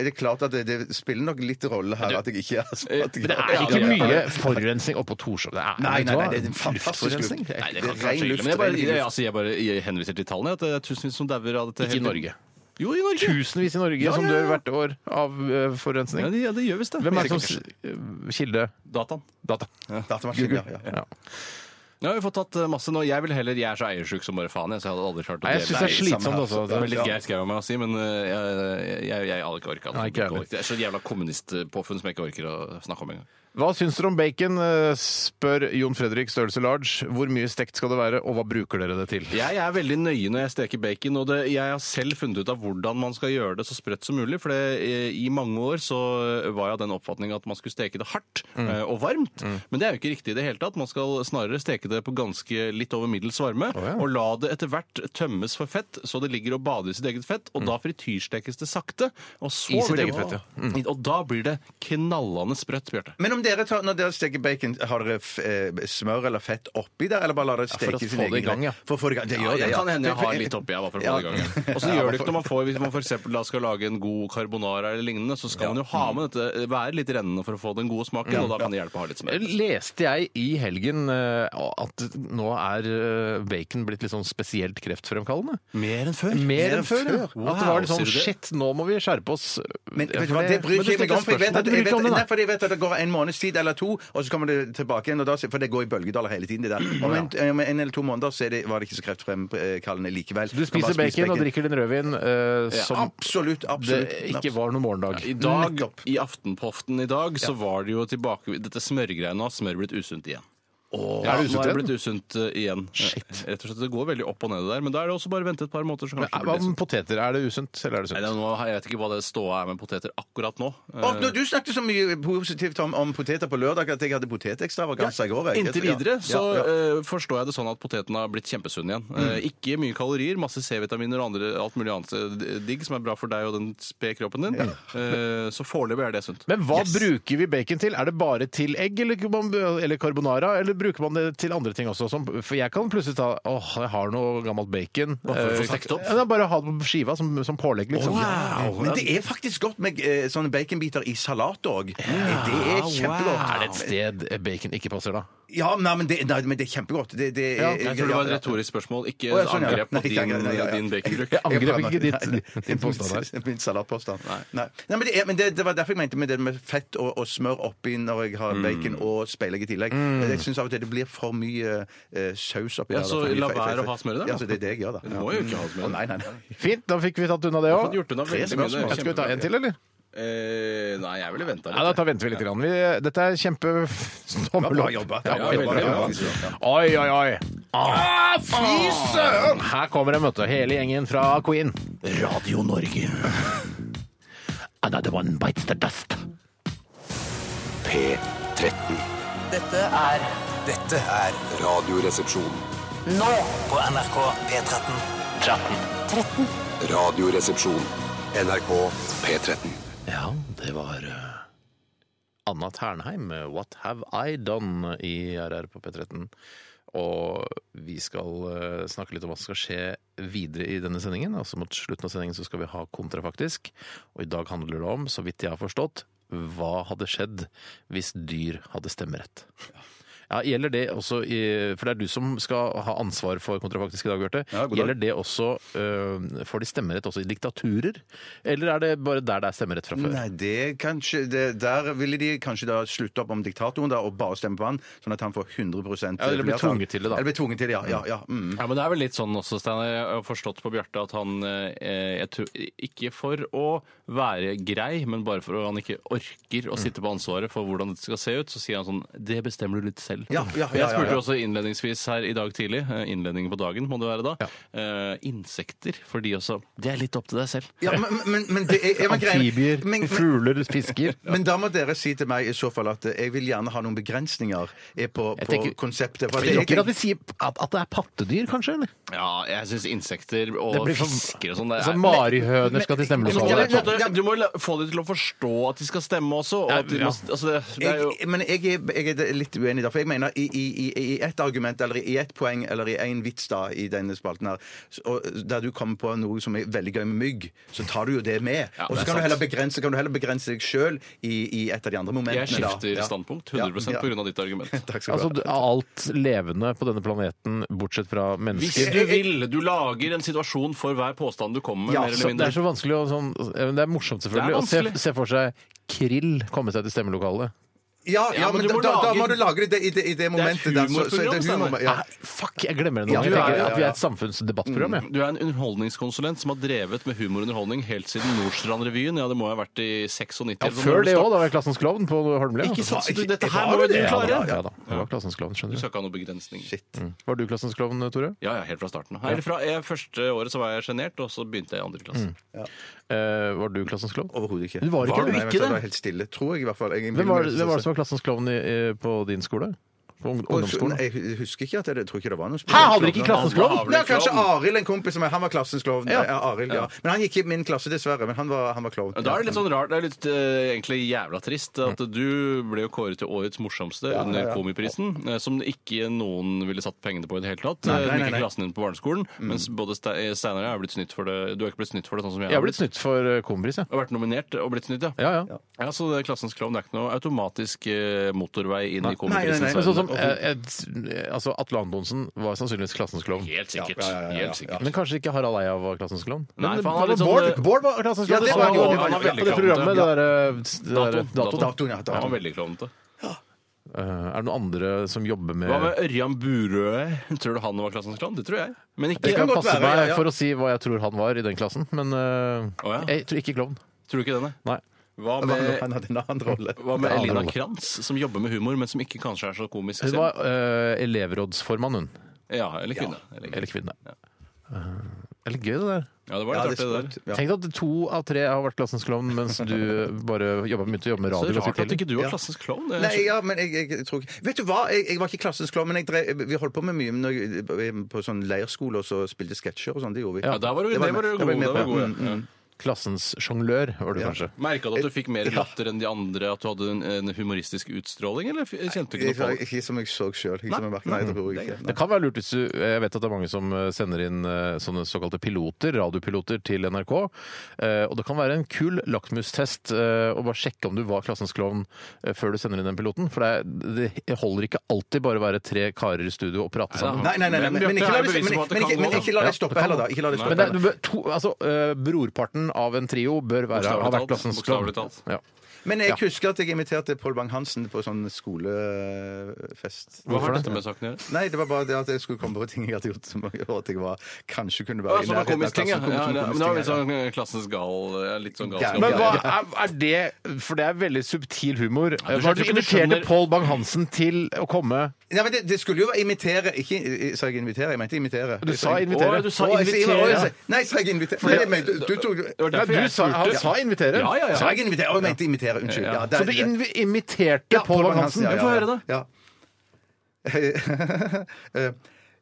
S2: Er det klart at det, det spiller nok litt rolle her at jeg ikke er astmatiker?
S1: Det er ikke mye forurensning oppå Torshov. Det er- vet
S2: Nei, nei,
S1: du
S2: nei,
S1: hva?
S2: det er en fantastisk
S1: Luftforurensning?
S2: luft.
S1: Det er-
S2: Nei,
S3: Det
S2: det
S3: kan
S2: er
S3: ikke være
S2: ren
S3: så ille,
S2: luft,
S3: Men jeg, bare,
S2: ren
S3: jeg,
S2: luft.
S3: altså, jeg bare jeg henviser til tallene. At det er tusenvis som dauer av dette.
S1: Ikke i
S3: hele tiden.
S1: Norge.
S3: Jo, i Norge.
S1: Tusenvis i Norge
S3: Ja,
S1: som
S3: ja,
S1: dør
S3: ja.
S1: hvert år av eh, forurensning.
S3: Ja, det, ja, det gjør visst det.
S1: Hvem er det som
S3: Sikkert.
S1: s- eh, Kilde?
S3: Dataen.
S1: Data.
S2: Datamaskinen, ja, ja.
S1: Ja.
S3: Ja, vi har fått tatt eh, masse nå. Jeg vil heller, jeg er så eiersjuk som bare faen. Jeg, så jeg hadde aldri klart å
S1: Nei, jeg syns det er
S3: eier-
S1: slitsomt
S2: her,
S3: Det
S1: også. at
S3: er
S1: det-
S3: litt greit skrevet av meg å si, men eh, jeg, jeg, jeg, jeg hadde ikke orka det.
S1: Nei, ikke jeg heller.
S3: Det er så jævla kommunistpåfunn som jeg ikke orker å snakke om engang.
S1: Hva syns dere om bacon? eh, spør Jon Fredrik Størrelse Large. Hvor mye stekt skal det være, og hva bruker dere det til?
S3: Jeg er veldig nøye når jeg steker bacon, og det, jeg har selv funnet ut av hvordan man skal gjøre det så sprøtt som mulig. For det, eh, i mange år så var jeg av den oppfatning at man skulle steke det hardt
S1: Mm.
S3: eh, og varmt. Men det er jo ikke riktig i det hele tatt. Man skal snarere steke det på ganske litt over middels varme,
S1: ja.
S3: og la det etter hvert tømmes for fett, så det ligger og bader i sitt eget fett. Og da frityrstekes det sakte. Og så
S1: Mm. I sitt
S3: vil det-
S1: eget fett, ja. Mm.
S3: Og da blir det knallende sprøtt, Bjarte.
S2: Men om dere tar, når dere steker bacon, har dere f eh, smør eller fett oppi der, eller bare lar dere
S1: for
S2: steke
S1: å
S2: i sin
S1: få
S2: egen
S1: det i gang,
S2: greie?
S1: ja.
S2: For å få det i gang. Det
S3: Ja,
S2: gjør det,
S3: det
S2: ja.
S3: kan hende jeg har litt oppi jeg, bare for å få det i gang. ja.
S2: [laughs]
S3: Og så gjør det ikke når man får, hvis man for eksempel da skal lage en god carbonara eller lignende, så skal man jo ha med dette, være litt rennende for å få den gode smaken, og da kan det hjelpe å ha litt smør.
S1: Leste jeg i helgen eh, at nå er eh, bacon blitt litt sånn spesielt kreftfremkallende?
S3: Mer enn før?
S1: Mer enn før, ja.
S3: Wow,
S1: At det var litt sånn
S3: sier du det?
S1: shit, nå må vi skjerpe oss.
S2: Men
S1: Ja,
S2: vet du
S1: for
S2: hva, det bryr
S1: Men
S2: ikke jeg meg
S1: stilte
S2: om. For jeg vet
S1: spørsmål. Nei,
S2: at, jeg
S1: du
S2: vet,
S1: bryr ikke om det,
S2: nei,
S1: nei.
S2: for jeg vet at det går en måneds tid eller to, og så kommer det tilbake igjen. Og da, for det går i bølgedaler hele tiden. det der. Om en, om en eller to måneder så er det, var det ikke så kreftfremkallende likevel.
S1: Du spiser bacon og drikker din rødvin eh, som
S2: Absolutt.
S1: det
S2: absolutt.
S1: ikke var noen morgendag.
S3: I dag,
S2: Nettopp.
S3: I Aftenpoften i dag så var det jo tilbake Dette smørgreiene nå har smør blitt usunt igjen.
S1: Er det
S3: nå er det
S1: usunt igjen?
S3: blitt usunt eh, igjen. Rett og slett, Det går veldig opp og ned det der, men da er det også bare å vente et par måneder, så
S1: Men eh,
S3: kanskje det
S1: Hva
S3: blir sunt.
S1: med poteter? Er det usunt, eller er det
S3: Nei, det er
S1: sunt?
S3: noe- Jeg vet ikke hva det ståa er med poteter akkurat nå.
S2: Og når du snakket så mye positivt om, om poteter på lørdag at jeg hadde potetekstravaganse i går. jeg.
S3: Inntil
S2: Ja.
S3: videre så
S2: Ja, Mm. ja.
S3: eh, forstår jeg det sånn at poteten har blitt kjempesunn igjen. Eh, ikke mye kalorier, masse C-vitaminer og andre, alt mulig annet eh, digg som er bra for deg og den spede kroppen din. Eh, så foreløpig er det sunt.
S1: Men hva bruker vi bacon til? Er det bare til egg eller, eller carbonara? Eller bruker man det til andre ting også? Som, for jeg kan plutselig ta åh, jeg har noe gammelt bacon.
S3: for å få
S1: Eh,
S3: stekt opp?
S1: Ja, det er bare å ha det på skiva som, som pålegg, liksom.
S2: Men det er faktisk godt med eh, sånne baconbiter i salat òg. Det er kjempegodt.
S1: Er det et sted eh, bacon ikke passer, da?
S2: Ja, nei, men det, nei, men det er kjempegodt. Det, det,
S1: Ja,
S3: Jeg tror det var et retorisk spørsmål, ikke
S2: Å,
S3: et
S2: ja, sånn, ja.
S3: angrep
S2: Nei,
S3: på
S2: ikke
S3: din,
S2: angrep, nei, ja, ja.
S3: din baconbruk.
S1: Jeg angriper ikke ditt-
S2: Nei, nei.
S1: din påstand her.
S2: Min- Min salatpåstand. Nei. Nei. men, det, er, men det, det var derfor jeg mente med det med fett og, og smør oppi når jeg har bacon og speilegg i tillegg. Jeg syns av og til det blir for mye eh, saus oppi
S3: Ja,
S2: der,
S3: så
S2: for mye
S3: la
S2: fe- fe-
S3: være å
S2: fe-
S3: ha smør i det, da.
S2: Ja, så det er det jeg gjør, da.
S3: Du må jo ikke ha smør.
S2: Å, Nei, nei, nei.
S1: Fint, da fikk vi tatt unna det
S3: Fått
S1: òg.
S3: gjort unna veldig mye. det er
S1: Skal vi ta en til, eller?
S3: kjempebra. Eh, nei, jeg ville venta
S1: Nei, da tar, venter vi litt. Grann. Vi, dette er kjempe...
S2: Bra jobba.
S1: Ja,
S2: Bra
S3: veldig
S2: jobba.
S3: bra.
S2: Ja,
S1: Oi, oi, oi. Ah, fy søren! Her kommer de, vet du. Hele gjengen fra Queen. Radio Norge. Another one bites the dust.
S8: P13.
S9: Dette er
S7: Dette er
S8: Radioresepsjon.
S9: nå på NRK P13.
S8: Radioresepsjon.
S6: NRK P13.
S1: Ja, det var eh, Anna Ternheim med 'What Have I Done' i RR på P13. Og vi skal eh, snakke litt om hva som skal skje videre i denne sendingen. Altså Mot slutten av sendingen så skal vi ha kontrafaktisk. Og i dag handler det om, så vidt jeg har forstått, hva hadde skjedd hvis dyr hadde stemmerett. Ja, Gjelder det også i, For det er du som skal ha ansvar for kontrafaktisk i dag, Bjarte.
S2: Ja, god dag.
S1: gjelder det også øh, Får de stemmerett også i diktaturer? Eller er det bare der det er stemmerett fra før?
S2: Nei, det kanskje det, Der ville de kanskje da slutte opp om diktatoren da, og bare stemme på han, sånn at han får 100
S1: Ja, eller blir
S2: flertall.
S1: tvunget til det, da.
S2: Eller blir tvunget til det, ja. ja, ja mm.
S3: Ja, men Det er vel litt sånn også, Steinar. Jeg har forstått på Bjarte at han eh, jeg tror, Ikke for å være grei, men bare for at han ikke orker å sitte på ansvaret for hvordan det skal se ut, så sier han sånn Det bestemmer du litt selv, selv.
S2: Ja, ja, ja,
S3: Og jeg spurte
S2: ja, ja.
S3: også innledningsvis her i dag tidlig, eh, innledningen på dagen må det være da, eh, insekter, for de også Det er litt opp til deg selv.
S2: Ja, men, men, men det er, er man greie-
S10: Amfibier,
S2: men, men,
S10: fugler,
S1: [laughs]
S10: fisker.
S2: men da må dere si til meg i så fall at eh, jeg vil gjerne ha noen begrensninger eh, på, på
S1: tenker-
S2: konseptet. for
S10: Men
S2: det-
S10: det er ikke at vi sier at, at det er pattedyr, kanskje? eller?
S3: Ja, jeg syns insekter og
S10: blir for-
S3: fisker og sånn det
S1: Altså,
S3: er-
S1: Marihøner skal til
S3: Men på
S1: stemmelokalet.
S3: en måte, Du må la- få dem til å forstå at de skal stemme også. Og at de
S1: Ja.
S3: må, altså det, det er jo
S2: jeg, men jeg er, jeg er litt uenig der, for jeg mener i, i, i, i ett argument eller i ett poeng eller i én vits da i denne spalten her, s- og der du kommer på noe som er veldig gøy med mygg, så tar du jo det med.
S3: Ja,
S2: og
S3: det
S2: så
S3: er
S2: kan
S3: sant.
S2: du, heller begrense, kan du heller begrense deg sjøl i, i et av de andre momentene.
S3: Jeg skifter
S2: da. Ja.
S3: standpunkt 100
S2: Ja, ja.
S3: på grunn av ditt argument.
S2: Takk skal du
S1: Altså,
S2: ha.
S1: d- alt levende på denne planeten, bortsett fra
S3: Hvis
S1: mennesker.
S3: du vil, du lager en situasjon for hver påstand du kommer med,
S2: Ja,
S3: mer eller
S1: Så det er
S3: mindre.
S1: så vanskelig å sånn, eh, men Det er morsomt, selvfølgelig,
S3: Det er vanskelig.
S1: å se, se for seg krill komme seg til stemmelokalet.
S2: ja, ja,
S3: Ja, men
S2: men
S3: du
S2: da,
S3: må
S2: da, da
S3: lage-
S2: må du lagre det i det, i det momentet. der, så- så det er
S3: humorprogram,
S2: humor-
S3: Steinar.
S2: ja.
S1: Nei, Ah, fuck, jeg glemmer det nå.
S2: Ja,
S1: jeg
S2: du er-
S1: tenker
S2: ja, ja,
S1: at vi
S2: ja.
S1: er et samfunnsdebattprogram. jeg.
S3: Du er en underholdningskonsulent som har drevet med humorunderholdning helt siden Nordstrandrevyen. Ja, det må ha vært i 96.
S1: Ja,
S3: eller noe
S1: før det
S3: sånt.
S1: òg, da var jeg klassens klovn på Holmlia.
S3: Ikke sant? Så du, dette
S2: Var Mm.
S3: her må jo du
S2: det?
S1: Ja,
S3: klare.
S1: da, ja, da. Jeg var klassens klovn,
S3: Du
S1: skjønner du.
S3: skal ikke ha noen begrensninger.
S1: Var du klassens klovn, Tore?
S3: Ja, ja, helt fra starten av. Eller fra jeg, første året så var jeg sjenert, og så begynte jeg i andre
S1: Mm.
S3: klasse.
S1: Eh, var du klassens klovn?
S2: Overhodet ikke.
S1: Du var ikke-
S2: Nei,
S1: du
S2: men
S1: ikke det?
S2: så var helt stille, tror jeg i hvert fall. Jeg,
S1: Hvem var, hvem var det som var klassens klovn i, i- på din skole? På ung- ungdomsskolen?
S2: Nei, Jeg husker ikke at jeg, jeg tror ikke det var noen
S1: Hæ, hadde dere ikke klassens
S3: klovn?
S1: klovn?
S2: Ja, kanskje Arild, en kompis av meg. Han var klassens klovn.
S1: Ja.
S2: Ja. Arild, ja. Men han gikk i min klasse, dessverre. Men han var, han var klovn.
S3: Da er det litt sånn rart, det er litt eh, egentlig jævla trist at
S2: Mm.
S3: du ble jo kåret til årets morsomste under Komiprisen, eh, som ikke noen ville satt pengene på i det hele tatt.
S2: Nei,
S3: eh,
S2: nei, Mm. nei,
S3: Ikke
S2: nei.
S3: klassen din på barneskolen, mens både Ste- eh, Steinar og jeg har blitt snytt for det. Du har ikke blitt snytt for det, sånn som jeg
S1: Jeg har blitt snytt for eh, kombris, jeg.
S3: Jeg har vært nominert og blitt snytt, ja.
S1: Ja, ja.
S3: Ja, Så det er klassens klovn det er ikke noe automatisk eh, motorvei inn i
S2: Nei, nei, nei,
S3: Komiprisens
S1: Men sånn
S3: verden.
S1: som, eh, et- altså, Atle Antonsen var sannsynligvis klassens klovn.
S3: Helt sikkert.
S2: Ja, ja, ja, ja,
S3: Helt sikkert.
S1: Men kanskje ikke Harald Eia var klassens klovn?
S3: Nei,
S1: Men
S3: for han er litt sånn,
S1: Bård,
S3: eh,
S1: Bård var klassens
S2: Ja,
S1: klovn.
S2: det
S1: Det
S2: var
S1: var
S2: han jo,
S1: jo
S2: han var
S1: på
S3: veldig
S1: det
S3: klovnete.
S1: programmet. Det der, eh, det der,
S3: Datoen,
S1: datoen.
S3: datoen.
S2: Datoen, ja.
S3: Han var
S2: Datoen.
S3: veldig klovnete.
S1: Eh, er det noen andre som jobber med
S3: Hva med Ørjan Burøe? Tror du han var klassens klovn? Det tror jeg. Men
S1: Jeg
S3: ikke
S1: kan
S2: godt
S1: passe
S2: være, ja,
S1: meg
S2: ja.
S1: for å si hva jeg tror han var i den klassen, men eh,
S3: Å, ja.
S1: jeg tror ikke klovn.
S3: Tror du ikke denne?
S1: Nei.
S3: Hva
S2: Han
S3: med
S2: var- Han hadde en annen rolle.
S3: Hva med
S1: Det er
S3: Elina
S1: andre
S3: Krantz, som jobber med humor, men som ikke kanskje er så komisk
S1: Hun
S3: selv?
S1: var eh, elevrådsformann, hun.
S3: Ja, eller kvinne. Eller
S1: Eller
S3: kvinne.
S1: kvinne. Eh, det er litt gøy, det der.
S3: Ja, det var litt
S2: Ja, det er
S3: artig, det der.
S2: sprøtt. Ja.
S1: Tenk deg at to av tre har vært klassens klovn, mens du bare jobba, begynte å jobbe med
S3: Så
S1: radio.
S3: rart
S1: ganske
S3: at
S1: tidlig.
S3: ikke du var
S2: Ja.
S3: klassens klovn. Det er-
S2: Nei, ja, men jeg, jeg tror ikke Vet du hva, jeg, jeg var ikke klassens klovn, men jeg drev, vi holdt på med mye når, jeg- på sånn leirskole, og så spilte sketsjer og sånn. Det gjorde vi.
S3: Ja, der var du,
S2: Det
S3: det var du
S2: var jeg med-
S3: god.
S2: det var jeg med
S3: der var du
S2: på.
S3: god ja.
S2: Mm,
S3: Ja.
S1: Klassens sjonglør var du kanskje.
S3: Merka du at du fikk mer
S2: Ja.
S3: latter enn de andre, at du hadde en, en humoristisk utstråling, eller f- kjente du
S2: Jeg,
S3: ikke noe på det?
S2: ikke som jeg så sjøl. Nei, det tror jeg ikke.
S1: Det kan være lurt hvis du Jeg vet at det er mange som eh, sender inn eh, sånne såkalte piloter, radiopiloter, til NRK. Eh, Og det kan være en kul lakmustest eh, å bare sjekke om du var klassens klovn eh, før du sender inn den piloten. For det, er- det holder ikke alltid bare å være tre karer i studio og prate sammen.
S2: Nei, nei, nei, nei, men, men, ikke la det- men, men, ikke- men ikke la deg stoppe heller, da. Ikke la deg stoppe
S1: Men det, er- du bør- to, altså, eh, brorparten av en trio bør være,
S3: Bokstavelig
S1: ha
S3: talt.
S1: vært klassens klovn.
S3: Bokstavelig talt.
S1: Ja.
S2: Men jeg husker at jeg inviterte Pål Bang-Hansen på sånn skolefest.
S3: Hva har
S1: Hvorfor
S3: dette
S1: det?
S3: med saken å gjøre?
S2: Nei, det var bare det at jeg skulle komme på ting jeg hadde gjort som gjorde at jeg var, kanskje kunne
S3: Ja,
S2: være
S3: Sånne komiskting, ja.
S2: klassen, kom
S3: ja,
S2: som
S3: ja. Men det var litt
S2: komiskting, ja.
S3: sånn eh, klassens gal eh, Litt sånn
S2: Gæren.
S3: galskap.
S1: Men hva
S3: Ja.
S1: er, er det For det er veldig subtil humor.
S3: du
S1: Hva er det
S3: skjønner ikke,
S1: du
S3: du
S1: inviterte
S3: skjønner-
S1: Pål Bang-Hansen til å komme?
S2: Nei, men det, det skulle jo være imitere Ikke sa jeg invitere, jeg mente imitere.
S1: Du sa
S3: Å,
S1: invitere.
S3: ja, du sa
S2: Å, jeg sier- å, jeg
S3: invitere.
S2: sier- Nei, sa jeg invitere? Nei, jeg mente, du tok
S3: Det var
S1: Nei,
S3: derfor
S1: du
S3: jeg
S1: sa,
S3: spurte.
S1: han sa invitere.
S3: Ja, ja, ja.
S2: Sa jeg invitere? Å, jeg mente imitere. Unnskyld. Ja, det-
S1: Så du inv inviterte
S2: Ja,
S1: Pål Bang-Hansen?
S2: ja, ja,
S1: Få
S2: ja.
S1: høre det.
S2: Ja. [laughs] Eh,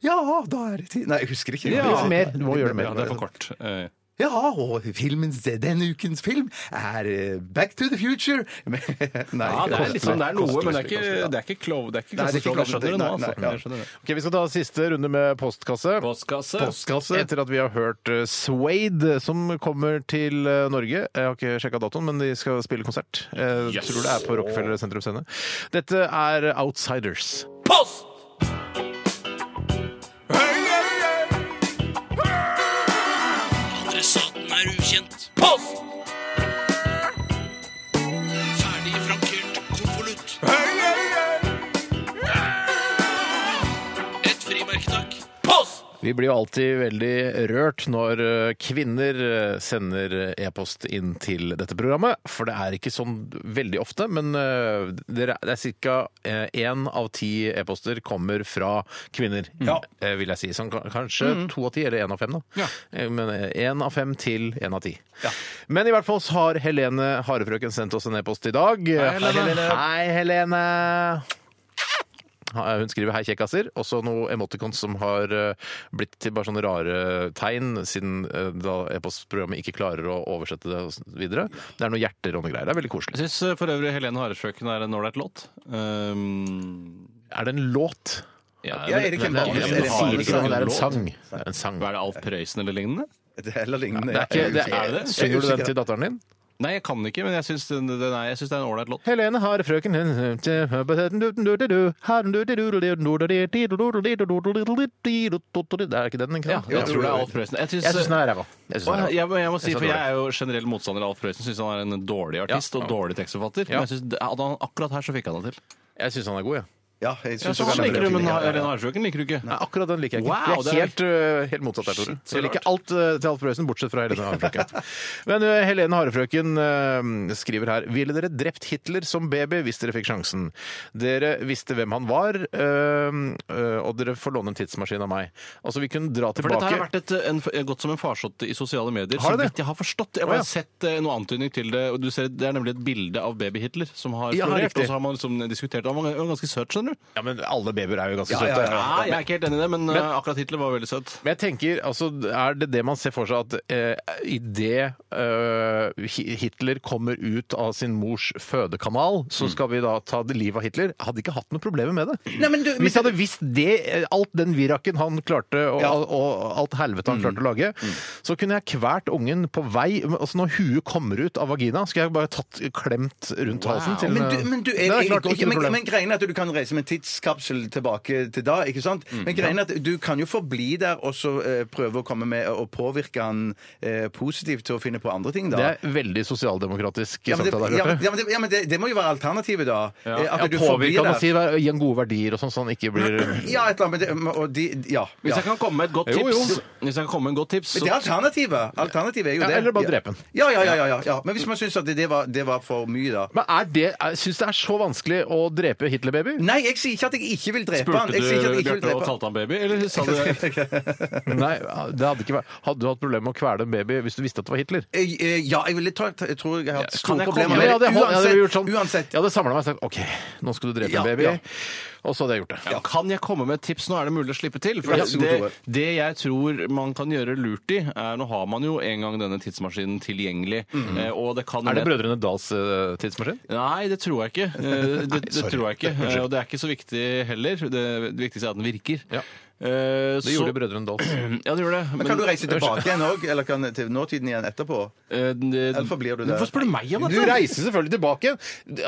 S2: ja, da er det tid Nei, jeg husker ikke.
S1: Ja. Litt mer. Du må gjøre det mer.
S3: Ja, det er for kort. Eh,
S2: Ja, og filmens, denne ukens film er eh, Back to the Future. [laughs] Men- Nei,
S3: Ja, det er
S2: kostelig.
S3: liksom, det er noe, men det er
S2: Kostelig, kostelig, ja.
S3: ikke, det er ikke klov. Det er ikke
S2: Nei, det er
S3: klassens
S2: ikke
S3: klovn. Jeg skjønner det nå,
S2: klovn. Nei,
S3: altså.
S2: nei, ja.
S3: Jeg skjønner det.
S1: Ok, Vi skal ta siste runde med postkasse.
S3: Postkasse.
S2: Postkasse.
S1: Etter at vi har hørt eh, Suede, som kommer til eh, Norge. Jeg har ikke sjekka datoen, men de skal spille konsert. Jeg
S3: Yes.
S1: tror det er på Rockefeller Sentrum Scene. Dette er Outsiders.
S7: Post!
S9: Adressaten er ukjent.
S7: Post!
S9: Ferdig frankert konvolutt. Et frimerke, takk.
S7: Post!
S1: Vi blir jo alltid veldig rørt når eh, kvinner eh, sender e-post inn til dette programmet, for det er ikke sånn veldig ofte, men eh, det er- det er ca. én av ti e-poster kommer fra kvinner, eh, vil jeg si. Sånn, ka- kanskje to av ti, eller én av fem, da. Eh, Men én av fem til én av ti. Men i hvert fall så har Helene Harefrøken sendt oss en e-post i dag. Hei, Helene! Hei, Helene. Hun skriver 'hei, kjekkaser'. Også noe emoticons som har eh, blitt til bare sånne rare tegn, siden eh, da e-postprogrammet ikke klarer å oversette det og s- videre. Det er noen hjerter og noe greier. Det er veldig koselig.
S3: Jeg syns for øvrig Helene Haresjøken er en ålreit låt. Um,
S1: Er det en låt?
S3: ja,
S2: Ja, Erik
S3: men-
S2: Hjelmdal.
S3: men-
S2: Det er
S1: Jeg
S2: en
S1: sier ikke
S2: sang.
S1: det, det er en
S3: låt.
S1: sang. Det er en sang.
S3: Hva Er det Alf Prøysen eller lignende?
S2: Det er heller lignende.
S1: Det er ikke, det er,
S3: det?
S1: synger du den til datteren din?
S3: Nei, jeg kan ikke, men jeg syns den, den er- jeg synes det er en ålreit låt.
S1: Helene har frøken Det er ikke den, ikke sant?
S3: jeg tror det er Alf Prøysen. Jeg syns
S1: Jeg syns den er ræva. Jeg synes den er
S3: Åh,
S1: ræva.
S3: jeg, må- jeg må si,
S1: Jeg synes
S3: for
S1: han er
S3: jeg er jo generell motstander av Alf Prøysen. Syns han er en dårlig artist og dårlig tekstforfatter.
S1: Ja.
S3: Men jeg synes, det- at han, akkurat her så fikk han det til.
S1: Jeg syns han er god, jeg. Ja.
S2: Ja, jeg synes
S3: Så
S2: det
S3: han
S2: kan
S3: liker du,
S2: være
S3: men
S2: fint.
S3: Helene Haresjøken liker du ikke.
S1: Nei, akkurat den liker jeg ikke.
S3: Wow,
S1: jeg er helt, øh, helt motsatt der, Tore.
S3: så
S1: Jeg liker
S3: rart.
S1: alt øh, til Alf Prøysen, bortsett fra Helene
S3: [laughs]
S1: Harefrøken. Men øh, Helene Harefrøken øh, skriver her Ville dere drept Hitler som baby hvis dere fikk sjansen? Dere visste hvem han var, øh, øh, og dere får låne en tidsmaskin av meg. Altså, vi kunne dra
S3: For dette her har vært
S1: tilbake
S3: et, en, gått som en farsott i sosiale medier.
S1: Har
S3: så
S1: det det?
S3: vidt jeg har forstått. Jeg
S1: Å,
S3: har
S1: ja.
S3: bare sett eh, noe antydning til det. og du ser, Det er nemlig et bilde av baby Hitler som har
S1: Ja,
S3: florert.
S1: riktig.
S3: og så har man liksom diskutert Han var ganske søt, skjønner du.
S1: Ja, men alle babyer er jo ganske
S2: Ja, ja,
S1: søte.
S2: ja.
S3: Nei, jeg er ikke helt enig i det, men, eh, akkurat Hitler var veldig søt.
S1: Men jeg tenker, altså, er det det man ser for seg at eh, idet eh, Hi- Hitler kommer ut av sin mors fødekanal, så skal vi da ta det livet av Hitler? Jeg hadde ikke hatt noe problemer med det. Hvis jeg hadde visst det, eh, alt den viraken han klarte, og,
S2: Ja. Mm.
S1: og alt helvete han klarte å lage, så kunne jeg kvært ungen på vei. Altså når huet kommer ut av vagina, skulle jeg bare tatt klemt rundt halsen til
S2: Men du, men du
S1: Eh, Det
S2: er,
S1: hadde jeg klart,
S2: ikke,
S1: ikke noe
S2: men,
S1: problem.
S2: men greien er at du kan reise med en tidskapsel tilbake til da, ikke sant?
S3: Mm,
S2: Men greien er at du kan jo forbli der og så eh, prøve å komme med og påvirke han eh, positivt til å finne på andre ting, da.
S1: Det er veldig sosialdemokratisk
S2: ja, men,
S1: sagt av
S2: det,
S1: deg,
S2: ja, men-
S1: Bjarte.
S2: ja, men, det, ja, men det, det må jo være alternativet, da. Eh,
S1: Ja,
S2: du forblir
S1: påvirke han
S2: der.
S1: og si, gi han gode verdier og sånn, så han ikke blir
S2: [clears throat] Ja, et eller annet. men det- Og de, ja.
S3: Hvis
S2: ja.
S3: jeg kan komme med et godt
S1: Jo, jo.
S3: tips, Hvis jeg kan komme med en godt tips
S2: Men
S3: så
S2: det er alternativet. Alternativet er jo
S1: Ja,
S2: det.
S1: eller bare drepe den.
S2: Ja, ja, ja, ja, ja, ja. Men hvis man syns at det, det, var, det var for mye, da.
S1: Men er det, er- syns det er så vanskelig å drepe Hitler-baby?
S2: Nei, jeg sier ikke at jeg ikke vil drepe han.
S3: Spurte
S2: Jeg sier ikke at
S3: du
S2: jeg ikke vil
S3: Bjarte og
S2: drepe han.
S3: talte han baby, eller sa
S1: [laughs]
S3: du
S1: Nei, det hadde ikke vært Hadde du hatt problemer med å kvele en baby hvis du visste at det var Hitler?
S2: Eh, eh, Ja, jeg ville tatt Jeg tror jeg har hatt store
S3: jeg
S2: problemer
S3: komme-
S2: med
S1: jeg hadde,
S2: det.
S1: jeg hadde gjort
S2: Uansett.
S1: sånn,
S2: uansett.
S1: Jeg hadde samla meg og sagt OK, nå skal du drepe
S2: Ja,
S1: en baby.
S2: ja.
S1: Og så hadde jeg gjort det.
S3: Kan jeg komme med et tips? Nå er det mulig å slippe til. For
S2: Vær så god,
S3: det,
S2: Tore.
S3: det jeg tror man kan gjøre lurt i, er Nå har man jo en gang denne tidsmaskinen tilgjengelig, eh, og det kan
S1: Mhm. Er det Brødrene Dals eh, tidsmaskin?
S3: Nei, det tror jeg ikke.
S1: [laughs]
S3: Eh, Det, det tror jeg ikke. Eh, Og det er ikke så viktig heller. Det, det viktigste er at den virker.
S1: Ja.
S3: Eh,
S1: Det gjorde Brødrene Dals.
S3: [clears throat] Ja, det gjorde det. eh,
S2: Men kan du reise tilbake igjen òg? Eller kan til nåtiden igjen etterpå? Eller forblir du der?
S3: Hvorfor spør du meg om
S1: Du
S3: dette?
S1: reiser selvfølgelig tilbake.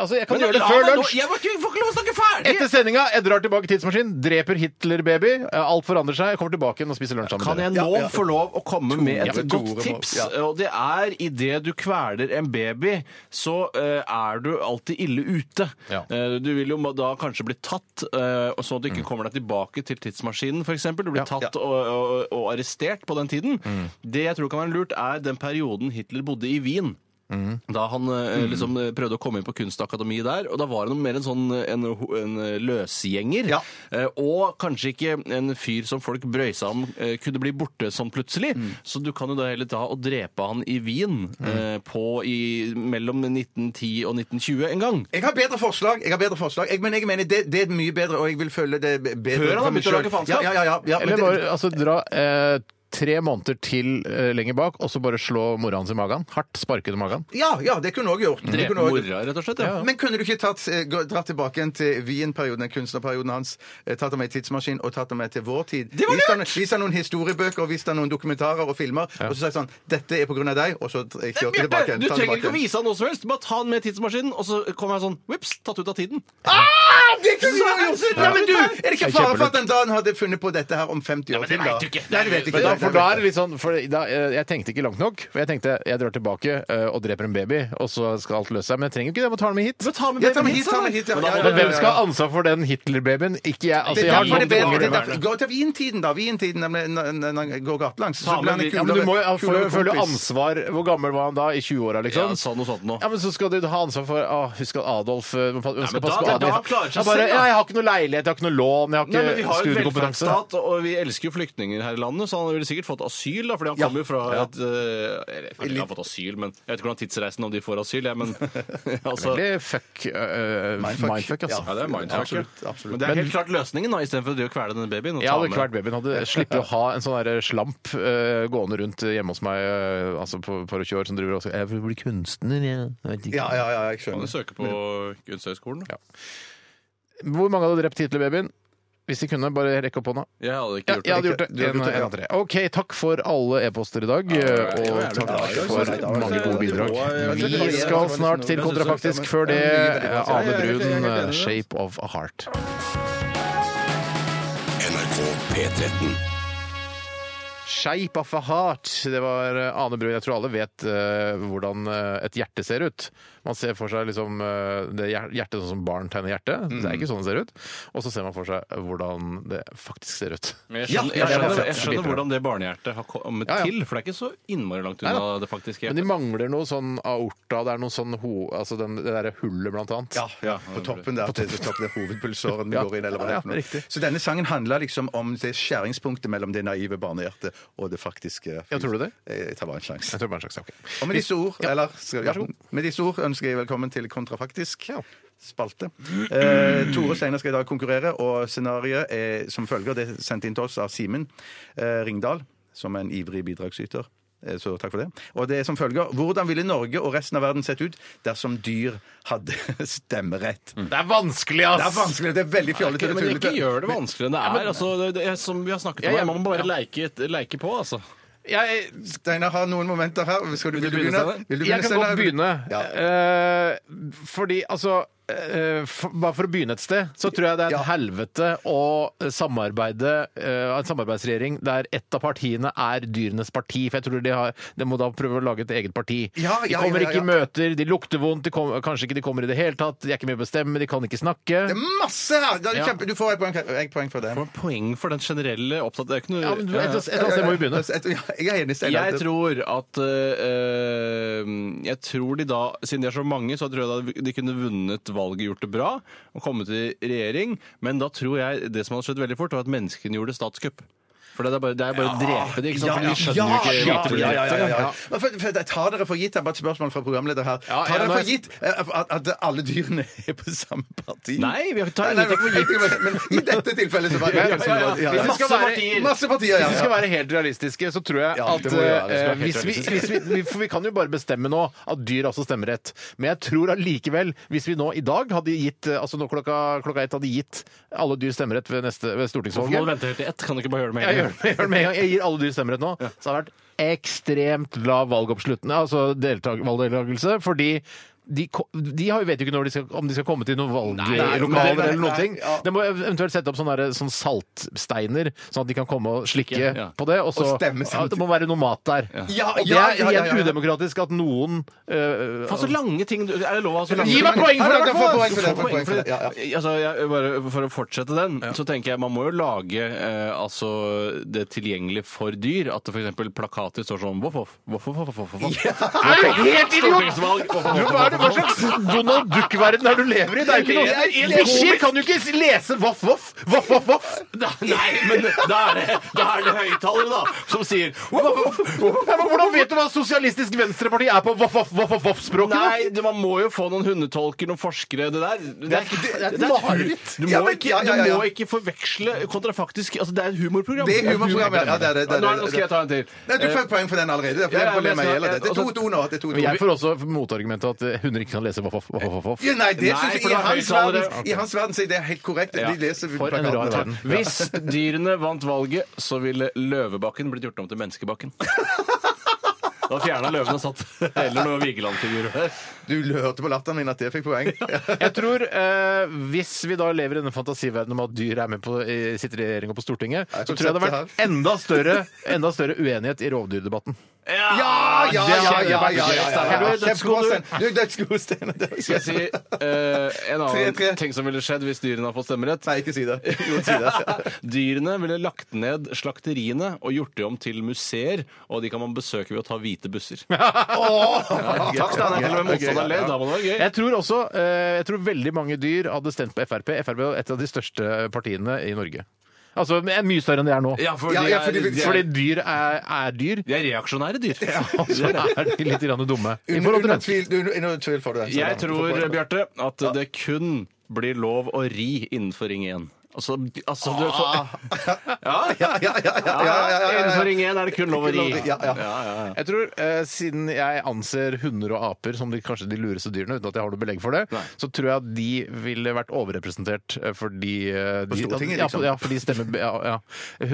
S1: Altså, jeg kan
S3: Men
S1: gjøre det
S3: la
S1: før
S3: meg nå-
S1: lunsj.
S3: Jeg må ikke- får ikke lov å snakke ferdig!
S1: Etter sendinga, jeg drar tilbake i tidsmaskinen, dreper Hitler-baby. eh, Alt forandrer seg, jeg kommer tilbake igjen og spiser lunsj sammen
S3: Kan
S1: med
S3: jeg
S1: dere.
S3: nå få lov å komme med et
S1: Tore
S3: godt
S1: må-
S3: tips?
S2: ja.
S3: Og det er idet du kveler en baby, så eh, er du alltid ille ute.
S1: Ja.
S3: Eh, du vil jo må- da kanskje bli tatt, eh, og sånn at du
S1: Mm.
S3: ikke kommer deg tilbake til tidsmaskinen f.eks. Du blir tatt Og, og, og arrestert på den tiden.
S1: Mm.
S3: Det jeg tror kan være lurt, er den perioden Hitler bodde i Wien. Da han eh, liksom eh, prøvde å komme inn på Kunstakademiet der, og da var han mer en sånn eh, en, ho- en eh, løsgjenger.
S2: Ja.
S3: Eh, Og kanskje ikke en fyr som folk brøysa om eh, kunne bli borte sånn plutselig. Så du kan jo da heller ta og drepe han i Wien eh, på i, mellom 1910 og 1920 en gang.
S2: Jeg har bedre forslag. jeg har bedre forslag jeg, Men jeg mener det, det er mye bedre, og jeg vil følge det bedre.
S3: Før han har
S2: for meg
S3: begynt å lage
S2: selv.
S3: faenskap?
S2: Ja, ja, ja, ja, men
S1: Eller
S2: det-
S1: bare altså, dra eh, tre måneder til eh, lenger bak, og så bare slå mora hans i magen. Hardt sparke den i magen.
S2: ja, ja, det kunne du òg gjort. Det
S3: Drepe
S2: kunne også-
S3: mora, rett og slett. Ja.
S2: Men kunne du ikke tatt, eh, gå- dratt tilbake igjen til Wien-perioden, den kunstnerperioden hans, eh, tatt ham med i tidsmaskin og tatt ham med til vår tid? Det var lurt! Vist ham noen historiebøker og vist ham noen dokumentarer og filmer, og så sagt sånn 'Dette er på grunn av deg', og så eh, kjørte
S3: Bjarte,
S2: tilbake igjen.
S3: du
S2: ta
S3: trenger
S2: tilbake
S3: ikke å
S2: igjen.
S3: vise han noe som helst. Bare ta han med i tidsmaskinen, og så kommer han sånn vips, tatt ut av tiden.
S2: Ah, det kunne du ha gjort! Ja, men du, er
S1: Det
S2: det ikke
S1: er
S2: fare for
S1: kjempelurt.
S2: at den dagen hadde funnet på dette her om 50 år til, da? Nei, det vet jeg
S1: Men
S2: ikke.
S1: da for da er det litt sånn for da, eh, Jeg tenkte ikke langt nok. For jeg tenkte jeg drar tilbake eh, og dreper en baby, og så skal alt løse seg. Men jeg trenger jo ikke det. Jeg må ta den med hit.
S3: Ta med
S2: Ja, ta
S3: babyen
S2: meg
S3: hit,
S2: hit, ta
S3: da.
S2: meg hit, ja.
S3: Men da
S2: Ja,
S3: må
S2: ja,
S1: Men
S3: du-
S1: hvem skal ha ansvar for den Hitler-babyen? Ikke jeg. Altså, jeg
S2: Det er
S1: har
S2: derfor det
S1: nok til
S2: er bedre. Det
S1: å
S2: er
S1: være
S2: derfor, gå til vintiden, da. Vintiden, nemlig når når han går gatelangs. Så
S3: Ta
S2: blir han
S3: med
S2: en
S3: vin-
S1: ja, men du må jo
S2: kulere-
S1: føle- føle
S2: kulere kompis.
S1: ansvar. Hvor gammel var han da? I 20-åra, liksom?
S3: Ja, sa noe sånt nå.
S1: Ja, men så skal du ha ansvar for å, Husk at Adolf eh, man skal
S3: men da-
S1: passe på
S3: da-
S1: Adolf.
S3: da klarer seg
S1: Ja, bare,
S3: selv, da.
S1: ja, jeg har ikke noe leilighet, jeg har ikke noe lån, jeg
S3: Nei,
S1: har
S3: men Vi
S1: ikke
S3: har jo et
S1: studiekompetanse.
S3: velferdsstat, og vi elsker jo flyktninger her i landet, så han ville sikkert fått asyl, da, fordi han kommer jo fra et eh, eller, Han har fått asyl, men jeg vet ikke hvordan tidsreisen om de får asyl, jeg, men altså,
S1: Veldig fuck, eh, mindfuck. altså.
S3: Ja, det er mindfuck. ja.
S2: Absolutt, absolutt.
S3: Men det er helt klart løsningen, da, istedenfor å drive og kvele denne babyen. og
S1: Jeg
S3: ta
S1: hadde
S3: med-
S1: klart babyen. Hadde sluppet å ha en sånn der slamp eh, gående rundt hjemme hos meg eh, altså på et par og tjue år som driver og sier 'Jeg vil bli kunstner', jeg. jeg vet ikke.
S2: Ja, ja, ja, jeg
S3: Kan
S2: skjønner.
S3: du søke på Kunsthøgskolen? da?
S1: Hvor mange hadde drept Hitler-babyen? Hvis de kunne, bare rekk opp hånda.
S3: Jeg hadde ikke
S1: Ja,
S3: gjort
S1: jeg hadde
S3: det.
S1: gjort det.
S2: Du hadde
S1: En,
S2: gjort det,
S1: en
S2: ja.
S1: av tre. OK, takk for alle e-poster i dag, eh,
S3: det
S1: og
S3: var jævlig bra.
S1: takk for mange gode bidrag.
S2: Men
S1: Vi
S2: det-
S1: skal snart til kontrafaktisk. Før det, eh, Ane Brun, 'Shape of a Heart'.
S6: NRK P13.
S1: Shape of a heart. Det var eh, Ane Brun. Jeg tror alle vet eh, hvordan eh, et hjerte ser ut. Man ser for seg liksom eh, det hjer- hjertet sånn som barn tegner hjerte. Det er ikke
S2: Mm.
S1: sånn det ser ut. Og så ser man for seg eh, hvordan det faktisk ser ut.
S3: Jeg
S2: Ja,
S3: skjønner, jeg,
S2: ja, det var
S3: skjønner,
S2: fett.
S3: jeg skjønner hvordan det barnehjertet har kommet
S1: Ja, ja.
S3: til, for det er ikke så innmari langt
S1: Nei
S3: unna
S1: da.
S3: det faktiske
S1: Men de
S3: hjertet.
S1: mangler noe sånn aorta, det er noe sånn ho... Altså den, det derre hullet, blant annet.
S2: Ja, ja, på toppen der. Til, til toppen der hovedpulsåren
S1: Ja.
S2: går inn, eller hva det
S1: Ja,
S2: er. for
S1: riktig.
S2: noe. Så denne sangen handler liksom om det skjæringspunktet mellom det naive barnehjertet og det faktiske.
S1: Ja, tror du det?
S2: Jeg tar bare en sjanse.
S1: Jeg tror det var en slags ok.
S2: Og med disse ord, eller, skal,
S1: Vær
S2: ja,
S1: så god.
S2: med disse ord ønsker jeg velkommen til Kontrafaktisk. Spalte. Eh, Tore Steinar skal i dag konkurrere, og scenarioet er som følger. Det er sendt inn til oss av Simen eh, Ringdal, som er en ivrig bidragsyter. Eh, Så takk for det. Og det er som følger Hvordan ville Norge og resten av verden sett ut dersom dyr hadde [laughs] stemmerett?
S1: Det er vanskelig,
S2: Det er vanskelig, det er veldig fjollete.
S3: Men
S2: det er
S3: ikke
S2: tullete.
S3: gjør det vanskeligere enn det er. altså, det, det er som vi har snakket om,
S1: Ja, ja.
S3: her, man må bare leike, leike på, altså.
S1: Jeg,
S2: Steinar har noen momenter her. Skal du, vil du
S3: begynne,
S2: begynne?
S3: Steinar?
S2: Vil du
S1: jeg kan
S2: Steinar?
S1: godt begynne.
S2: Ja.
S1: Eh, fordi, altså eh, for, Bare for å begynne et sted, så tror jeg det er et
S2: Ja.
S1: helvete å samarbeide eh, En samarbeidsregjering der ett av partiene er dyrenes parti. For jeg tror de, har, de må da prøve å lage et eget parti.
S2: Ja,
S1: de
S2: ja,
S1: kommer
S2: ja, ja.
S1: ikke i møter, de lukter vondt, de kom, kanskje ikke de kommer i det hele tatt, de er ikke med å bestemme, de kan ikke snakke.
S2: Det er masse her! Det er
S1: Ja.
S2: kjempe, du får et poeng, et poeng for det.
S3: Hva er poeng for den generelle opptatt... Det er ikke noe...
S1: Ja, men du- et eller annet et eller annet sted Altså, må vi begynne.
S2: Jeg er enig, Steinar.
S3: altså, Jeg tror at eh, Jeg tror de da Siden de er så mange, så tror jeg da de kunne vunnet valget, gjort det bra og kommet i regjering. Men da tror jeg det som hadde skjedd veldig fort, var at menneskene gjorde statskupp. For det er bare, det er bare å drepe dem, ikke sant? For de skjønner jo ikke
S2: Ah, ja,
S3: hva
S2: ja,
S3: de
S2: ja,
S3: gjør.
S2: ja, ja. Men for- for Jeg tar dere for gitt, det er bare et spørsmål fra programleder her.
S1: Ja, ja,
S2: Tar dere
S1: nå er-
S2: for gitt eh, at, at alle dyrene er på samme parti?
S3: Nei, vi tar
S2: Nei, nei,
S3: ingenting for gitt.
S2: Men men i dette tilfellet så var
S1: Ja, ja,
S2: det
S1: ja, ja.
S2: ja,
S1: Hvis
S2: ja.
S1: det skal være-
S2: Masse partier, ja.
S1: Hvis vi skal være helt realistiske, så tror jeg
S2: Ja,
S1: at
S2: det må vi være. Vi skal
S1: eh,
S2: være helt
S1: hvis vi, hvis vi, vi- For vi kan jo bare bestemme nå at dyr altså stemmer rett. Men jeg tror allikevel, hvis vi nå i dag hadde gitt eh, Altså nå klokka, klokka ett hadde gitt alle dyr stemmerett ved, neste, ved
S3: Hvorfor må du
S1: stortingsvalget
S3: vente helt til ett? Kan du ikke bare gjøre det med
S1: jeg
S3: en
S1: gjør,
S3: gang?
S1: det- jeg gjør det med en gang. Jeg gir alle dyr stemmerett nå. Så det har vært ekstremt lav valgoppsluttende, altså deltak, valgdeltakelse, fordi de, ko- de har jo vet jo ikke når de skal, om de skal komme til noen
S2: nei,
S1: valglokaler
S2: nei,
S1: eller noen
S2: nei,
S1: ting.
S2: ja.
S1: De må eventuelt sette opp sånne, der, sånn saltsteiner, sånn at de kan komme og slikke
S3: Slikke, ja.
S1: på det. Og, så,
S2: Og stemme samtidig.
S1: ja, det må være noe mat der.
S2: Ja,
S1: Og det
S2: ja,
S1: er
S2: ja, ja, ja.
S1: igjen udemokratisk at noen øh,
S3: Faen, så lange ting du- Er det lov å ha så lange
S1: Gi meg poeng for det, i hvert fall!
S2: Du får
S3: Få poeng for det.
S2: Ja, ja.
S3: Altså, jeg, bare for å fortsette den, så tenker jeg man må jo lage eh, altså, det tilgjengelig for dyr. At det f.eks. plakater står sånn voff, voff, voff, voff, voff, voff, voff.
S1: Er du helt idiot?!
S3: Stortingsvalg, voff,
S1: Du,
S3: voff,
S1: hva,
S3: voff,
S1: er det,
S3: voff,
S1: hva
S3: voff.
S1: slags Donald Duck-verden er det du lever i? Det er jo ikke noe Bikkjer kan jo ikke lese voff, voff, voff, voff, voff.
S3: Da, nei, men da er det, da er det høyttalere, da, som sier voff, voff, voff.
S1: Ja, men hvordan vet du hva Sosialistisk Venstreparti er på voff, voff, voff, voff, voff-språket? da?
S3: Nei, det, man må jo få noen hundetolker, noen forskere. Det der Det er, ikke-
S1: det er et
S3: det er hu-
S1: mareritt.
S3: Du
S2: Ja,
S3: må
S2: men-
S3: ikke,
S2: ja, ja, ja,
S3: du
S2: ja.
S3: må ikke forveksle kontrafaktisk Altså, det er et humorprogram.
S2: Det er humorprogram, ja. Ja, det er det, det er det.
S3: Nå, er det- nå skal jeg ta en til. Eh,
S2: Nei, du fikk poeng for den allerede.
S3: Ja,
S2: Det er
S3: ja,
S2: fordi jeg får le
S3: men
S2: meg
S3: jeg skal-
S2: ihjel av det. Det er
S3: og så-
S2: 2-2 nå. Det er 2-2
S1: Men jeg får også motargumentet at eh, hunder ikke kan lese voff, voff, voff, voff, voff.
S2: Ja, Nei, det
S3: Nei,
S2: syns
S3: for
S2: jeg
S3: det
S2: i
S3: er
S2: hans
S3: høyttalere.
S2: verden I hans verden så er det helt korrekt.
S3: Ja,
S2: De leser
S1: for en rar verden.
S2: Ja.
S3: Hvis [laughs] dyrene vant valget, så ville Løvebakken blitt gjort om til Menneskebakken. [laughs] Da fjerna løven og satt heller noen Vigeland-figurer der.
S2: Du hørte på latteren min at det fikk [laughs] poeng.
S1: Jeg tror eh, Hvis vi da lever i denne fantasiverdenen om at dyr er med på, eh, sitter i regjering og på Stortinget,
S2: Nei,
S1: så tror jeg det hadde vært enda større, enda større uenighet i rovdyrdebatten. Det er-
S2: Ja, ja, ja! ja, ja, ja, ja,
S3: Steinar, du
S2: ja.
S3: er dødsgod,
S2: Kjempebra,
S3: du.
S2: Stein. Du er dødsgod, Steinar.
S3: Skal jeg si eh, en
S2: Tre,
S3: annen
S2: tre.
S3: ting som ville skjedd hvis dyrene hadde fått stemmerett?
S2: Nei, ikke si [laughs] det. Jo, si det.
S3: Dyrene ville lagt ned slakteriene og gjort det om til museer, og de kan man besøke ved å ta hvite busser. Takk, Steinar. Til og med motstanderen ler. Da må det være gøy.
S1: Jeg tror også eh, jeg tror veldig mange dyr hadde stemt på Frp. Frp er et av de største partiene i Norge. Altså er mye større enn det er nå.
S3: Ja, for
S2: Ja,
S3: de
S2: ja, for
S3: er,
S2: de vil-
S3: de
S1: Fordi
S3: er,
S1: dyr er, er dyr.
S3: de er reaksjonære dyr.
S1: Og så er de litt grann dumme. I
S2: Under,
S1: forhold til
S2: under,
S1: mennesker.
S2: tvil, under, under tvil får du den.
S3: Jeg tror,
S2: Steinar.
S3: Bjarte, at det kun blir lov å ri innenfor Ring 1. Altså, altså du
S2: Ah.
S3: får Ja,
S2: [laughs] Ja, ja, ja. ja, ja, ja, ja, ja.
S3: innenfor Ring 1 er det kun lov å ri.
S2: Ja, ja.
S1: Jeg tror, eh, Siden jeg anser hunder og aper som de, kanskje de lureste dyrene, uten at jeg har noe belegg for det,
S3: Nei.
S1: så tror jeg at de ville vært overrepresentert eh, fordi eh, de,
S2: Stortinget,
S1: ja,
S2: liksom.
S1: Ja, for de stemmer ja, ja.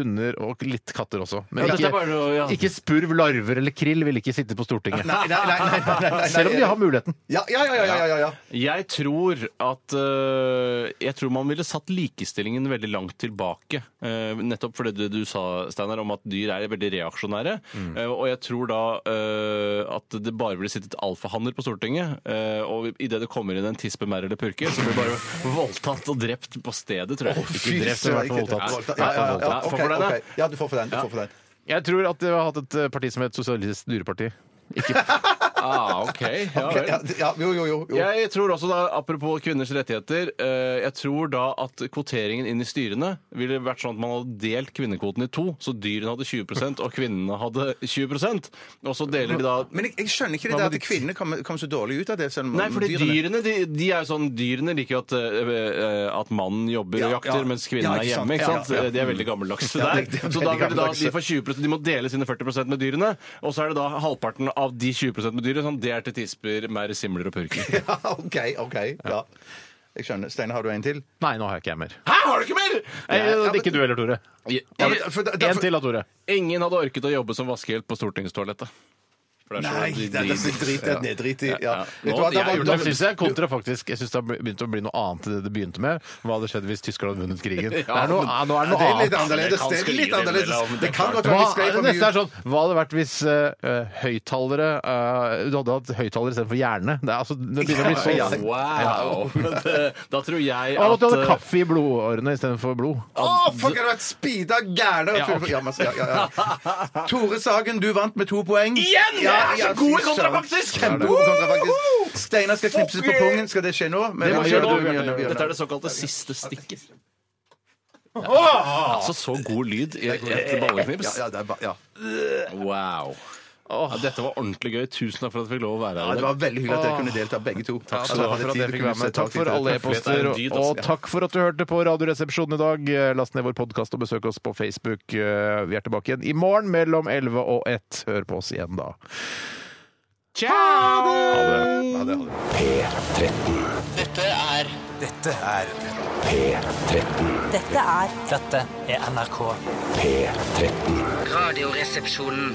S1: Hunder og litt katter også. Men
S3: Ja, dette
S1: ikke,
S3: er bare noe, ja.
S1: ikke spurv, larver eller krill ville ikke sitte på Stortinget.
S2: Nei, nei, nei, nei, nei, nei, nei.
S1: Selv om de har muligheten.
S2: Ja, ja, ja, ja, ja, ja, ja.
S3: Jeg tror at øh, Jeg tror man ville satt likestillingen veldig langt tilbake. Eh, nettopp fordi det du sa, Steinar, om at dyr er veldig reaksjonære.
S2: Mm.
S3: Eh, og jeg tror da øh, at det bare ville sittet alfahanner på Stortinget. eh, og idet det kommer inn en tispemerr eller purke, så blir det bare [laughs] voldtatt og drept på stedet, tror jeg.
S2: Fy
S1: drept, i hvert fall voldtatt.
S2: søren. Ja, ja, ja, ja.
S3: Få
S2: Ok,
S3: for den, da.
S2: ok. Ja, du får for den. Du får for den.
S1: Jeg tror at de har hatt et eh, parti som het Sosialistisk dyreparti.
S3: Ah, ok. Ja,
S2: Ok,
S3: vel.
S2: ja, ja, jo, jo, jo. jo.
S3: Jeg tror også da, Apropos kvinners rettigheter. eh, Jeg tror da at kvoteringen inn i styrene ville vært sånn at man hadde delt kvinnekvoten i to. Så dyrene hadde 20 og kvinnene hadde 20 Og så deler de da
S2: Men jeg, jeg skjønner ikke det der at kvinnene kommer kom så dårlig ut av det. selv om
S3: Nei, fordi dyrene
S2: dyrene-
S3: de, de er jo sånn, dyrene liker jo at, eh, at mannen jobber og
S2: Ja,
S3: jakter,
S2: ja.
S3: mens kvinnen
S2: Ja,
S3: er
S2: ikke sant.
S3: hjemme. ikke sant?
S2: Ja, ja.
S3: De er veldig gammeldagse
S2: Ja,
S3: der. [laughs]
S2: de- de er
S3: så da
S2: veldig
S3: vil de da,
S2: gammeldagse.
S3: de får 20 de må dele sine 40 med dyrene. Og så er det da halvparten av de 20 med dyret. Sånn, det er til tisper, mer simler og purker.
S2: [laughs] Ja, OK, OK. Ja. Jeg skjønner. Steinar, har du en til?
S1: Nei, nå har jeg ikke jeg mer.
S3: Hæ, har du ikke mer?!
S1: Nei, ikke du heller, Tore.
S2: Ja, men- for- da-
S1: En til da, Tore.
S3: Ingen hadde orket å jobbe som vaskehjelp på stortingstoalettet. For det
S2: Nei,
S3: så
S2: det er
S3: dritt.
S2: drit i. Det er drit i. Ja.
S3: Ja.
S2: Vet du
S3: Nå-
S2: hva, da
S3: jeg
S2: var-
S3: gjorde
S1: Da
S2: da-
S1: synes jeg kontra faktisk Jeg synes det har begynt å bli noe annet enn det det begynte med. Hva hadde skjedd hvis Tyskland hadde vunnet
S2: [laughs]
S1: krigen? Det er noe, ja, nå er det
S2: Det
S1: noe
S2: er litt
S1: annet.
S2: annerledes.
S3: kan
S2: Det er litt
S3: skrive det
S2: annerledes.
S3: mellom-
S2: Det kan godt
S1: Hva,
S2: være vi skrev for
S1: neste er
S2: mye.
S1: sånn Hva hadde det vært hvis eh, eh, høyttalere eh, Du hadde hatt høyttalere istedenfor hjerne. Det, er, altså, det begynner å bli
S2: [laughs] Ja,
S1: sånn.
S3: Wow! Men det- [laughs] Da tror jeg
S1: Og at du hadde
S3: eh,
S1: kaffe i blodårene istedenfor blod.
S2: Å, fuck, jeg har vært speeda gæren!
S1: Ja, ok.
S2: Ja, men- ja, ja, ja. Tore Sagen, du vant med to poeng.
S3: Igjen! Jeg er så god i
S2: fy søren.
S3: kontrafaktisk!
S2: Kjempegod i kontrafaktisk. Steinar skal knipses på pungen. Skal det skje nå? Men-
S3: Det
S2: Ja,
S3: må
S2: men
S3: skje nå.
S2: gjør det, gjør det, gjør
S3: Dette er
S2: det.
S3: det såkalte siste stikket. Altså, så god lyd i et
S2: Ja,
S3: balleknips.
S2: ja, det er ba- ja.
S3: Wow. Ja, dette var ordentlig gøy. Tusen takk for at jeg fikk lov å være
S2: Ja,
S3: her. i
S2: det
S3: dag.
S2: var veldig hyggelig at dere kunne delta, begge to. Takk
S1: Så takk for at jeg fikk være med. Altså, Takk for alle
S3: Det
S1: e-poster,
S3: er en
S1: og
S3: dyd,
S1: og
S3: altså.
S1: takk for at du hørte på Radioresepsjonen i dag. Eh, Last ned vår podkast og besøk oss på Facebook. Eh, Vi er tilbake igjen i morgen mellom 11 og 1. Hør på oss igjen da. Ha det!
S7: Dette er
S6: P13.
S11: Dette er Dette er NRK.
S6: P13.
S11: Radioresepsjonen.